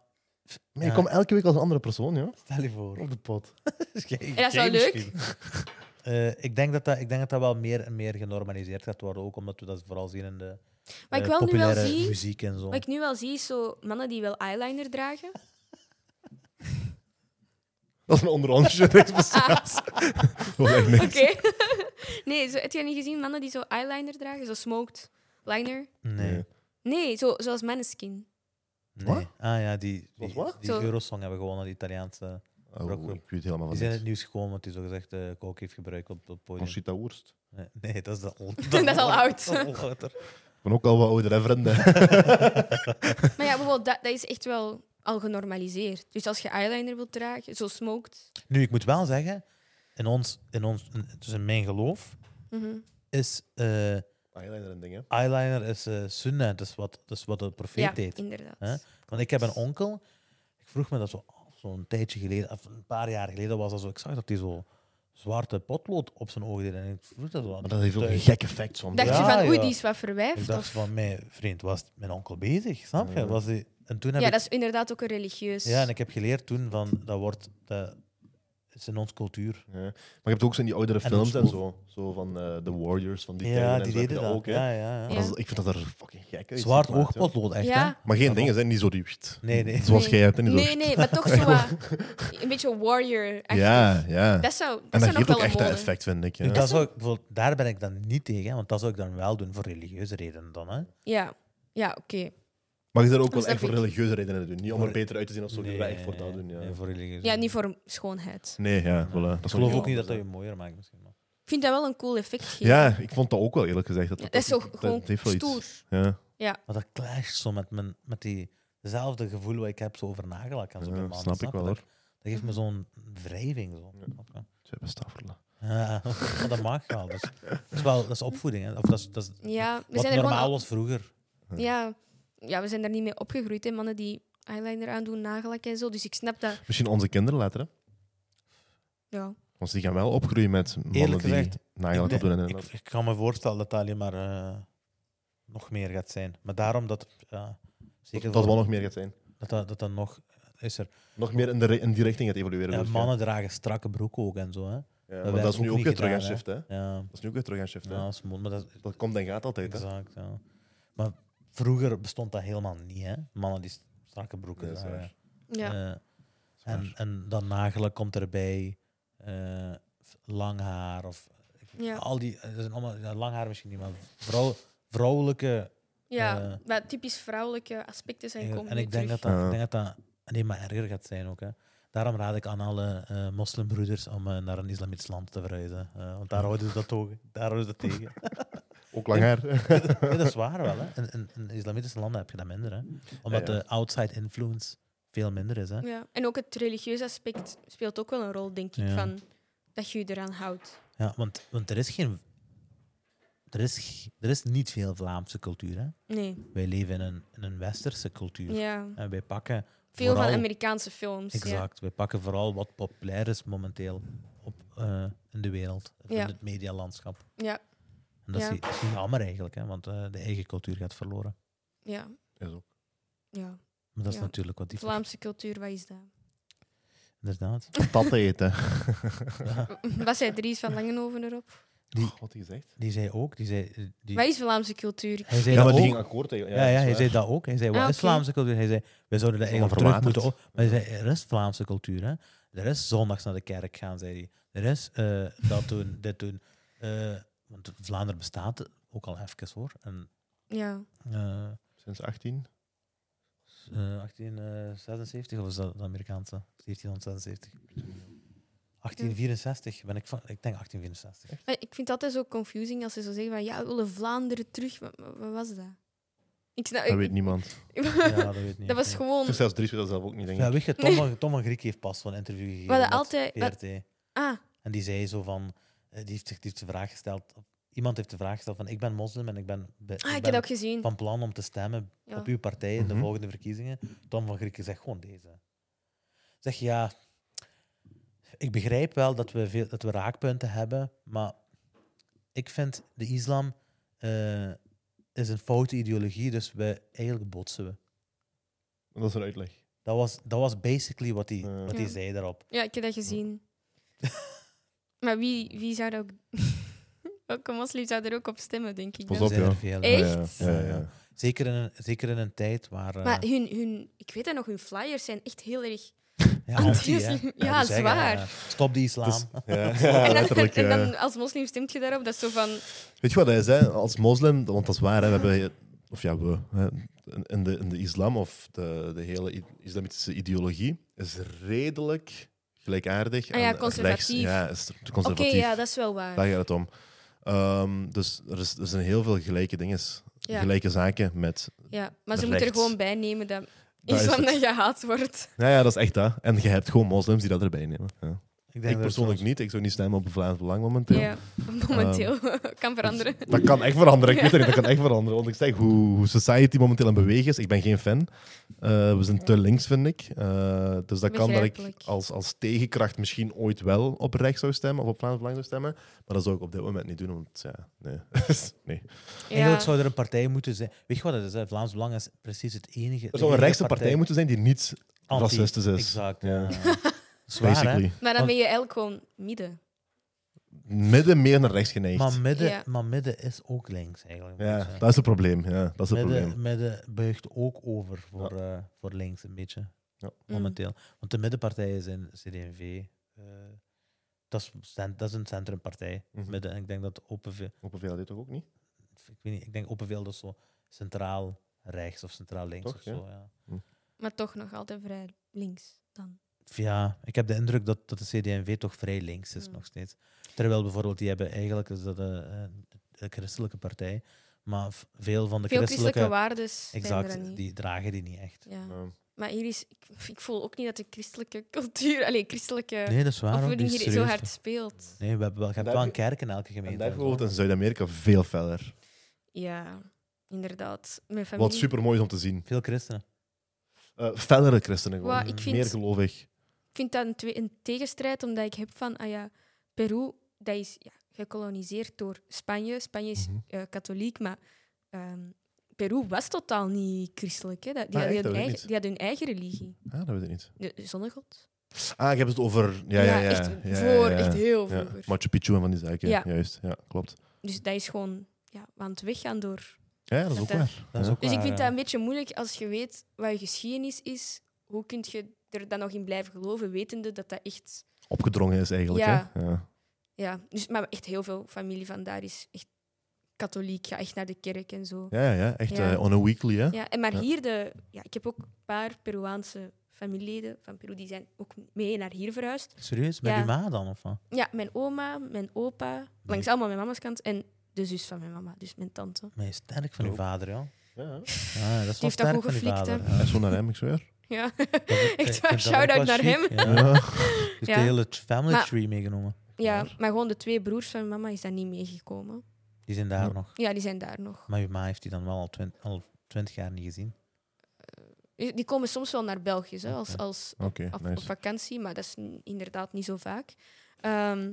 [SPEAKER 1] Maar je komt elke week als een andere persoon, joh.
[SPEAKER 2] stel je voor.
[SPEAKER 1] Op de pot.
[SPEAKER 3] En dat is wel leuk.
[SPEAKER 2] Eh, ik, denk dat dat, ik denk dat dat wel meer en meer genormaliseerd gaat worden, ook omdat we dat vooral zien in de
[SPEAKER 3] Wat ik
[SPEAKER 2] eh,
[SPEAKER 3] wel nu wel
[SPEAKER 2] populaire
[SPEAKER 3] zie...
[SPEAKER 2] muziek en zo.
[SPEAKER 3] Wat ik nu wel zie, is zo mannen die wel eyeliner dragen.
[SPEAKER 1] Dat is een onderhandje. Dat bestaat. Oh, echt niks.
[SPEAKER 3] Ah, Oké. nee, zo, heb je niet gezien mannen die zo eyeliner dragen? Zo smoked liner?
[SPEAKER 2] Nee.
[SPEAKER 1] Nee.
[SPEAKER 3] Nee, zo, zoals Maneskin.
[SPEAKER 2] nee.
[SPEAKER 1] Wat?
[SPEAKER 2] Ah ja, die,
[SPEAKER 1] Wat,
[SPEAKER 2] die,
[SPEAKER 1] wat?
[SPEAKER 2] die
[SPEAKER 3] Zo-
[SPEAKER 2] Eurosong hebben gewonnen, die Italiaanse.
[SPEAKER 1] Oh, ik weet helemaal van
[SPEAKER 2] Die zijn in
[SPEAKER 1] niks.
[SPEAKER 2] het nieuws gekomen, want die zogezegd eh kook heeft gebruikt op op het podium.
[SPEAKER 1] Conchita Wurst.
[SPEAKER 2] Nee, Nee, dat is de al-
[SPEAKER 3] Oh, Dat is al oud.
[SPEAKER 2] dat is al ouder.
[SPEAKER 1] Ik ben ook al wat ouder, hè, vrienden.
[SPEAKER 3] Maar ja, bijvoorbeeld, dat, dat is echt wel al genormaliseerd. Dus als je eyeliner wilt dragen, zo smoked.
[SPEAKER 2] Nu, ik moet wel zeggen, in ons, in ons, in- dus in mijn geloof,
[SPEAKER 3] Mhm.
[SPEAKER 2] is eh,
[SPEAKER 1] Eyeliner en dingen.
[SPEAKER 2] eyeliner is eh sunnah, dat is wat, dat is wat de profeet
[SPEAKER 3] Ja,
[SPEAKER 2] deed.
[SPEAKER 3] inderdaad.
[SPEAKER 2] Hè? Want ik heb een onkel, ik vroeg me dat zo af, zo'n tijdje geleden, of een paar jaar geleden was dat zo. Ik zag dat hij zo zwarte potlood op zijn ogen deed. En ik vroeg dat zo aan.
[SPEAKER 1] Maar dat heeft ook een
[SPEAKER 2] Ik
[SPEAKER 1] gek effect soms.
[SPEAKER 3] Dacht
[SPEAKER 2] Ja,
[SPEAKER 3] je van, oei,
[SPEAKER 2] ja.
[SPEAKER 3] die is wat verwijfd?
[SPEAKER 2] dacht
[SPEAKER 3] of-
[SPEAKER 2] van, mijn vriend, was mijn onkel bezig? Snap je? Was die... En toen heb
[SPEAKER 3] Ja,
[SPEAKER 2] ik...
[SPEAKER 3] dat is inderdaad ook een religieus.
[SPEAKER 2] Ja, en ik heb geleerd toen van, dat wordt... Dat is in ons cultuur.
[SPEAKER 1] Ja. Maar je hebt ook zo in die oudere
[SPEAKER 2] En
[SPEAKER 1] films
[SPEAKER 2] ons
[SPEAKER 1] en
[SPEAKER 2] hoofd.
[SPEAKER 1] zo. Zo van eh The Warriors, van die tijden
[SPEAKER 2] ja,
[SPEAKER 1] en
[SPEAKER 2] die
[SPEAKER 1] zo heb je
[SPEAKER 2] deden dat.
[SPEAKER 1] ook. hè.
[SPEAKER 2] ja, ja, ja.
[SPEAKER 1] Dat is- ik vind dat er fucking gek uit.
[SPEAKER 2] Zwart
[SPEAKER 1] ziet, maar, ja.
[SPEAKER 2] oogpotlood, echt,
[SPEAKER 3] Ja.
[SPEAKER 2] hè?
[SPEAKER 1] Maar geen dingen zijn niet zo die... pst,
[SPEAKER 2] Nee, nee.
[SPEAKER 1] Zoals
[SPEAKER 3] Nee.
[SPEAKER 1] jij hebt. hè, niet zo-
[SPEAKER 3] Nee, nee, maar toch zo wat, een beetje warrior -achtig.
[SPEAKER 1] Ja, ja.
[SPEAKER 3] Dat zou, dat
[SPEAKER 1] En dat
[SPEAKER 3] zou nog
[SPEAKER 1] geeft ook
[SPEAKER 3] wel
[SPEAKER 1] echt
[SPEAKER 3] een
[SPEAKER 1] dat
[SPEAKER 3] mode.
[SPEAKER 1] effect, vind ik.
[SPEAKER 2] Nu,
[SPEAKER 1] Ja.
[SPEAKER 2] dat zou ik, bijvoorbeeld- daar ben ik dan niet tegen, hè, want dat zou ik dan wel doen voor religieuze redenen dan. Hè.
[SPEAKER 3] Ja, ja oké.
[SPEAKER 1] Maar je zou ook
[SPEAKER 3] Dat
[SPEAKER 1] wel echt
[SPEAKER 3] snap
[SPEAKER 1] voor
[SPEAKER 3] ik.
[SPEAKER 1] religieuze redenen doen. Niet om er
[SPEAKER 2] Voor-
[SPEAKER 1] beter uit te zien of zo. Nee, echt voor dat doen, ja.
[SPEAKER 2] nee, voor religieuze
[SPEAKER 3] Ja, niet
[SPEAKER 2] redenen.
[SPEAKER 3] voor schoonheid.
[SPEAKER 1] Nee, ja, voilà. Dat
[SPEAKER 2] Ik
[SPEAKER 1] is
[SPEAKER 2] geloof
[SPEAKER 1] wel
[SPEAKER 2] ook niet
[SPEAKER 1] iets
[SPEAKER 2] dat dat je
[SPEAKER 1] anders,
[SPEAKER 2] mooier maakt misschien. Maar.
[SPEAKER 3] Ik vind dat wel een cool effect
[SPEAKER 1] hè.
[SPEAKER 3] geven.
[SPEAKER 1] Ja, ik vond dat ook wel, eerlijk gezegd. Dat,
[SPEAKER 3] Ja, dat is zo
[SPEAKER 1] dat
[SPEAKER 3] gewoon
[SPEAKER 1] heeft wel iets.
[SPEAKER 3] stoer.
[SPEAKER 1] Ja.
[SPEAKER 2] maar dat clasht zo met, mijn, met die, dezelfde gevoel wat ik heb zo over nagellak en
[SPEAKER 1] Ja,
[SPEAKER 2] zo bij mannen,
[SPEAKER 1] snap ik
[SPEAKER 2] snap je?
[SPEAKER 1] wel,
[SPEAKER 2] dat,
[SPEAKER 1] hoor.
[SPEAKER 2] dat geeft me zo'n wrijving. Zo. Snap je?
[SPEAKER 1] Tja, bestafelen.
[SPEAKER 2] Ja, maar dat mag wel. Dus, dat, is wel dat is opvoeding. Hè. Of dat is, dat is,
[SPEAKER 3] Ja, we
[SPEAKER 2] wat
[SPEAKER 3] zijn er
[SPEAKER 2] normaal
[SPEAKER 3] gewoon...
[SPEAKER 2] was vroeger.
[SPEAKER 3] Ja, ja, we zijn daar niet mee opgegroeid, hè. Mannen die eyeliner aandoen, nagellak en zo. Dus ik snap dat...
[SPEAKER 1] Misschien onze kinderen later, hè?
[SPEAKER 3] Ja,
[SPEAKER 1] Want die gaan wel opgroeien met mannen
[SPEAKER 2] Eerlijk
[SPEAKER 1] die
[SPEAKER 2] gezegd,
[SPEAKER 1] nagelijk
[SPEAKER 2] Ik
[SPEAKER 1] opdoen. en-
[SPEAKER 2] denk- Ik, ik kan me voorstellen dat dat alleen maar eh, nog meer gaat zijn. Maar daarom dat... ja, zeker
[SPEAKER 1] Dat dat
[SPEAKER 2] voor-
[SPEAKER 1] wel nog meer gaat zijn.
[SPEAKER 2] dat, dat, dat dat nog... Is er.
[SPEAKER 1] Nog meer in, de ri- in die richting gaat evolueren.
[SPEAKER 2] Ja,
[SPEAKER 1] wil ik
[SPEAKER 2] mannen dragen strakke broeken ook en zo. Hè.
[SPEAKER 1] zeggen. Ja,
[SPEAKER 2] dat
[SPEAKER 1] maar dat
[SPEAKER 2] werd
[SPEAKER 1] is nu
[SPEAKER 2] ook
[SPEAKER 1] ook
[SPEAKER 2] niet
[SPEAKER 1] weer terug aan
[SPEAKER 2] gedaan,
[SPEAKER 1] shift, hè?
[SPEAKER 2] Ja,
[SPEAKER 1] Dat is nu ook weer terug aan shift,
[SPEAKER 2] ja,
[SPEAKER 1] hè?
[SPEAKER 2] dat is mo- maar dat is
[SPEAKER 1] Dat komt en gaat altijd, hè?
[SPEAKER 2] exact. Ja. Maar vroeger bestond dat helemaal niet. Hè. Mannen die strakke broeken
[SPEAKER 1] Nee, dat is
[SPEAKER 2] dragen.
[SPEAKER 3] ja.
[SPEAKER 2] Eh, en, en dan nagelen komt erbij. eh, lang haar of...
[SPEAKER 3] Ja.
[SPEAKER 2] Al die, eh, dat zijn allemaal, ja, lang haar misschien niet, maar vrouw, vrouwelijke
[SPEAKER 3] ja.
[SPEAKER 2] eh,
[SPEAKER 3] maar typisch vrouwelijke aspecten zijn
[SPEAKER 2] En,
[SPEAKER 3] komen
[SPEAKER 2] en
[SPEAKER 3] nu
[SPEAKER 2] ik denk dat
[SPEAKER 3] terug.
[SPEAKER 2] dat, ik
[SPEAKER 1] Ja.
[SPEAKER 2] denk dat dat alleen maar erger gaat zijn ook. Hè. Daarom raad ik aan alle eh, moslimbroeders om eh, naar een islamitisch land te verhuizen. Eh, want daar houden ze dat, ook, daar houden ze dat tegen.
[SPEAKER 1] Ook lang haar.
[SPEAKER 2] Nee, dat is waar wel. Hè. In, in, in islamitische landen heb je dat minder. Hè. Omdat
[SPEAKER 1] Ja, ja.
[SPEAKER 2] de outside influence veel minder is. Hè.
[SPEAKER 3] Ja. En ook het religieuze aspect speelt ook wel een rol, denk ik,
[SPEAKER 2] Ja.
[SPEAKER 3] van dat je je eraan houdt.
[SPEAKER 2] Ja, want, want er is geen... Er is, g- er is niet veel Vlaamse cultuur. Hè.
[SPEAKER 3] Nee,
[SPEAKER 2] Wij leven in een, in een westerse cultuur.
[SPEAKER 3] ja.
[SPEAKER 2] En wij pakken
[SPEAKER 3] Veel van
[SPEAKER 2] vooral-
[SPEAKER 3] Amerikaanse films. Ja.
[SPEAKER 2] Exact. We pakken vooral wat populair is momenteel op, eh, in de wereld,
[SPEAKER 3] Ja.
[SPEAKER 2] in het medialandschap.
[SPEAKER 3] Ja,
[SPEAKER 2] En dat
[SPEAKER 3] Ja.
[SPEAKER 2] is, is niet jammer eigenlijk, hè, want eh, de eigen cultuur gaat verloren.
[SPEAKER 3] ja,
[SPEAKER 1] Is ook.
[SPEAKER 3] ja.
[SPEAKER 2] Maar dat is
[SPEAKER 3] Ja.
[SPEAKER 2] natuurlijk wat die...
[SPEAKER 3] Vlaamse cultuur, wat is dat?
[SPEAKER 2] Inderdaad.
[SPEAKER 1] Patat eten.
[SPEAKER 3] Wat zei Dries van Langenhoven erop?
[SPEAKER 1] Die... Oh, Wat hij gezegd?
[SPEAKER 2] Die zei ook, die zei... eh, Die,
[SPEAKER 3] Wat is Vlaamse cultuur?
[SPEAKER 2] hij zei
[SPEAKER 1] Ja, maar
[SPEAKER 2] dat
[SPEAKER 1] die
[SPEAKER 2] ook.
[SPEAKER 1] ging akkoord tegen.
[SPEAKER 2] ja, ja, hij zei dat ook. Hij zei, wat
[SPEAKER 3] Ah,
[SPEAKER 2] is
[SPEAKER 3] oké.
[SPEAKER 2] Vlaamse cultuur? Hij zei, wij zouden dat
[SPEAKER 1] is allemaal
[SPEAKER 2] eigenlijk terug moeten...
[SPEAKER 1] verwaterd.
[SPEAKER 2] op- Maar hij zei, er is Vlaamse cultuur, hè. Er is zondags naar de kerk gaan, zei hij. Er is eh, dat doen, dit doen. Eh, want Vlaanderen bestaat ook al even, hoor. En...
[SPEAKER 3] Ja.
[SPEAKER 2] eh,
[SPEAKER 1] Sinds 18.
[SPEAKER 2] Eh, 1876 of is dat de Amerikaanse? 1776. 1864 ben ik van. Ik denk 1864.
[SPEAKER 3] Maar Ik vind het altijd zo confusing als ze zo zeggen van ja, we willen Vlaanderen terug. Wat, wat- wat was dat? Ik snap,
[SPEAKER 1] Dat weet niemand.
[SPEAKER 2] Ja, dat weet ik niet.
[SPEAKER 3] dat was gewoon...
[SPEAKER 1] Dus zelfs Dries weet dat zelf ook niet, denk ik.
[SPEAKER 2] Ja, weet je, Tom, van- Tom van Griek heeft pas zo'n interview gegeven.
[SPEAKER 3] hadden
[SPEAKER 2] met
[SPEAKER 3] altijd- we-
[SPEAKER 2] VRT.
[SPEAKER 3] Ah,
[SPEAKER 2] En die zei zo van. eh, Die heeft, zich- die heeft de vraag gesteld. Iemand heeft de vraag gesteld van: Ik ben moslim en ik ben, be- ik
[SPEAKER 3] ah ik heb
[SPEAKER 2] ben
[SPEAKER 3] dat ook gezien.
[SPEAKER 2] van plan om te stemmen
[SPEAKER 3] Ja.
[SPEAKER 2] op uw partij in de
[SPEAKER 1] Mhm.
[SPEAKER 2] volgende verkiezingen. Tom van Grieken zegt gewoon deze. Zeg ja, ik begrijp wel dat we, veel, dat we raakpunten hebben, maar ik vind de islam eh, is een foute ideologie, dus we eigenlijk botsen we.
[SPEAKER 1] Dat is een uitleg.
[SPEAKER 2] Dat was, dat was basically wat hij
[SPEAKER 1] Ja.
[SPEAKER 2] wat hij
[SPEAKER 3] Ja.
[SPEAKER 2] zei daarop.
[SPEAKER 3] Ja, ik heb dat gezien. maar wie, wie zou dat ook... Welke moslim zou er ook op stemmen, denk ik.
[SPEAKER 1] Pas
[SPEAKER 3] dan?
[SPEAKER 1] op,
[SPEAKER 2] Er zijn
[SPEAKER 1] ja.
[SPEAKER 2] er veel, hè.
[SPEAKER 3] Echt?
[SPEAKER 1] Ja, ja, ja.
[SPEAKER 2] Zeker, in een, zeker in een tijd waar... eh,
[SPEAKER 3] Maar hun, hun... Ik weet dat nog, hun flyers zijn echt heel erg...
[SPEAKER 2] ja,
[SPEAKER 3] anti-islam-
[SPEAKER 2] hè.
[SPEAKER 3] ja,
[SPEAKER 2] die zeggen,
[SPEAKER 3] zwaar.
[SPEAKER 2] eh, stop de islam.
[SPEAKER 1] Dus- Ja, ja,
[SPEAKER 3] en, dan,
[SPEAKER 1] letterlijk. eh,
[SPEAKER 3] en
[SPEAKER 1] ja.
[SPEAKER 3] dan als moslim stemt je daarop, dat is zo van...
[SPEAKER 1] Weet je wat dat is, hè? als moslim, want dat is waar, hè? we hebben, hier- of ja, we, hè? in- in de, in de islam of de, de hele i- islamitische ideologie is redelijk gelijkaardig.
[SPEAKER 3] Ah ja,
[SPEAKER 1] aan rechts.
[SPEAKER 3] conservatief.
[SPEAKER 1] Ja, is er-
[SPEAKER 3] Oké,
[SPEAKER 1] conservatief.
[SPEAKER 3] ja, dat is wel waar.
[SPEAKER 1] Daar gaat het om. Ehm, dus er, is, er zijn heel veel gelijke dingen,
[SPEAKER 3] Ja.
[SPEAKER 1] gelijke zaken met.
[SPEAKER 3] Ja, maar ze moeten er
[SPEAKER 1] Rechts.
[SPEAKER 3] gewoon bij nemen dat
[SPEAKER 1] Daar is
[SPEAKER 3] islam
[SPEAKER 1] het.
[SPEAKER 3] dan gehaat wordt.
[SPEAKER 1] Nou ja, dat is echt dat. En je hebt gewoon moslims die dat erbij nemen. Ja.
[SPEAKER 2] Ik, denk
[SPEAKER 1] Ik
[SPEAKER 2] dat
[SPEAKER 1] persoonlijk
[SPEAKER 2] het-
[SPEAKER 1] niet. Ik zou niet stemmen op Vlaams Belang momenteel.
[SPEAKER 3] Ja, momenteel.
[SPEAKER 1] Ehm,
[SPEAKER 3] kan veranderen.
[SPEAKER 1] Dat kan echt veranderen. Ik weet het niet, dat kan echt veranderen. Want ik zeg hoe, hoe society momenteel aan het bewegen is. Ik ben geen fan. Eh, we zijn te links, vind ik. Eh, dus dat kan dat ik
[SPEAKER 3] Begrijpelijk.
[SPEAKER 1] als, als tegenkracht misschien ooit wel op rechts zou stemmen of op Vlaams Belang zou stemmen. Maar dat zou ik op dit moment niet doen, want ja, nee. nee.
[SPEAKER 3] Ja.
[SPEAKER 2] Eigenlijk zou er een partij moeten zijn. Weet je wat het is? Hè? Vlaams Belang is precies het enige.
[SPEAKER 1] Er zou een rechtse partij moeten zijn die niet racistisch is.
[SPEAKER 2] Exact.
[SPEAKER 1] Ja.
[SPEAKER 2] Ja. Zwaar, hè?
[SPEAKER 1] basically.
[SPEAKER 3] Maar dan
[SPEAKER 2] Want-
[SPEAKER 3] ben je eigenlijk gewoon midden. Mm.
[SPEAKER 1] Midden meer naar rechts geneigd.
[SPEAKER 2] Maar midden,
[SPEAKER 3] Ja.
[SPEAKER 2] maar midden is ook links eigenlijk.
[SPEAKER 1] ja,
[SPEAKER 2] Dus, hè.
[SPEAKER 1] dat is het probleem. Ja, dat is het probleem.
[SPEAKER 2] midden, midden buigt ook over voor, eh, voor links een beetje.
[SPEAKER 1] Ja.
[SPEAKER 3] Mm.
[SPEAKER 2] Momenteel. Want de middenpartijen zijn CD&V. eh, dat, is, cent- dat is een centrumpartij.
[SPEAKER 1] Mhm.
[SPEAKER 2] Midden. En ik denk dat Openveel...
[SPEAKER 1] Op een dit toch ook niet?
[SPEAKER 2] Ik weet niet, ik denk Openveel dat is zo centraal rechts of centraal links
[SPEAKER 1] Toch,
[SPEAKER 2] of
[SPEAKER 1] ja.
[SPEAKER 2] zo. Ja.
[SPEAKER 3] Maar toch nog altijd vrij links dan.
[SPEAKER 2] Ja, ik heb de indruk dat, dat de CD&V toch vrij links is
[SPEAKER 3] Mm.
[SPEAKER 2] nog steeds. Terwijl bijvoorbeeld die hebben eigenlijk is dat een, een- een christelijke partij, maar v- veel van de
[SPEAKER 3] Veel
[SPEAKER 2] christelijke,
[SPEAKER 3] christelijke waardes zijn er
[SPEAKER 2] exact,
[SPEAKER 3] niet.
[SPEAKER 2] die dragen die niet echt.
[SPEAKER 3] Ja.
[SPEAKER 1] Ja.
[SPEAKER 3] Maar hier is... Ik, ik voel ook niet dat de christelijke cultuur... Allee, christelijke
[SPEAKER 2] Nee, dat is waar. hoor, die
[SPEAKER 3] opvoeding
[SPEAKER 2] is
[SPEAKER 3] hier zo
[SPEAKER 2] serieus.
[SPEAKER 3] hard speelt.
[SPEAKER 2] Nee, we hebben wel, je
[SPEAKER 1] En
[SPEAKER 2] hebt
[SPEAKER 1] daar
[SPEAKER 2] wel een
[SPEAKER 1] heb
[SPEAKER 2] kerk in elke
[SPEAKER 1] En
[SPEAKER 2] gemeente.
[SPEAKER 1] daar
[SPEAKER 2] en zo.
[SPEAKER 1] bijvoorbeeld in Zuid-Amerika veel feller.
[SPEAKER 3] Ja, inderdaad. Mijn familie...
[SPEAKER 1] Wat super mooi is om te zien.
[SPEAKER 2] Veel christenen.
[SPEAKER 1] Eh fellere christenen gewoon.
[SPEAKER 3] Wa- ik vind-
[SPEAKER 1] Meer gelovig.
[SPEAKER 3] Ik vind dat een, twee- een tegenstrijd, omdat ik heb van... Ah ja, Peru, dat is ja, gekoloniseerd door Spanje. Spanje is
[SPEAKER 1] Mhm.
[SPEAKER 3] eh, katholiek, maar... ehm, Peru was totaal niet christelijk. Hè. Dat- Die,
[SPEAKER 1] Ah, echt?
[SPEAKER 3] hadden
[SPEAKER 1] Dat weet
[SPEAKER 3] hun
[SPEAKER 1] ik
[SPEAKER 3] eigen,
[SPEAKER 1] niet.
[SPEAKER 3] die hadden hun eigen religie.
[SPEAKER 1] Ah, dat weet ik niet.
[SPEAKER 3] De zonnegod.
[SPEAKER 1] Ah, ik heb het over... Ja, ja, ja.
[SPEAKER 3] echt
[SPEAKER 1] ja,
[SPEAKER 3] voor,
[SPEAKER 1] ja, ja.
[SPEAKER 3] echt heel
[SPEAKER 1] Ja,
[SPEAKER 3] vroeger.
[SPEAKER 1] Machu Picchu en van die zaken.
[SPEAKER 3] Ja.
[SPEAKER 1] Juist, ja, klopt.
[SPEAKER 3] Dus dat is gewoon ja, we aan het weggaan door.
[SPEAKER 1] Ja, dat is ook
[SPEAKER 3] Dat-
[SPEAKER 1] waar.
[SPEAKER 2] Dat is
[SPEAKER 1] Ja.
[SPEAKER 2] ook
[SPEAKER 3] Dus ik
[SPEAKER 2] waar,
[SPEAKER 3] vind
[SPEAKER 2] Ah, ja.
[SPEAKER 3] dat een beetje moeilijk als je weet wat je geschiedenis is. Hoe kun je er dan nog in blijven geloven, wetende dat dat echt...
[SPEAKER 1] Opgedrongen is eigenlijk,
[SPEAKER 3] Ja.
[SPEAKER 1] hè? Ja.
[SPEAKER 3] Ja, dus, maar echt heel veel familie van daar is echt katholiek. Ga echt naar de kerk en zo. Ja,
[SPEAKER 1] Ja, ja, ja. Echt
[SPEAKER 3] Ja.
[SPEAKER 1] eh, on a weekly, hè?
[SPEAKER 3] en maar
[SPEAKER 1] Ja.
[SPEAKER 3] hier, de, ja, ik heb ook een paar Peruaanse familieleden van Peru, die zijn ook mee naar hier verhuisd.
[SPEAKER 2] eh, Serieus? Met
[SPEAKER 3] Ja.
[SPEAKER 2] uw ma dan? Of wat?
[SPEAKER 3] Ja, mijn oma, mijn opa, langs allemaal mijn mama's kant. En de zus van mijn mama, dus mijn tante.
[SPEAKER 2] Maar je is sterk van uw
[SPEAKER 1] Ook.
[SPEAKER 2] vader, ja.
[SPEAKER 1] Ja.
[SPEAKER 2] ja dat is wel
[SPEAKER 3] heeft dat
[SPEAKER 2] sterk
[SPEAKER 3] goed
[SPEAKER 2] van uw
[SPEAKER 3] geflikt, hè.
[SPEAKER 2] vader.
[SPEAKER 1] Ja, zo naar hem, ik zweer.
[SPEAKER 3] Ja,
[SPEAKER 2] Ik
[SPEAKER 3] echt
[SPEAKER 2] vind
[SPEAKER 3] waar.
[SPEAKER 2] dat ook wel
[SPEAKER 3] Shout-out naar hem.
[SPEAKER 2] chic, Ja.
[SPEAKER 1] Ja.
[SPEAKER 2] Die heeft
[SPEAKER 3] Ja.
[SPEAKER 2] de hele family
[SPEAKER 3] Maar-
[SPEAKER 2] tree meegenomen.
[SPEAKER 3] Ja,
[SPEAKER 1] Waar?
[SPEAKER 3] maar gewoon de twee broers van mijn mama is daar niet meegekomen.
[SPEAKER 2] Die zijn daar
[SPEAKER 1] Ja.
[SPEAKER 2] nog.
[SPEAKER 3] Ja, die zijn daar nog.
[SPEAKER 2] Maar uw ma heeft die dan wel al twintig, al twintig jaar niet gezien.
[SPEAKER 3] Eh, Die komen soms wel naar België hè, als,
[SPEAKER 2] Oké.
[SPEAKER 3] als
[SPEAKER 1] Oké,
[SPEAKER 3] op, op
[SPEAKER 1] nice.
[SPEAKER 3] vakantie, maar dat is n- inderdaad niet zo vaak. Ehm,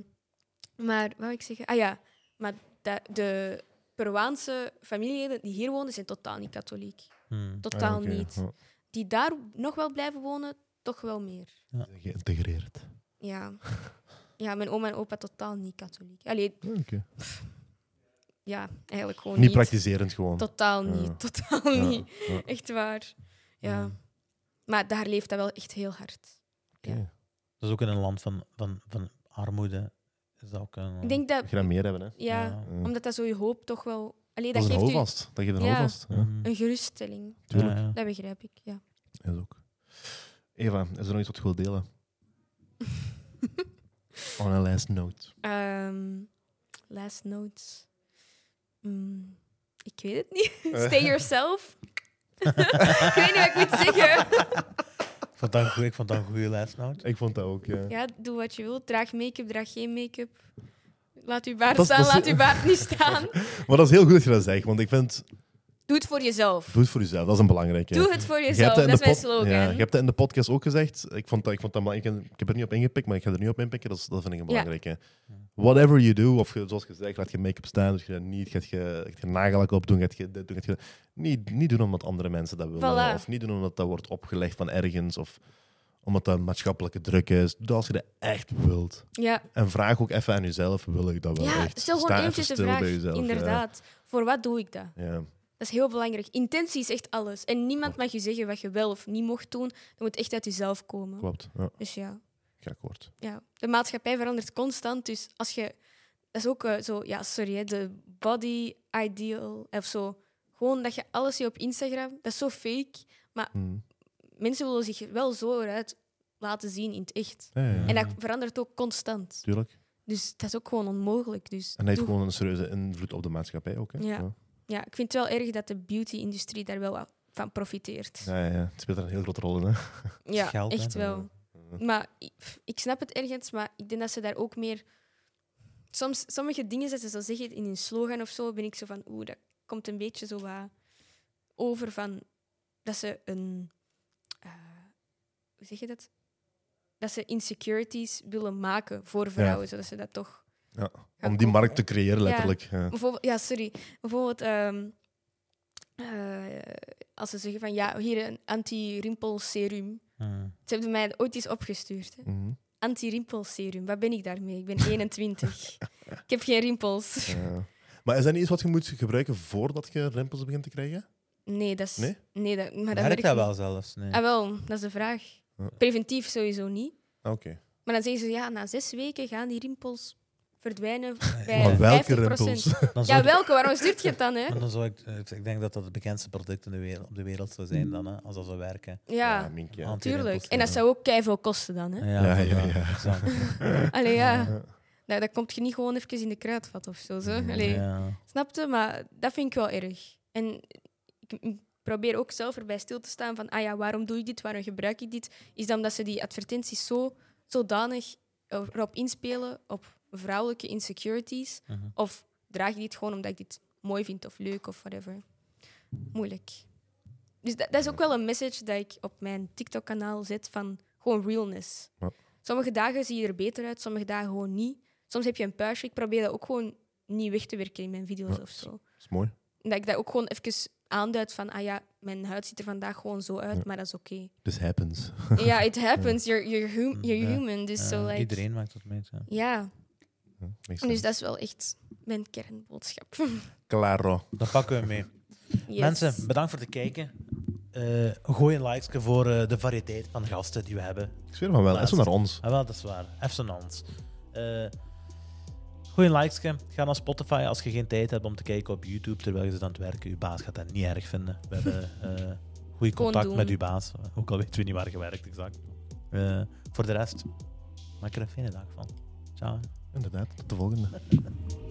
[SPEAKER 3] maar wat wou ik zeggen? Ah ja, maar da- de Peruaanse familieleden die hier wonen zijn totaal niet katholiek.
[SPEAKER 2] Hmm.
[SPEAKER 3] Totaal
[SPEAKER 1] Ah, oké,
[SPEAKER 3] niet.
[SPEAKER 1] ja.
[SPEAKER 3] Die daar nog wel blijven wonen, toch wel meer.
[SPEAKER 1] Geïntegreerd.
[SPEAKER 3] Ja, ja mijn oma en opa totaal niet katholiek. Allee,
[SPEAKER 1] Ah, Oké.
[SPEAKER 3] ja, eigenlijk gewoon
[SPEAKER 1] Niet,
[SPEAKER 3] niet.
[SPEAKER 1] praktiserend gewoon.
[SPEAKER 3] Totaal niet,
[SPEAKER 1] Ja.
[SPEAKER 3] totaal
[SPEAKER 1] Ja,
[SPEAKER 3] niet.
[SPEAKER 1] ja.
[SPEAKER 3] Echt waar. Ja.
[SPEAKER 2] Ja.
[SPEAKER 3] Maar daar leeft dat wel echt heel hard.
[SPEAKER 1] Oké.
[SPEAKER 2] Dat is ook in een land van, van, van armoede. Is dat ook een,
[SPEAKER 3] Ik denk dat,
[SPEAKER 1] Dat je dat meer hebben, hè?
[SPEAKER 3] ja,
[SPEAKER 2] Ja.
[SPEAKER 1] Ja.
[SPEAKER 3] omdat dat zo je hoop toch wel. Allee,
[SPEAKER 1] Dat
[SPEAKER 3] dat
[SPEAKER 1] is een
[SPEAKER 3] geeft u
[SPEAKER 1] houvast. Dat geeft een
[SPEAKER 3] Ja.
[SPEAKER 1] houvast. Ja,
[SPEAKER 2] Mhm.
[SPEAKER 3] een geruststelling.
[SPEAKER 1] tuurlijk.
[SPEAKER 2] Ja, ja.
[SPEAKER 3] Dat begrijp ik, ja.
[SPEAKER 1] Dat is ook. Eva, is er nog iets wat je wilt delen? On a last note.
[SPEAKER 3] Ehm, last notes. Mm, ik weet het niet. Stay yourself. ik weet niet wat ik moet zeggen.
[SPEAKER 2] Ik vond dat een goeie- ik vond dat een goede lesnoot.
[SPEAKER 1] Ik vond dat ook, ja.
[SPEAKER 3] Ja, doe wat je wilt. Draag make-up, draag geen make-up. Laat uw baard
[SPEAKER 1] Dat is-
[SPEAKER 3] staan,
[SPEAKER 1] dat is-
[SPEAKER 3] laat uw baard niet staan.
[SPEAKER 1] Maar dat is heel goed dat je dat zegt, want ik vind...
[SPEAKER 3] Doe het voor jezelf.
[SPEAKER 1] Doe het voor jezelf, dat is een belangrijke.
[SPEAKER 3] Doe het voor
[SPEAKER 1] Je hebt
[SPEAKER 3] jezelf.
[SPEAKER 1] dat
[SPEAKER 3] Dat
[SPEAKER 1] in
[SPEAKER 3] is
[SPEAKER 1] de
[SPEAKER 3] mijn
[SPEAKER 1] pod- Ja,
[SPEAKER 3] slogan.
[SPEAKER 1] je hebt dat in de podcast ook gezegd. Ik, vond dat, ik, vond dat, maar ik, ik heb er niet op ingepikt, maar ik ga er nu op inpikken. Dat, is- dat vind ik een
[SPEAKER 3] Ja.
[SPEAKER 1] belangrijke. Whatever you do, of je- zoals gezegd, laat je make-up staan, dus je dat niet, gaat je, gaat je nagellak opdoen, gaat je dit doen, gaat je dat- niet, niet doen omdat andere mensen dat willen.
[SPEAKER 3] Voilà.
[SPEAKER 1] Of niet doen omdat dat wordt opgelegd van ergens, of omdat dat maatschappelijke druk is. Doe dat als je dat echt wilt.
[SPEAKER 3] Ja,
[SPEAKER 1] En vraag ook even aan jezelf, wil ik dat wel
[SPEAKER 3] Ja,
[SPEAKER 1] echt?
[SPEAKER 3] stel
[SPEAKER 1] Sta
[SPEAKER 3] gewoon
[SPEAKER 1] even
[SPEAKER 3] eventjes de
[SPEAKER 1] stil
[SPEAKER 3] vraag.
[SPEAKER 1] bij jezelf, ja.
[SPEAKER 3] Inderdaad. Voor wat doe ik dat?
[SPEAKER 1] Ja.
[SPEAKER 3] Dat is heel belangrijk. Intentie is echt alles. En niemand mag je zeggen wat je wel of niet mocht doen. Dat moet echt uit jezelf komen.
[SPEAKER 1] klopt. Ja,
[SPEAKER 3] Dus ja,
[SPEAKER 1] ik ga kort.
[SPEAKER 3] ja. De maatschappij verandert constant. Dus als je... Dat is ook eh, zo... Ja, sorry. hè, De body ideal of zo. Gewoon dat je alles ziet op Instagram. Dat is zo fake.
[SPEAKER 1] Hm.
[SPEAKER 3] Mensen willen zich wel zo eruit laten zien in het echt.
[SPEAKER 1] Ja, ja, ja.
[SPEAKER 3] En dat verandert ook constant.
[SPEAKER 1] Tuurlijk.
[SPEAKER 3] Dus dat is ook gewoon onmogelijk. Dus
[SPEAKER 1] En dat heeft
[SPEAKER 3] doe
[SPEAKER 1] gewoon een serieuze invloed op de maatschappij ook. Hè?
[SPEAKER 3] Ja. Ja, ik vind het wel erg dat de beauty-industrie daar wel wat van profiteert. Ja,
[SPEAKER 1] Ja, ja, ja. Het speelt daar een heel grote rol in. Hè?
[SPEAKER 2] Geld, hè, dat
[SPEAKER 3] echt wel. Mm.
[SPEAKER 1] Ja.
[SPEAKER 3] Maar ik, pff, ik snap het ergens, maar ik denk dat ze daar ook meer... Soms, sommige dingen dat ze zo zeggen in hun slogan of zo, ben ik zo van... Oeh, dat komt een beetje zo wat over van... Dat ze een... eh, hoe zeg je dat? Dat ze insecurities willen maken voor vrouwen, zodat ze dat toch...
[SPEAKER 1] Ja,
[SPEAKER 3] gaan
[SPEAKER 1] Om die
[SPEAKER 3] kopen.
[SPEAKER 1] markt te creëren, letterlijk. Ja.
[SPEAKER 3] Bijvoorbeeld, ja, sorry. Bijvoorbeeld, ehm, eh, als ze zeggen van ja, hier een anti-rimpelserum.
[SPEAKER 1] Hmm.
[SPEAKER 2] Mhm.
[SPEAKER 3] Ze hebben mij ooit eens opgestuurd. hè.
[SPEAKER 1] Mhm.
[SPEAKER 3] Anti-rimpelserum, wat ben ik daarmee? Ik ben 21. ik heb geen rimpels.
[SPEAKER 1] Ja. Maar is dat niet iets wat je moet gebruiken voordat je rimpels begint te krijgen?
[SPEAKER 3] Nee, dat is.
[SPEAKER 1] Nee?
[SPEAKER 3] dat, maar dat
[SPEAKER 2] Werkt
[SPEAKER 3] werkt
[SPEAKER 2] dat
[SPEAKER 3] niet.
[SPEAKER 2] wel zelfs? Nee.
[SPEAKER 3] Ah, wel, dat is de vraag.
[SPEAKER 1] Ja.
[SPEAKER 3] Preventief sowieso niet.
[SPEAKER 1] Ah, Oké.
[SPEAKER 3] Maar dan zeggen ze ja, na zes weken gaan die rimpels verdwijnen
[SPEAKER 1] Maar
[SPEAKER 3] bij
[SPEAKER 1] welke
[SPEAKER 3] 50%.
[SPEAKER 1] rimpels?
[SPEAKER 2] Dan zou
[SPEAKER 3] Ja,
[SPEAKER 2] ik-
[SPEAKER 3] welke? Waarom stuurt je het dan, hè?
[SPEAKER 2] Maar dan zou ik, ik, ik denk dat dat het bekendste product in de wereld, op de wereld zou zijn dan, hè, als dat zou werken.
[SPEAKER 3] Ja,
[SPEAKER 1] mink, ja.
[SPEAKER 2] Want-
[SPEAKER 3] tuurlijk.
[SPEAKER 2] anti-rimpels,
[SPEAKER 3] En dat
[SPEAKER 2] ja.
[SPEAKER 3] zou ook keiveel kosten dan, hè?
[SPEAKER 1] Ja, ja,
[SPEAKER 2] voilà,
[SPEAKER 1] ja.
[SPEAKER 2] exact.
[SPEAKER 3] Allee, ja.
[SPEAKER 1] Ja.
[SPEAKER 3] Nou, dat komt je niet gewoon even in de kruidvat of zo. zo.
[SPEAKER 1] Mhm.
[SPEAKER 3] Allee,
[SPEAKER 2] Ja.
[SPEAKER 3] Snap je? Maar dat vind ik wel erg. En ik ik probeer ook zelf erbij stil te staan van, ah ja, waarom doe ik dit? Waarom gebruik ik dit? Is dat omdat ze die advertenties zo, zodanig erop inspelen op vrouwelijke insecurities?
[SPEAKER 2] Mhm.
[SPEAKER 3] Of draag je dit gewoon omdat ik dit mooi vind of leuk of whatever? Moeilijk. Dus dat, dat is ook wel een message dat ik op mijn TikTok-kanaal zet van gewoon realness.
[SPEAKER 1] Ja.
[SPEAKER 3] Sommige dagen zie je er beter uit, sommige dagen gewoon niet. Soms heb je een puistje. Ik probeer dat ook gewoon niet weg te werken in mijn video's
[SPEAKER 1] Ja.
[SPEAKER 3] of zo.
[SPEAKER 1] Dat is mooi.
[SPEAKER 3] Dat ik dat ook gewoon even aanduid van, ah ja, mijn huid ziet er vandaag gewoon zo uit,
[SPEAKER 1] Ja.
[SPEAKER 3] maar dat is oké.
[SPEAKER 1] This happens.
[SPEAKER 3] Ja, it happens. You're, you're, hum- you're
[SPEAKER 2] Ja.
[SPEAKER 3] human. Dus
[SPEAKER 2] Ja,
[SPEAKER 3] zo, like...
[SPEAKER 2] Iedereen maakt dat mee. Ja.
[SPEAKER 1] Ja,
[SPEAKER 3] Ja,
[SPEAKER 1] makes
[SPEAKER 3] dus
[SPEAKER 1] sense.
[SPEAKER 3] dat is wel echt mijn kernboodschap.
[SPEAKER 1] Claro.
[SPEAKER 2] Dan pakken we mee.
[SPEAKER 3] Yes.
[SPEAKER 2] Mensen, bedankt voor het kijken. Eh, gooi een likeje voor eh, de variëteit van gasten die we hebben.
[SPEAKER 1] Ik zweer van wel. Is
[SPEAKER 2] Laatst.
[SPEAKER 1] zo naar ons.
[SPEAKER 2] Ah, wel, dat is waar. Even aan ons. Eh, gooi een likeje. Ga naar Spotify als je geen tijd hebt om te kijken op YouTube terwijl je zit aan het werken. Uw baas gaat dat niet erg vinden. We hebben eh goed contact
[SPEAKER 3] doen.
[SPEAKER 2] met uw baas. Ook al weten we niet waar je werkt, exact. Eh, voor de rest, maak er een fijne dag van. Ciao.
[SPEAKER 1] Inderdaad. Tot de volgende.